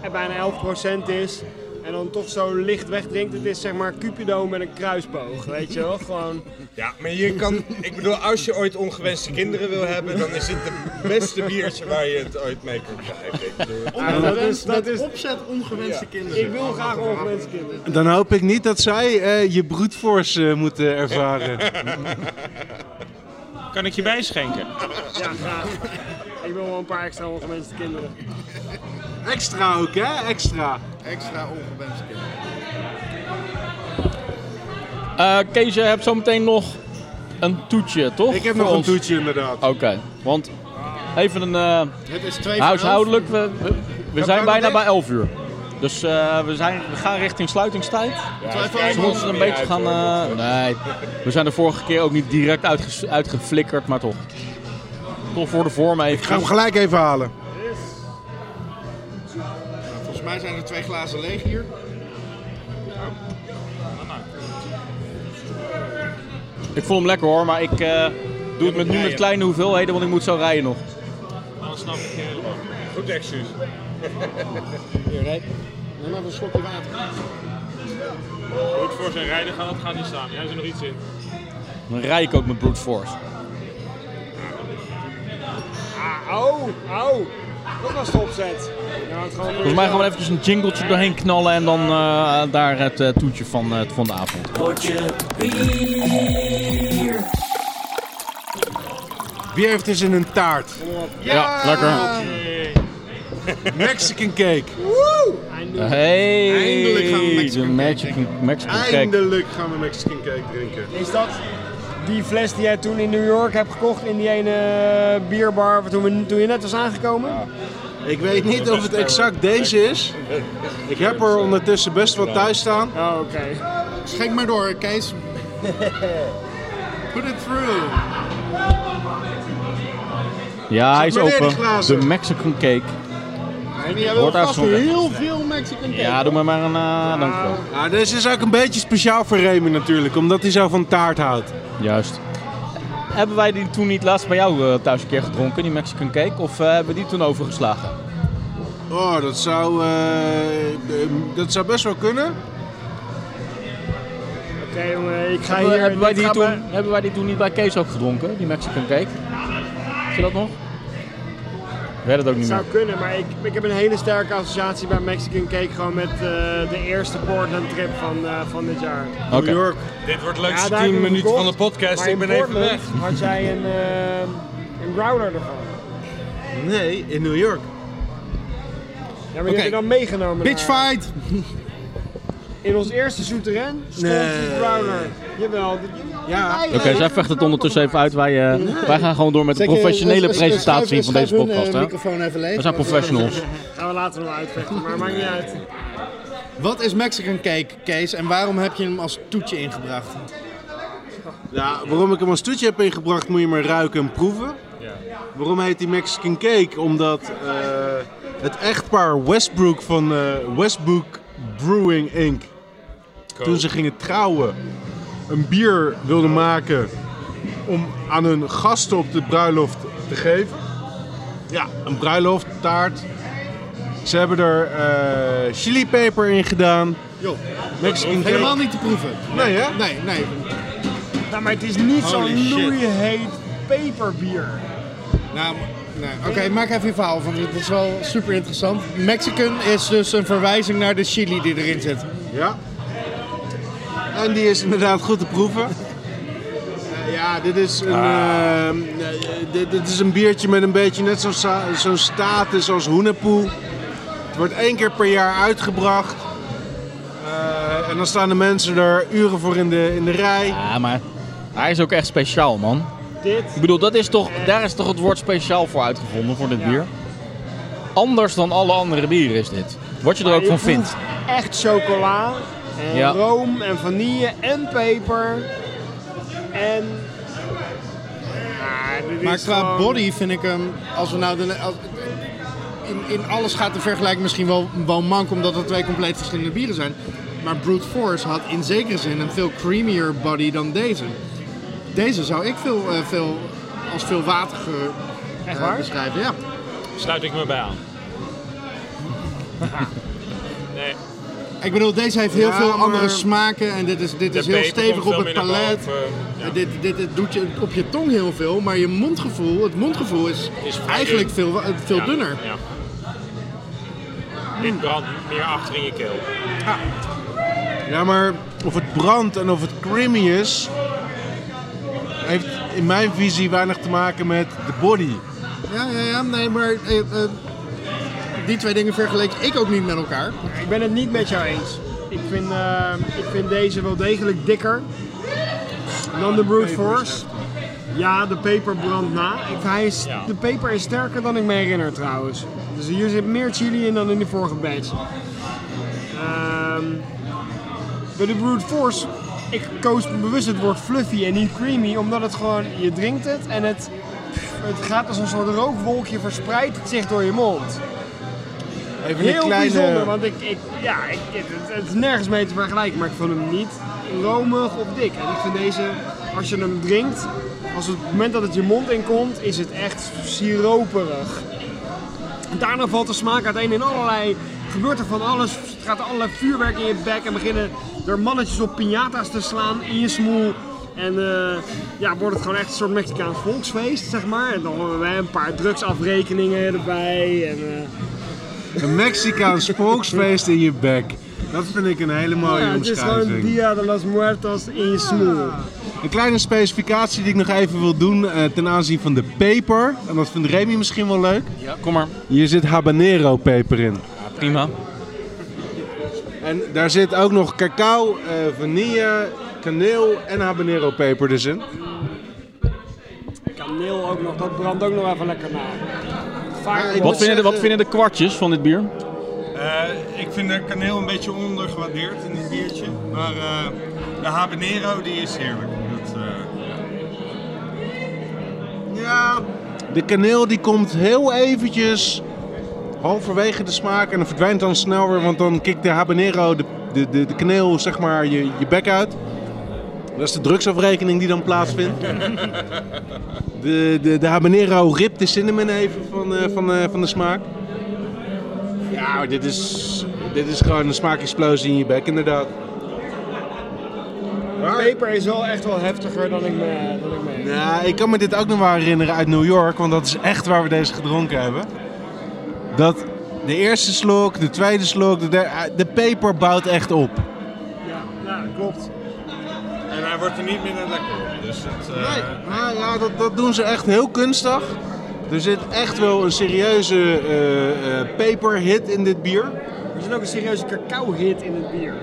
Speaker 4: en bijna 11% is. En dan toch zo licht wegdrinkt. Het is zeg maar Cupido met een kruisboog. Weet je wel? Gewoon.
Speaker 7: Ja, maar je kan... Ik bedoel, als je ooit ongewenste kinderen wil hebben, dan is dit het beste biertje waar je het ooit mee kunt krijgen. Ik bedoel,
Speaker 6: Oh,
Speaker 4: Ah, dat is, dat is,
Speaker 6: Opzet ongewenste kinderen.
Speaker 4: ik wil graag ongewenste kinderen.
Speaker 2: Dan hoop ik niet dat zij eh, je brute force eh, moeten ervaren.
Speaker 9: Kan ik je bijschenken?
Speaker 4: Ja, graag. Ik wil wel een paar extra ongewenste kinderen.
Speaker 2: Extra ook, hè? Extra.
Speaker 6: Extra ongewenste kinderen.
Speaker 1: Eh Kees, je hebt zometeen nog een toetje, toch?
Speaker 2: Ik heb
Speaker 1: Voor
Speaker 2: nog een
Speaker 1: ons?
Speaker 2: toetje inderdaad.
Speaker 1: Oké, want even een eh,
Speaker 6: Het is twee voor
Speaker 1: huishoudelijk. We, we- we zijn
Speaker 2: gaan we
Speaker 1: bijna
Speaker 2: doen?
Speaker 1: bij 11 uur. Dus eh, we, zijn, we gaan richting sluitingstijd.
Speaker 6: elf. Twee voor
Speaker 1: Dus we
Speaker 6: elf.
Speaker 1: moeten een beetje gaan. eh, nee, we zijn de vorige keer ook niet direct uitges- uitgeflikkerd, maar toch. Toch voor de vorm even.
Speaker 2: Ik ga hem gelijk even halen.
Speaker 6: Volgens mij zijn er twee glazen leeg hier.
Speaker 1: Ik voel hem lekker hoor, maar ik eh, doe het met, nu met
Speaker 7: rijden.
Speaker 1: kleine hoeveelheden, want ik moet zo rijden nog.
Speaker 9: Dan snap ik eh, je helemaal.
Speaker 7: Goed excuus.
Speaker 6: Hier, Rijk. Neem even een slokje water.
Speaker 9: Goed voor zijn rijden gaan, dat gaat niet staan. Jij er nog iets in.
Speaker 1: Dan rij ik ook met brute force.
Speaker 4: Ah, au, au. Dat was de opzet. Nou, het gewoon
Speaker 1: Volgens mij gaan we eventjes een jingletje doorheen knallen en dan eh, daar het eh, toetje van, eh, van de avond.
Speaker 2: Wie heeft dus in een taart?
Speaker 1: Ja, lekker.
Speaker 2: Mexican cake.
Speaker 1: Hey,
Speaker 6: Eindelijk gaan we
Speaker 1: de
Speaker 6: Mexican cake
Speaker 1: Mexican, Mexican cake.
Speaker 2: Eindelijk gaan we Mexican cake drinken.
Speaker 4: Is dat die fles die jij toen in New York hebt gekocht in die ene eh, bierbar waar toen, we, toen je net was aangekomen?
Speaker 2: Ik weet niet of het exact deze is. Ik heb er ondertussen best wat thuis staan.
Speaker 4: Oh, oké.
Speaker 6: Schenk maar door, Kees. Put it through.
Speaker 1: Ja, hij is
Speaker 2: Zet maar neer die
Speaker 1: open.
Speaker 2: glazen.
Speaker 1: De Mexican cake.
Speaker 6: En jij wil
Speaker 1: Wordt
Speaker 6: vast
Speaker 1: uitgezonden.
Speaker 6: heel veel Mexican cake.
Speaker 1: Ja, doe maar maar een... eh dankjewel.
Speaker 2: Ah, deze is ook een beetje speciaal voor Remy natuurlijk, omdat hij zo van taart houdt.
Speaker 1: Juist. Hebben wij die toen niet laatst bij jou eh, thuis een keer gedronken, die Mexican cake? Of eh, hebben we die toen overgeslagen?
Speaker 2: Oh, dat zou, eh, eh, dat zou best wel kunnen.
Speaker 4: Oké jongen, ik ga
Speaker 1: Hebben,
Speaker 4: hier...
Speaker 1: hebben wij
Speaker 4: dit
Speaker 1: die
Speaker 4: gaat
Speaker 1: toen,
Speaker 4: bij-
Speaker 1: hebben wij die toen niet bij Kees ook gedronken, die Mexican cake? Zie je dat nog? Ik weet het ook niet meer.
Speaker 4: zou kunnen, maar ik, ik heb een hele sterke associatie bij Mexican Cake gewoon met eh, de eerste Portland trip van, eh, van dit jaar.
Speaker 1: Oké.
Speaker 2: New York.
Speaker 7: Dit wordt het
Speaker 4: Ja,
Speaker 7: leukste
Speaker 4: daar heb
Speaker 7: 10
Speaker 4: ik hem
Speaker 7: minuten van
Speaker 4: gekocht,
Speaker 7: de podcast.
Speaker 4: maar
Speaker 7: Ik
Speaker 4: in
Speaker 7: ben even
Speaker 4: Portland
Speaker 7: weg.
Speaker 4: had jij een, eh, een growler ervan.
Speaker 2: Nee, in New York.
Speaker 4: Ja, maar die heb je dan meegenomen
Speaker 6: Bitch
Speaker 4: naar-
Speaker 6: fight.
Speaker 4: In ons eerste souterrain stond die
Speaker 2: Nee.
Speaker 4: growler. Jawel. die-
Speaker 2: Ja.
Speaker 1: Oké, zij vecht het ondertussen even uit. Wij, eh, wij gaan gewoon door met de
Speaker 6: Zeg, eh,
Speaker 1: professionele
Speaker 6: schuif-
Speaker 1: presentatie
Speaker 6: schuif
Speaker 1: van deze
Speaker 6: hun, eh,
Speaker 1: podcast. Hè?
Speaker 6: microfoon even leeg. eh,
Speaker 1: We zijn professionals.
Speaker 4: Gaan we later nog uitvechten, maar maakt niet uit.
Speaker 6: Wat is Mexican cake, Kees? En waarom heb je hem als toetje ingebracht?
Speaker 2: Ja, waarom ik hem als toetje heb ingebracht, moet je maar ruiken en proeven. Waarom heet die Mexican cake? Omdat eh, het echtpaar Westbrook van eh, Westbrook Brewing Inc. Toen ze gingen trouwen, een bier wilden maken om aan hun gasten op de bruiloft te geven. Ja, een bruilofttaart. Ze hebben er eh chilipeper in gedaan.
Speaker 6: Joh,
Speaker 2: Mexican cake.
Speaker 6: helemaal niet te proeven.
Speaker 2: Nee, hè?
Speaker 6: Nee, nee.
Speaker 4: Nou, maar het is niet
Speaker 6: Holy
Speaker 4: zo'n
Speaker 6: shit.
Speaker 4: loeiheet peperbier.
Speaker 6: Nou, nee. Oké, maak even je verhaal, want het is wel super interessant. Mexican is dus een verwijzing naar de chili die erin zit.
Speaker 2: Ja. En die is inderdaad goed te proeven. Eh, ja, dit is, een, ehm, eh, dit, dit is een biertje met een beetje net zo'n sa- zo'n status als Hoenepoe. Het wordt één keer per jaar uitgebracht. Eh, en dan staan de mensen er uren voor in de, in de rij.
Speaker 1: Ja, Ah, maar hij is ook echt speciaal, man.
Speaker 4: Dit
Speaker 1: Ik bedoel, dat is toch, daar is toch het woord speciaal voor uitgevonden, voor dit bier? Anders dan alle andere bieren is dit. Wat je er ook
Speaker 4: je
Speaker 1: van
Speaker 4: proeft
Speaker 1: vindt.
Speaker 4: Echt chocola en
Speaker 1: Ja.
Speaker 4: room en vanille en peper. En... Ja, dit
Speaker 6: Maar
Speaker 4: is
Speaker 6: qua
Speaker 4: gewoon-
Speaker 6: body vind ik hem, als we nou de, als, in, in alles gaat de vergelijking misschien wel, wel mank, omdat het twee compleet verschillende bieren zijn. Maar Brute Force had in zekere zin een veel creamier body dan deze. Deze zou ik veel, eh, veel, als veel wateriger
Speaker 4: Echt
Speaker 6: eh,
Speaker 4: waar?
Speaker 6: beschrijven. Ja.
Speaker 9: Sluit ik me bij aan. nee,
Speaker 6: Ik bedoel, deze heeft heel
Speaker 2: Ja,
Speaker 6: veel
Speaker 2: maar-
Speaker 6: andere smaken en dit is, dit
Speaker 9: de
Speaker 6: is heel
Speaker 9: peper
Speaker 6: stevig
Speaker 9: komt
Speaker 6: op
Speaker 9: veel
Speaker 6: het
Speaker 9: meer naar
Speaker 6: palet.
Speaker 9: boven. Ja.
Speaker 6: Eh, Dit, dit, dit doet je op je tong heel veel, maar je mondgevoel, het mondgevoel is,
Speaker 9: Is vrij
Speaker 6: eigenlijk
Speaker 9: dun.
Speaker 6: veel, wa- eh, veel
Speaker 9: Ja,
Speaker 6: dunner.
Speaker 9: Ja. Dit brandt meer achter in je keel.
Speaker 2: Ja, maar of het brandt en of het creamy is, heeft in mijn visie weinig te maken met de body.
Speaker 6: Ja, ja, ja, nee, maar eh, eh, die twee dingen vergeleek ik ook niet met elkaar.
Speaker 4: Ik ben het niet met jou eens. Ik vind, eh, ik vind deze wel degelijk dikker dan de Brute Force. Ja, de peper brandt na. Ik, hij is,
Speaker 9: Ja.
Speaker 4: De peper is sterker dan ik me herinner trouwens. Dus hier zit meer chili in dan in de vorige batch. Ehm, bij de Brute Force, ik koos bewust het woord fluffy en niet creamy, omdat het gewoon, je drinkt het en het, het gaat als een soort rookwolkje verspreidt het zich door je mond.
Speaker 2: Even
Speaker 4: Heel
Speaker 2: een kleine...
Speaker 4: bijzonder, want ik, ik, ja, ik, het, het- het is nergens mee te vergelijken, maar ik vond hem niet romig of dik. En ik vind deze, als je hem drinkt, als het, op het moment dat het je mond inkomt, is het echt siroperig. En daarna valt de smaak uiteen in allerlei, gebeurt er van alles, Er gaat er allerlei vuurwerk in je bek en beginnen er mannetjes op piñata's te slaan in je smoel. En eh, ja, wordt het gewoon echt een soort Mexicaans volksfeest, zeg maar. En dan hebben wij een paar drugsafrekeningen erbij. En, eh,
Speaker 2: Een Mexicaans spooksfeest in je bek. Dat vind ik een hele mooie
Speaker 4: Ja, het is gewoon
Speaker 2: omschrijving.
Speaker 4: Dia de las Muertos in je smoel.
Speaker 2: Een kleine specificatie die ik nog even wil doen eh, ten aanzien van de peper. En dat vindt Remy misschien wel leuk.
Speaker 1: Kom maar.
Speaker 2: Hier zit habanero peper in.
Speaker 1: Prima.
Speaker 2: En daar zit ook nog cacao, eh, vanille, kaneel en habanero peper dus in.
Speaker 4: Kaneel ook nog, dat brandt ook nog even lekker na.
Speaker 2: Ja,
Speaker 4: Vaak
Speaker 2: ik-
Speaker 1: Wat vinden, de, wat vinden de kwartjes van dit bier?
Speaker 7: Eh, ik vind de kaneel een beetje ondergewaardeerd in dit biertje. Maar eh, de habanero die is heerlijk. Dat, eh,
Speaker 2: Ja, de kaneel die komt heel eventjes halverwege de smaak en dan verdwijnt dan snel weer, want dan kikt de habanero de, de, de, de kaneel zeg maar je, je bek uit. Dat is de drugsafrekening die dan plaatsvindt. De, de, de habanero ript de cinnamon even van, eh, van, eh, van de smaak. Ja, maar dit is, dit is gewoon een smaakexplosie in je bek inderdaad.
Speaker 4: de peper is wel echt wel heftiger dan ik me. Dan ik me.
Speaker 2: Nou, ik kan me dit ook nog wel herinneren uit New York, want dat is echt waar we deze gedronken hebben. Dat de eerste slok, de tweede slok, de, derde- de peper bouwt echt op.
Speaker 4: Ja, ja, klopt.
Speaker 7: en hij wordt er niet minder lekker op. Dus het, eh,
Speaker 2: Nee, nou ja, dat, dat doen ze echt heel kunstig. Er zit echt wel een serieuze eh, eh, peperhit in dit bier.
Speaker 4: Er zit ook een serieuze cacao-hit in het bier.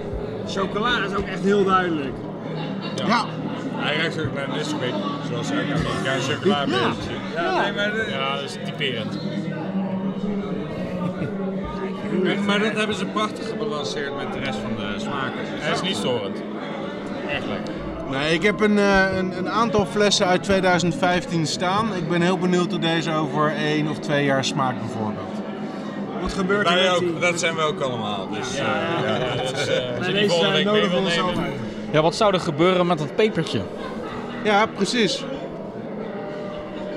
Speaker 4: Chocola is ook echt heel duidelijk.
Speaker 2: Ja.
Speaker 7: Hij ruikt ook naar Nesquik, zoals hij ook naar chocola beetje. Ja, nee, maar, de-
Speaker 9: Ja, dat is typerend.
Speaker 7: en- maar dat hebben ze prachtig gebalanceerd met de rest van de smaken. Dus
Speaker 9: Hij is niet storend. Echt lekker.
Speaker 2: Nee, ik heb een, eh, een, een aantal flessen uit 2015 staan. Ik ben heel benieuwd hoe deze over één of twee jaar smaakt bijvoorbeeld.
Speaker 4: Wat gebeurt er
Speaker 7: Wij
Speaker 4: met die?
Speaker 7: ook, dat zijn we ook allemaal. Dus, eh,
Speaker 9: Als
Speaker 4: Nee,
Speaker 9: je die
Speaker 4: deze
Speaker 9: volgende
Speaker 4: zijn
Speaker 9: week mee
Speaker 4: nodig
Speaker 9: wil
Speaker 4: voor ons
Speaker 9: nemen.
Speaker 4: allemaal.
Speaker 1: Ja, wat zou er gebeuren met dat pepertje?
Speaker 2: Ja, precies.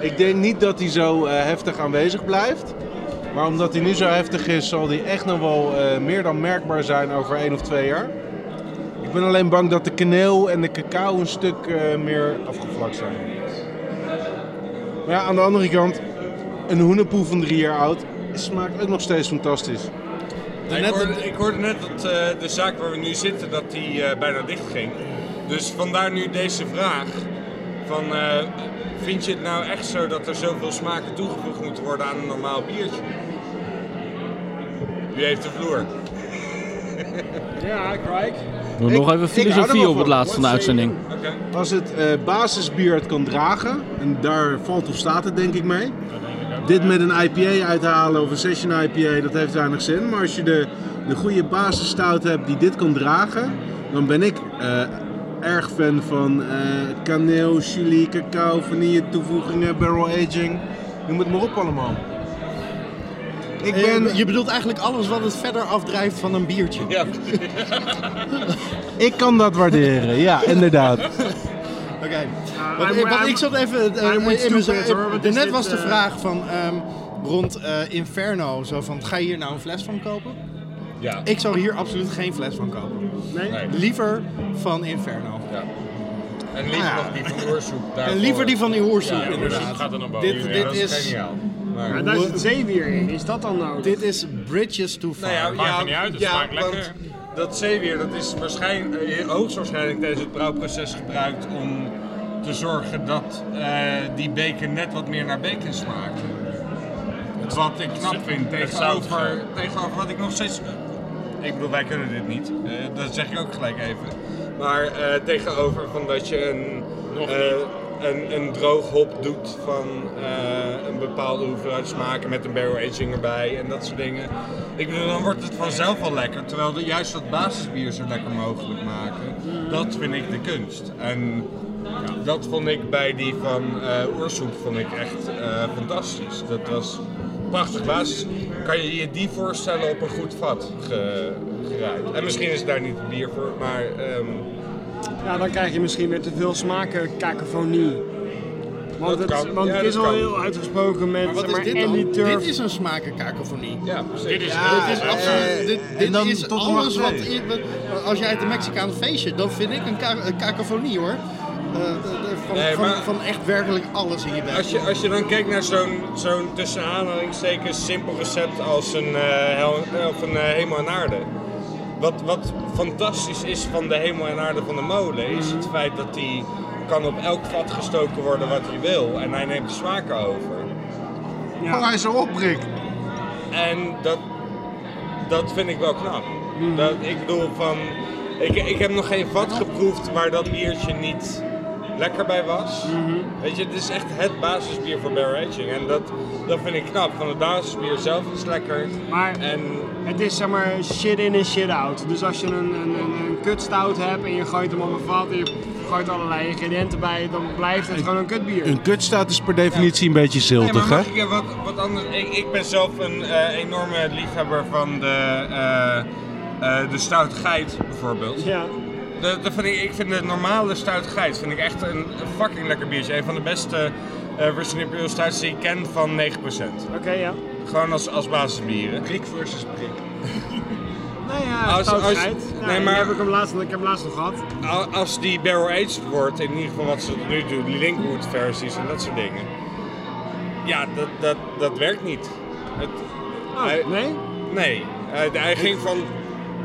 Speaker 2: Ik denk niet dat hij zo eh, heftig aanwezig blijft. Maar omdat hij nu zo heftig is, zal hij echt nog wel eh, meer dan merkbaar zijn over één of twee jaar. Ik ben alleen bang dat de kaneel en de cacao een stuk eh, meer afgevlakt zijn. Maar ja, aan de andere kant, een hoenepoe van drie jaar oud smaakt ook nog steeds fantastisch.
Speaker 7: Ik hoorde, ik hoorde net dat eh, de zaak waar we nu zitten, dat die eh, bijna dicht ging. Dus vandaar nu deze vraag. Van, eh, vind je het nou echt zo dat er zoveel smaken toegevoegd moeten worden aan een normaal biertje? U heeft de vloer.
Speaker 4: Ja, Krijk.
Speaker 1: Doe
Speaker 2: Ik-
Speaker 1: nog even
Speaker 2: ik hou er
Speaker 1: filosofie
Speaker 2: wel
Speaker 1: op het
Speaker 2: van.
Speaker 1: laatste van de uitzending.
Speaker 7: Oké.
Speaker 2: Als het eh, basisbier het kan dragen, en daar valt of staat het denk ik mee. Dit met een IPA uithalen of een session IPA, dat heeft weinig zin. Maar als je de, de goede basisstout hebt die dit kan dragen, dan ben ik eh, erg fan van eh, kaneel, chili, cacao, vanille toevoegingen, barrel aging. Noem het maar op allemaal. Ik ben,
Speaker 6: Je bedoelt eigenlijk alles wat het verder afdrijft van een biertje.
Speaker 7: Ja,
Speaker 2: ik kan dat waarderen, ja, inderdaad.
Speaker 6: Oké.
Speaker 4: Eh,
Speaker 6: Want,
Speaker 4: I'm-
Speaker 6: ik- want
Speaker 4: I'm-
Speaker 6: ik zat even. eh,
Speaker 4: I'm
Speaker 6: in
Speaker 4: with
Speaker 6: mijn-
Speaker 4: stupid, hoor. Wat is
Speaker 6: net
Speaker 4: dit,
Speaker 6: was de
Speaker 4: eh?
Speaker 6: vraag van ehm, rond eh, Inferno. Zo van, ga je hier nou een fles van kopen?
Speaker 7: ja.
Speaker 6: Ik zou hier absoluut geen fles van kopen.
Speaker 4: Nee?
Speaker 7: Nee.
Speaker 6: Liever van Inferno.
Speaker 7: En liever
Speaker 6: Ah, ja.
Speaker 7: nog die van de oorzoek daarvoor.
Speaker 6: En liever die van die hoorsoep,
Speaker 7: Ja,
Speaker 6: inderdaad.
Speaker 9: gaat er nog boven.
Speaker 6: dit,
Speaker 7: Ja,
Speaker 6: dit
Speaker 7: dat
Speaker 6: is,
Speaker 7: geniaal. Maar-
Speaker 4: Maar daar zit zeewier in. Is dat dan nodig?
Speaker 6: dit is Bridges to Far.
Speaker 7: Nou ja,
Speaker 9: Maakt
Speaker 7: ja,
Speaker 9: er niet uit, het
Speaker 7: ja,
Speaker 9: smaakt
Speaker 7: want
Speaker 9: lekker.
Speaker 7: Dat zeewier, dat is waarschijnlijk, eh, hoogstwaarschijnlijk tijdens het brouwproces gebruikt om te zorgen dat eh, die beker net wat meer naar bacon smaakt. Wat ik knap vind tegenover, tegenover wat ik nog steeds. Ik bedoel, wij kunnen dit niet. Eh, dat zeg ik ook gelijk even. Maar eh, tegenover van dat je een, eh, een, een droog hop doet van eh, een bepaalde hoeveelheid smaken met een barrel aging erbij en dat soort dingen. Ik bedoel, dan wordt het vanzelf wel lekker. Terwijl de, juist dat basisbier zo lekker mogelijk maken, dat vind ik de kunst. En dat vond ik bij die van eh Oersoep vond ik echt eh, fantastisch. Dat was prachtig basis. Kan je je die voorstellen op een goed vat ge, geruimd? En misschien is daar niet het bier voor, maar ehm,
Speaker 4: Ja, dan krijg je misschien weer te veel smaken kakofonie. Want
Speaker 7: Dat
Speaker 4: het,
Speaker 7: kan.
Speaker 4: want
Speaker 7: Ja,
Speaker 4: het is
Speaker 7: dat
Speaker 4: al
Speaker 7: kan.
Speaker 4: heel uitgesproken met
Speaker 6: Maar wat
Speaker 4: zeg
Speaker 6: is
Speaker 4: maar,
Speaker 6: dit dan?
Speaker 4: Andy Turf.
Speaker 6: Dit is een smakenkakofonie.
Speaker 7: ja, precies.
Speaker 9: Dit is
Speaker 6: dit is absoluut. dit dit
Speaker 2: dan
Speaker 6: is
Speaker 2: tot
Speaker 6: alles
Speaker 2: nummer
Speaker 6: wat,
Speaker 2: twee.
Speaker 6: in- wat- Als jij uit een Mexicaan feestje, dan vind ik een ka- een kakofonie hoor. Eh, eh, eh, van,
Speaker 7: Nee,
Speaker 6: van,
Speaker 7: maar-
Speaker 6: van echt werkelijk alles in je bek.
Speaker 7: Als je, als je dan kijkt naar zo'n zo'n tussen aanhalingstekens simpel recept als een, eh, hel, of een eh, hemel en aarde. Wat, wat fantastisch is van de hemel en aarde van de molen, is het feit dat die kan op elk vat gestoken worden wat hij wil. En hij neemt de smaken over.
Speaker 2: Hou hij zo op, Rick.
Speaker 7: En dat, dat vind ik wel knap. Dat, ik bedoel, van, ik, ik heb nog geen vat geproefd waar dat biertje niet lekker bij was. Weet je, het is echt het basisbier voor barrel aging. En dat, dat vind ik knap. Van het basisbier zelf is lekker.
Speaker 4: Maar-
Speaker 7: en,
Speaker 4: Het is zeg maar shit in en shit out. Dus als je een, een, een, een kutstout hebt en je gooit hem op een vat en je gooit allerlei ingrediënten bij, dan blijft het gewoon een kutbier.
Speaker 2: Een kutstaat is per definitie een beetje
Speaker 7: Nee, maar
Speaker 2: ziltig, hè?
Speaker 7: mag ik er wat, wat anders? Ik, ik ben zelf een eh, enorme liefhebber van de, eh eh, de stout geit bijvoorbeeld.
Speaker 4: Ja.
Speaker 7: De, de, vind ik, ik vind de normale stout geit vind ik echt een, een fucking lekker biertje. Een van de beste eh Russian Imperial Stouts die ik ken van 9%.
Speaker 4: Oké, ja.
Speaker 7: Gewoon als, als basisbieren.
Speaker 2: Rick versus Rick.
Speaker 4: Nou ja,
Speaker 7: Als-
Speaker 4: stout
Speaker 7: als-
Speaker 4: geit. Ja,
Speaker 7: nee,
Speaker 4: die
Speaker 7: maar-
Speaker 4: heb ik, hem laatst, ik heb hem laatst nog gehad.
Speaker 7: Al- Als die barrel aged wordt, in ieder geval wat ze tot nu doen, die Linkwood versies en dat soort dingen. Ja, dat, dat, dat werkt niet. Het,
Speaker 4: Oh,
Speaker 7: hij-
Speaker 4: nee?
Speaker 7: nee, hij, hij ging van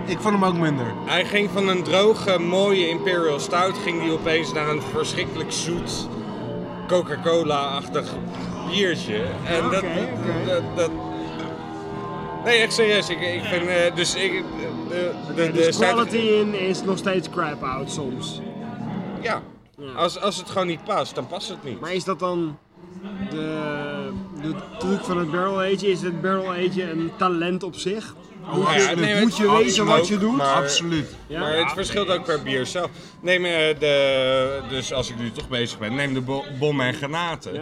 Speaker 2: Ik vond hem ook minder.
Speaker 7: Hij ging van een droge, mooie Imperial Stout ging hij opeens naar een verschrikkelijk zoet Coca-Cola-achtig biertje. En
Speaker 4: Ja,
Speaker 7: dat,
Speaker 4: oké, oké.
Speaker 7: dat, dat- Nee, echt serieus. Ik, ik vind... eh, dus ik... eh, De, de, de
Speaker 4: dus
Speaker 7: stout-
Speaker 4: quality in is nog steeds crap out soms.
Speaker 7: Ja. Als, als het gewoon niet past, dan past het niet.
Speaker 4: Maar is dat dan de, de truc van het barrel age? Is het barrel age een talent op zich?
Speaker 7: Oh, Ja,
Speaker 2: absoluut.
Speaker 7: nee,
Speaker 2: Moet je
Speaker 7: het-
Speaker 2: weten wat je
Speaker 7: ook,
Speaker 2: doet?
Speaker 7: maar-
Speaker 2: Absoluut.
Speaker 4: Ja?
Speaker 7: Maar het verschilt ook per bier zelf. Neem eh, de, dus als ik nu toch bezig ben, neem de bo- bom en granaten.
Speaker 4: Ja,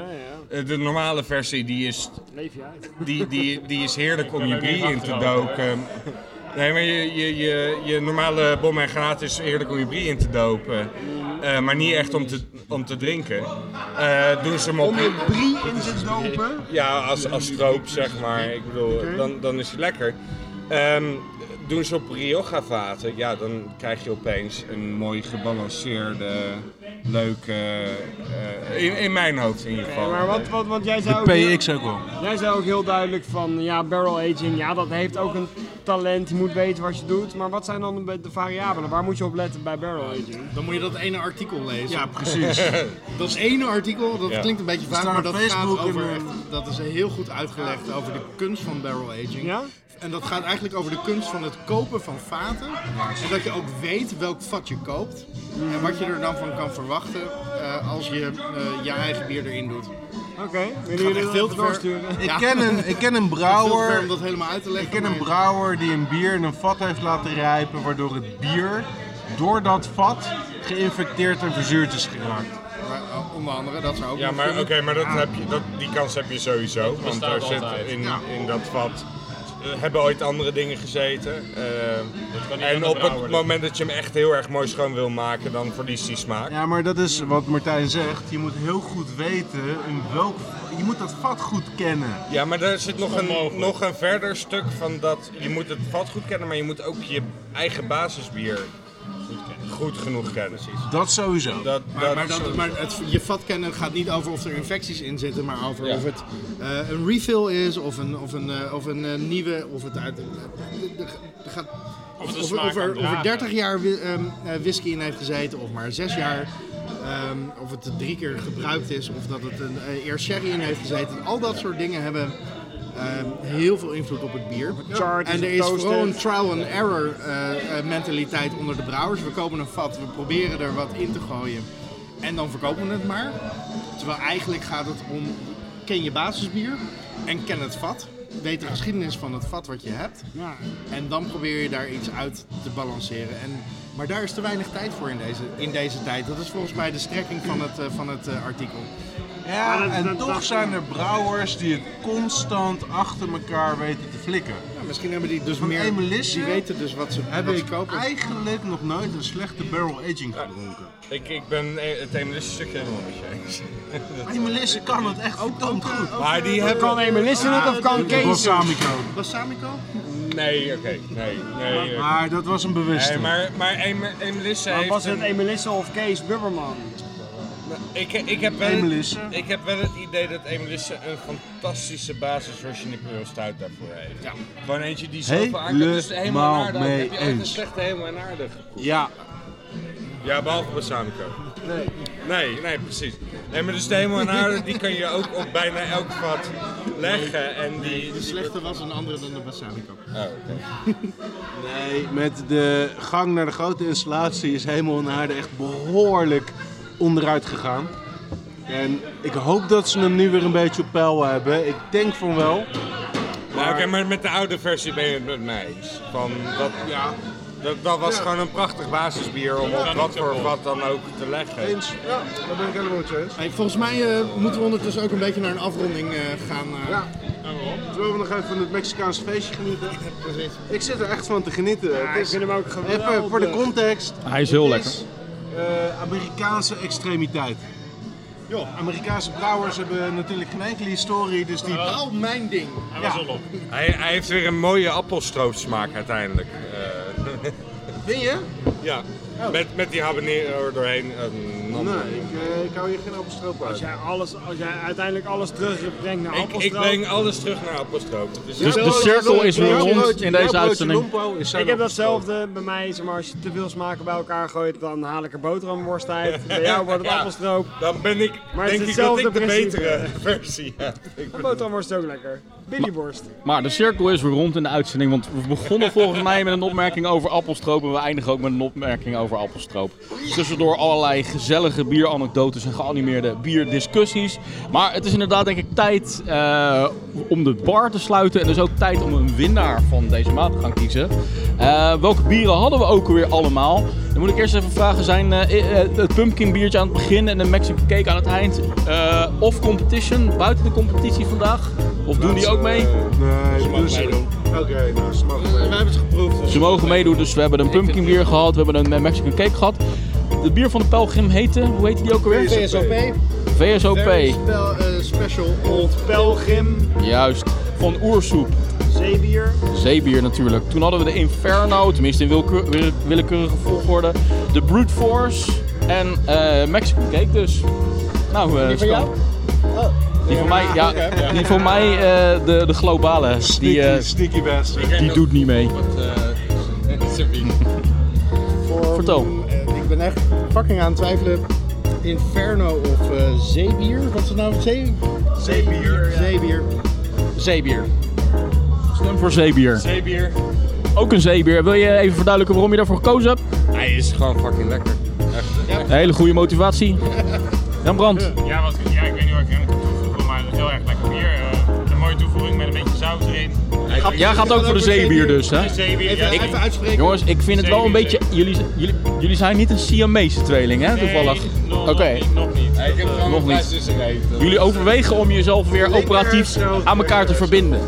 Speaker 4: ja.
Speaker 7: Eh, De normale versie die is
Speaker 4: Leef je uit.
Speaker 7: die, die, die is heerlijk om je bier in te dopen. Nee, maar je, je, je, je normale bom en granaat is heerlijk om je bier in te dopen. Eh, maar niet echt om te, om te drinken. Eh, doen ze hem op...
Speaker 4: Om je brie in te dopen.
Speaker 7: Ja, als, als stroop, zeg maar. Ik bedoel, dan, dan is hij lekker. Ehm, doen ze op Rioja-vaten, ja, dan krijg je opeens een mooi gebalanceerde, leuke... eh, in, in mijn hoofd in ieder geval.
Speaker 4: Maar wat, wat, want jij zei, ook heel,
Speaker 2: PX ook wel.
Speaker 4: jij zei ook heel duidelijk van ja, barrel aging, ja dat heeft ook een talent, je moet weten wat je doet. Maar wat zijn dan de, be- de variabelen? Waar moet je op letten bij barrel aging?
Speaker 6: Dan moet je dat ene artikel lezen.
Speaker 2: Ja, precies.
Speaker 6: Dat is ene artikel, dat
Speaker 7: Ja.
Speaker 6: klinkt een beetje vaag,
Speaker 2: staan
Speaker 6: maar
Speaker 2: op
Speaker 6: dat
Speaker 2: Facebook
Speaker 6: gaat over,
Speaker 2: en, eh,
Speaker 6: echt- dat is heel goed uitgelegd over de kunst van barrel aging.
Speaker 4: Ja?
Speaker 6: En dat gaat eigenlijk over de kunst van het kopen van vaten. En dat je ook weet welk vat je koopt. En wat je er dan van kan verwachten eh, als je eh, je eigen bier erin doet.
Speaker 4: Oké, willen jullie
Speaker 6: echt
Speaker 4: dat
Speaker 6: veel
Speaker 4: even
Speaker 6: te ver.
Speaker 4: doorsturen?
Speaker 2: Ik
Speaker 6: Ja.
Speaker 2: ken een, ik ken een
Speaker 6: Veel te ver
Speaker 2: brouwer.
Speaker 6: om dat helemaal uit te leggen.
Speaker 2: Ik ken een
Speaker 6: maar-
Speaker 2: brouwer die een bier in een vat heeft laten rijpen, waardoor het bier door dat vat geïnfecteerd en verzuurd is geraakt.
Speaker 6: maar, eh, Onder andere, dat zou ook
Speaker 7: Ja,
Speaker 6: nog
Speaker 7: maar oké,
Speaker 6: kunnen.
Speaker 7: maar dat heb je, dat, die kans heb je sowieso. Want
Speaker 9: bestaat
Speaker 7: daar zit
Speaker 9: altijd.
Speaker 7: in, in dat vat eh, hebben ooit andere dingen gezeten. Eh,
Speaker 9: Dat kan niet
Speaker 7: en
Speaker 9: anders
Speaker 7: op het
Speaker 9: brouwen.
Speaker 7: moment dat je hem echt heel erg mooi schoon wil maken, dan verliest hij smaak.
Speaker 2: Ja, maar dat is wat Martijn zegt. Je moet heel goed weten in welk... Je moet dat vat goed kennen.
Speaker 7: Ja, maar daar zit nog een,
Speaker 9: onmogelijk.
Speaker 7: nog een verder stuk van dat je moet het vat goed kennen, maar je moet ook je eigen basisbier goed genoeg kennen.
Speaker 2: Dat sowieso.
Speaker 7: Dat,
Speaker 6: Maar, maar, dat, maar het, je vat kennen gaat niet over of er infecties in zitten, maar over
Speaker 7: Ja.
Speaker 6: of het eh, een refill is of een, of een, eh, of een eh, nieuwe. Of het uit. eh, er- er gaat-
Speaker 9: Of het de
Speaker 6: of,
Speaker 9: smaak
Speaker 6: of
Speaker 9: kan
Speaker 6: er, of er
Speaker 9: dragen.
Speaker 6: 30 jaar wi- ehm, eh, whisky in heeft gezeten, of maar 6 jaar. ehm, of het drie keer gebruikt is, of dat het een, eh, eerst sherry in heeft gezeten. Al dat soort dingen hebben ehm, heel veel invloed op het bier.
Speaker 4: Charred,
Speaker 6: en
Speaker 4: is
Speaker 6: er
Speaker 4: het
Speaker 6: is vooral
Speaker 4: toasted?
Speaker 6: een trial and error eh, eh, mentaliteit onder de brouwers. We kopen een vat, we proberen er wat in te gooien en dan verkopen we het maar. Terwijl eigenlijk gaat het om, ken je basisbier en ken het vat. Weet de geschiedenis van het vat wat je hebt.
Speaker 4: Ja.
Speaker 6: En dan probeer je daar iets uit te balanceren. En, maar daar is te weinig tijd voor in deze, in deze tijd. Dat is volgens mij de strekking van het, eh, van het eh, artikel.
Speaker 2: Ja,
Speaker 4: Maar dat-
Speaker 2: en
Speaker 4: dat-
Speaker 2: toch
Speaker 4: dat-
Speaker 2: zijn er brouwers die het constant achter elkaar weten te flikken.
Speaker 6: Ja, misschien hebben die dus
Speaker 2: Van
Speaker 6: meer...
Speaker 2: Emelisse
Speaker 6: Die weten dus wat ze,
Speaker 2: Heb
Speaker 6: wat ze
Speaker 2: ik
Speaker 6: kopen.
Speaker 2: eigenlijk nog nooit een slechte barrel aging gedronken.
Speaker 7: Ik, ik ben eh, het emelische stukje helemaal met je eens.
Speaker 2: Emelisse kan het echt verdomd goed.
Speaker 7: Maar die hebben...
Speaker 4: Kan Emelisse het of kan Kees het?
Speaker 2: Balsamico.
Speaker 6: Balsamico?
Speaker 7: Nee, oké. Nee, nee. eh,
Speaker 2: Maar dat was een bewuste.
Speaker 7: nee, maar maar Eme- Emelisse
Speaker 4: Maar
Speaker 7: heeft...
Speaker 4: was het
Speaker 7: een-
Speaker 4: Emelisse of Kees Bubberman?
Speaker 7: ik, ik, heb wel
Speaker 2: Emelisse?
Speaker 7: ik heb wel het idee dat Emelisse een fantastische basis voor Imperial Stout daarvoor heeft. Ja. Gewoon eentje die zoveel aan kan. Dus de hemel en
Speaker 2: Helemaal
Speaker 7: aarde, dan
Speaker 2: mee
Speaker 7: heb je echt een
Speaker 2: eens.
Speaker 7: slechte hemel en aarde.
Speaker 2: Ja,
Speaker 7: Ja, behalve balsamico. Nee. Nee, nee, precies. Nee, maar dus de hemel en aarde, die kan je ook op bijna elk vat leggen. En die...
Speaker 6: De slechte was een andere dan de balsamico.
Speaker 7: Oh, oké.
Speaker 2: nee, met de gang naar de grote installatie is Hemel en Aarde echt behoorlijk onderuit gegaan. En ik hoop dat ze hem nu weer een beetje op peil hebben. Ik denk van wel.
Speaker 7: Nou, oké, maar met de oude versie ben je het met mij eens. Van dat, ja, dat, dat was gewoon een prachtig basisbier om op wat voor wat dan ook te leggen.
Speaker 2: Eens, ja, daar ben ik helemaal met je eens.
Speaker 6: Hey, volgens mij eh, moeten we ondertussen ook een beetje naar een afronding eh, gaan. eh.
Speaker 2: Ja. Zullen we nog even van het Mexicaanse feestje genieten?
Speaker 6: precies.
Speaker 2: Ik zit er echt van te genieten.
Speaker 4: Ja,
Speaker 2: Het
Speaker 4: ik
Speaker 2: is-
Speaker 4: vind hem ook geweldig.
Speaker 2: Even voor de context.
Speaker 1: Hij is heel
Speaker 2: Het
Speaker 1: lekker.
Speaker 2: is, eh, Amerikaanse extremiteit. Joh, Amerikaanse brouwers hebben natuurlijk geen enkele historie, dus
Speaker 4: Oh.
Speaker 2: die...
Speaker 6: Al mijn ding.
Speaker 9: Hij was al op.
Speaker 7: Hij, hij heeft weer een mooie appelstroopsmaak uiteindelijk. Eh,
Speaker 2: Vind je?
Speaker 7: ja, met, met die habanero er doorheen. eh, nam-
Speaker 2: Nee, ik, eh, ik hou hier geen appelstroop
Speaker 4: Als
Speaker 2: uit.
Speaker 4: jij, alles, als jij uiteindelijk alles terugbrengt naar
Speaker 7: Ik, ik
Speaker 4: Appelstroop.
Speaker 7: breng alles terug naar appelstroop. Het is-
Speaker 1: Dus de cirkel is weer rond in deze uitzending.
Speaker 4: Ik heb datzelfde bij mij, zeg maar, als je te veel smaken bij elkaar gooit, dan haal ik er boterhamworst uit. Bij jou wordt het
Speaker 7: Ja.
Speaker 4: appelstroop.
Speaker 7: Dan ben ik,
Speaker 4: Maar het
Speaker 7: denk
Speaker 4: is
Speaker 7: ik dat ik de
Speaker 4: hetzelfde principe.
Speaker 7: betere versie heb. Ik ben-
Speaker 4: Boterhamworst is ook lekker. Billyworst.
Speaker 1: Maar de cirkel is weer rond in de uitzending, want we begonnen volgens mij met een opmerking over appelstroop en we eindigen ook met een opmerking over appelstroop. Tussendoor allerlei gezellige bieranekdotes en geanimeerde bierdiscussies. Maar het is inderdaad denk ik tijd eh, om de bar te sluiten en dus ook tijd om een winnaar van deze maand te gaan kiezen. Eh, welke bieren hadden we ook weer allemaal? Dan moet ik eerst even vragen, zijn eh, eh, het pumpkin biertje aan het begin en de Mexican cake aan het eind eh of competition, buiten de competitie vandaag? Of doen die ook mee?
Speaker 2: Nee, dus- dat doen ze niet. Oké, nou, ze mogen
Speaker 6: We hebben het geproefd.
Speaker 1: Ze mogen meedoen, dus we hebben een pumpkin bier gehad, we hebben een eh, Mexican cake gehad. Het bier van de pelgrim heette, hoe heette die ook alweer?
Speaker 6: PSOP.
Speaker 1: VSOP,
Speaker 6: Very spel- eh, special old
Speaker 4: Pelgrim,
Speaker 1: juist. Van oersoep,
Speaker 4: zeebier.
Speaker 1: zeebier natuurlijk. Toen hadden we de Inferno, tenminste in willekeur- wille- willekeurige volgorde. De Brute Force en eh, Mexican cake dus. Nou, eh Stan. Die van mij, ja, die van mij eh, de, de globale, die, eh,
Speaker 2: sneaky bastard.
Speaker 1: die doet niet mee.
Speaker 6: voor.
Speaker 1: Vertel.
Speaker 6: Eh, ik ben echt fucking aan het twijfelen. Inferno of eh, zeebier? Wat is het nou? Zee... Zeebier. Zeebier.
Speaker 1: Zeebier. Stem voor zeebier.
Speaker 7: Zeebier.
Speaker 1: Ook een zeebier. Wil je even verduidelijken waarom je daarvoor gekozen hebt?
Speaker 7: Hij is gewoon fucking lekker.
Speaker 1: Een hele goede motivatie. Jan Brandt.
Speaker 9: Ja, wat, ja, ik weet niet wat ik aan kan toevoegen, maar heel erg lekker bier. Eh, een mooie toevoeging met een beetje saus erin.
Speaker 1: Jij gaat ook voor de zeebier dus, hè?
Speaker 9: Een zeebier.
Speaker 6: Even,
Speaker 9: ja, ik-
Speaker 6: even uitspreken.
Speaker 1: Jongens, ik vind het wel een beetje... Jullie, jullie, jullie zijn niet een Siamese tweeling, hè? Toevallig.
Speaker 9: Nee, nog- nog
Speaker 1: Oké.
Speaker 9: niet, Nog niet.
Speaker 7: Ik heb gewoon
Speaker 1: Nog
Speaker 7: nog
Speaker 1: niet.
Speaker 7: tussen gegeten.
Speaker 1: Jullie overwegen om jezelf weer operatief aan elkaar te verbinden.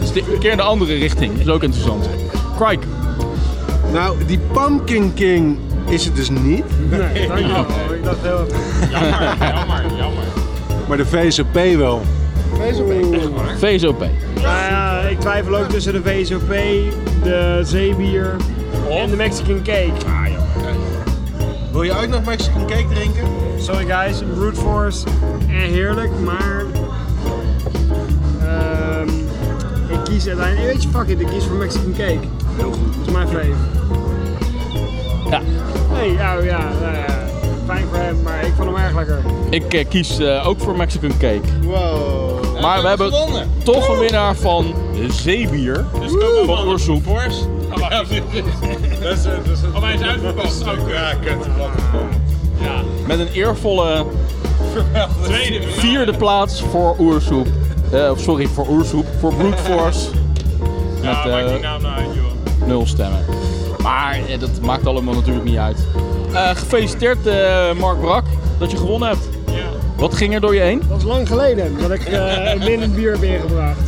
Speaker 1: Dus de keer in de andere richting. Dat is ook interessant. Crike.
Speaker 2: Nou, die Pumpkin King is het dus niet.
Speaker 4: Nee, dankjewel. Ik dacht heel even.
Speaker 9: Jammer, jammer.
Speaker 2: Maar de VSOP wel.
Speaker 1: VSOP.
Speaker 4: Nou ja, ik twijfel ook tussen de VSOP, de zeebier en de Mexican cake.
Speaker 2: Wil je ook nog Mexican cake drinken?
Speaker 4: Sorry guys, Brute Force, eh, heerlijk, maar ehm, ik kies uiteindelijk, weet je, fuck it, ik kies voor Mexican cake. Heel goed. Dat is mijn fave.
Speaker 1: Ja.
Speaker 4: Nee, ja, ja, nou ja, fijn voor hem, maar ik vond hem erg lekker.
Speaker 1: Ik eh, kies eh, ook voor Mexican Cake.
Speaker 6: Wow.
Speaker 1: Maar we hebben
Speaker 7: gewonnen.
Speaker 1: toch een winnaar van zeebier. Dus van Oersoep.
Speaker 9: Oh, wacht, is-
Speaker 7: Dat is, eh, dat is een-
Speaker 9: oh, hij is uitverkocht. Ook,
Speaker 7: Ja, kut.
Speaker 9: ja.
Speaker 1: Met een eervolle
Speaker 9: Tweede verhaal.
Speaker 1: vierde plaats voor Oersoep. Eh, of sorry, voor Oersoep. Voor Brute Force.
Speaker 9: Ja,
Speaker 1: Met,
Speaker 9: maakt
Speaker 1: eh,
Speaker 9: die naam nou uit, joh.
Speaker 1: nul stemmen. Maar eh, dat maakt allemaal natuurlijk niet uit. Eh, gefeliciteerd eh, Mark Brak dat je gewonnen hebt.
Speaker 9: Ja.
Speaker 1: Wat ging er door je heen?
Speaker 4: Dat is lang geleden dat ik eh binnen bier heb ingebracht.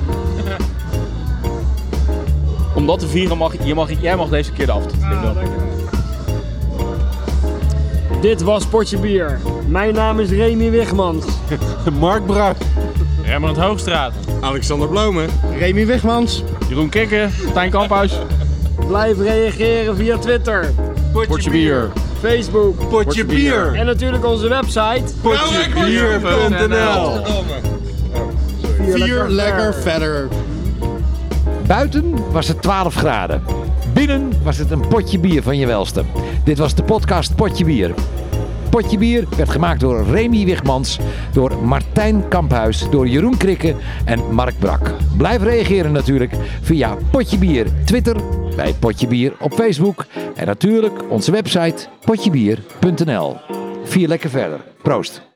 Speaker 1: Om dat te vieren mag, je mag jij mag deze keer de aftrap doen.
Speaker 4: Ah, dankjewel. Dit was Potje Bier. Mijn naam is Remy Wigmans.
Speaker 2: Mark Brak.
Speaker 9: Rembrandt Hoogstraat.
Speaker 7: Alexander Blomen.
Speaker 6: Remy Wegmans.
Speaker 1: Jeroen Kikken, Tijn Kamphuis,
Speaker 4: Blijf reageren via Twitter,
Speaker 1: Portje Bier.
Speaker 4: Facebook
Speaker 2: Potje bier. Nou,
Speaker 4: en natuurlijk onze website.
Speaker 2: Potjebier.nl
Speaker 6: Vier lekker verder.
Speaker 13: Buiten was het 12 graden. Binnen was het een potje bier van je welste. Dit was de podcast Potje Bier. Potje Bier werd gemaakt door Remy Wigmans, door Martijn Kamphuis, door Jeroen Krikke en Mark Brak. Blijf reageren natuurlijk via Potje Bier Twitter, bij Potje Bier op Facebook en natuurlijk onze website potjebier.nl. Vier lekker verder. Proost.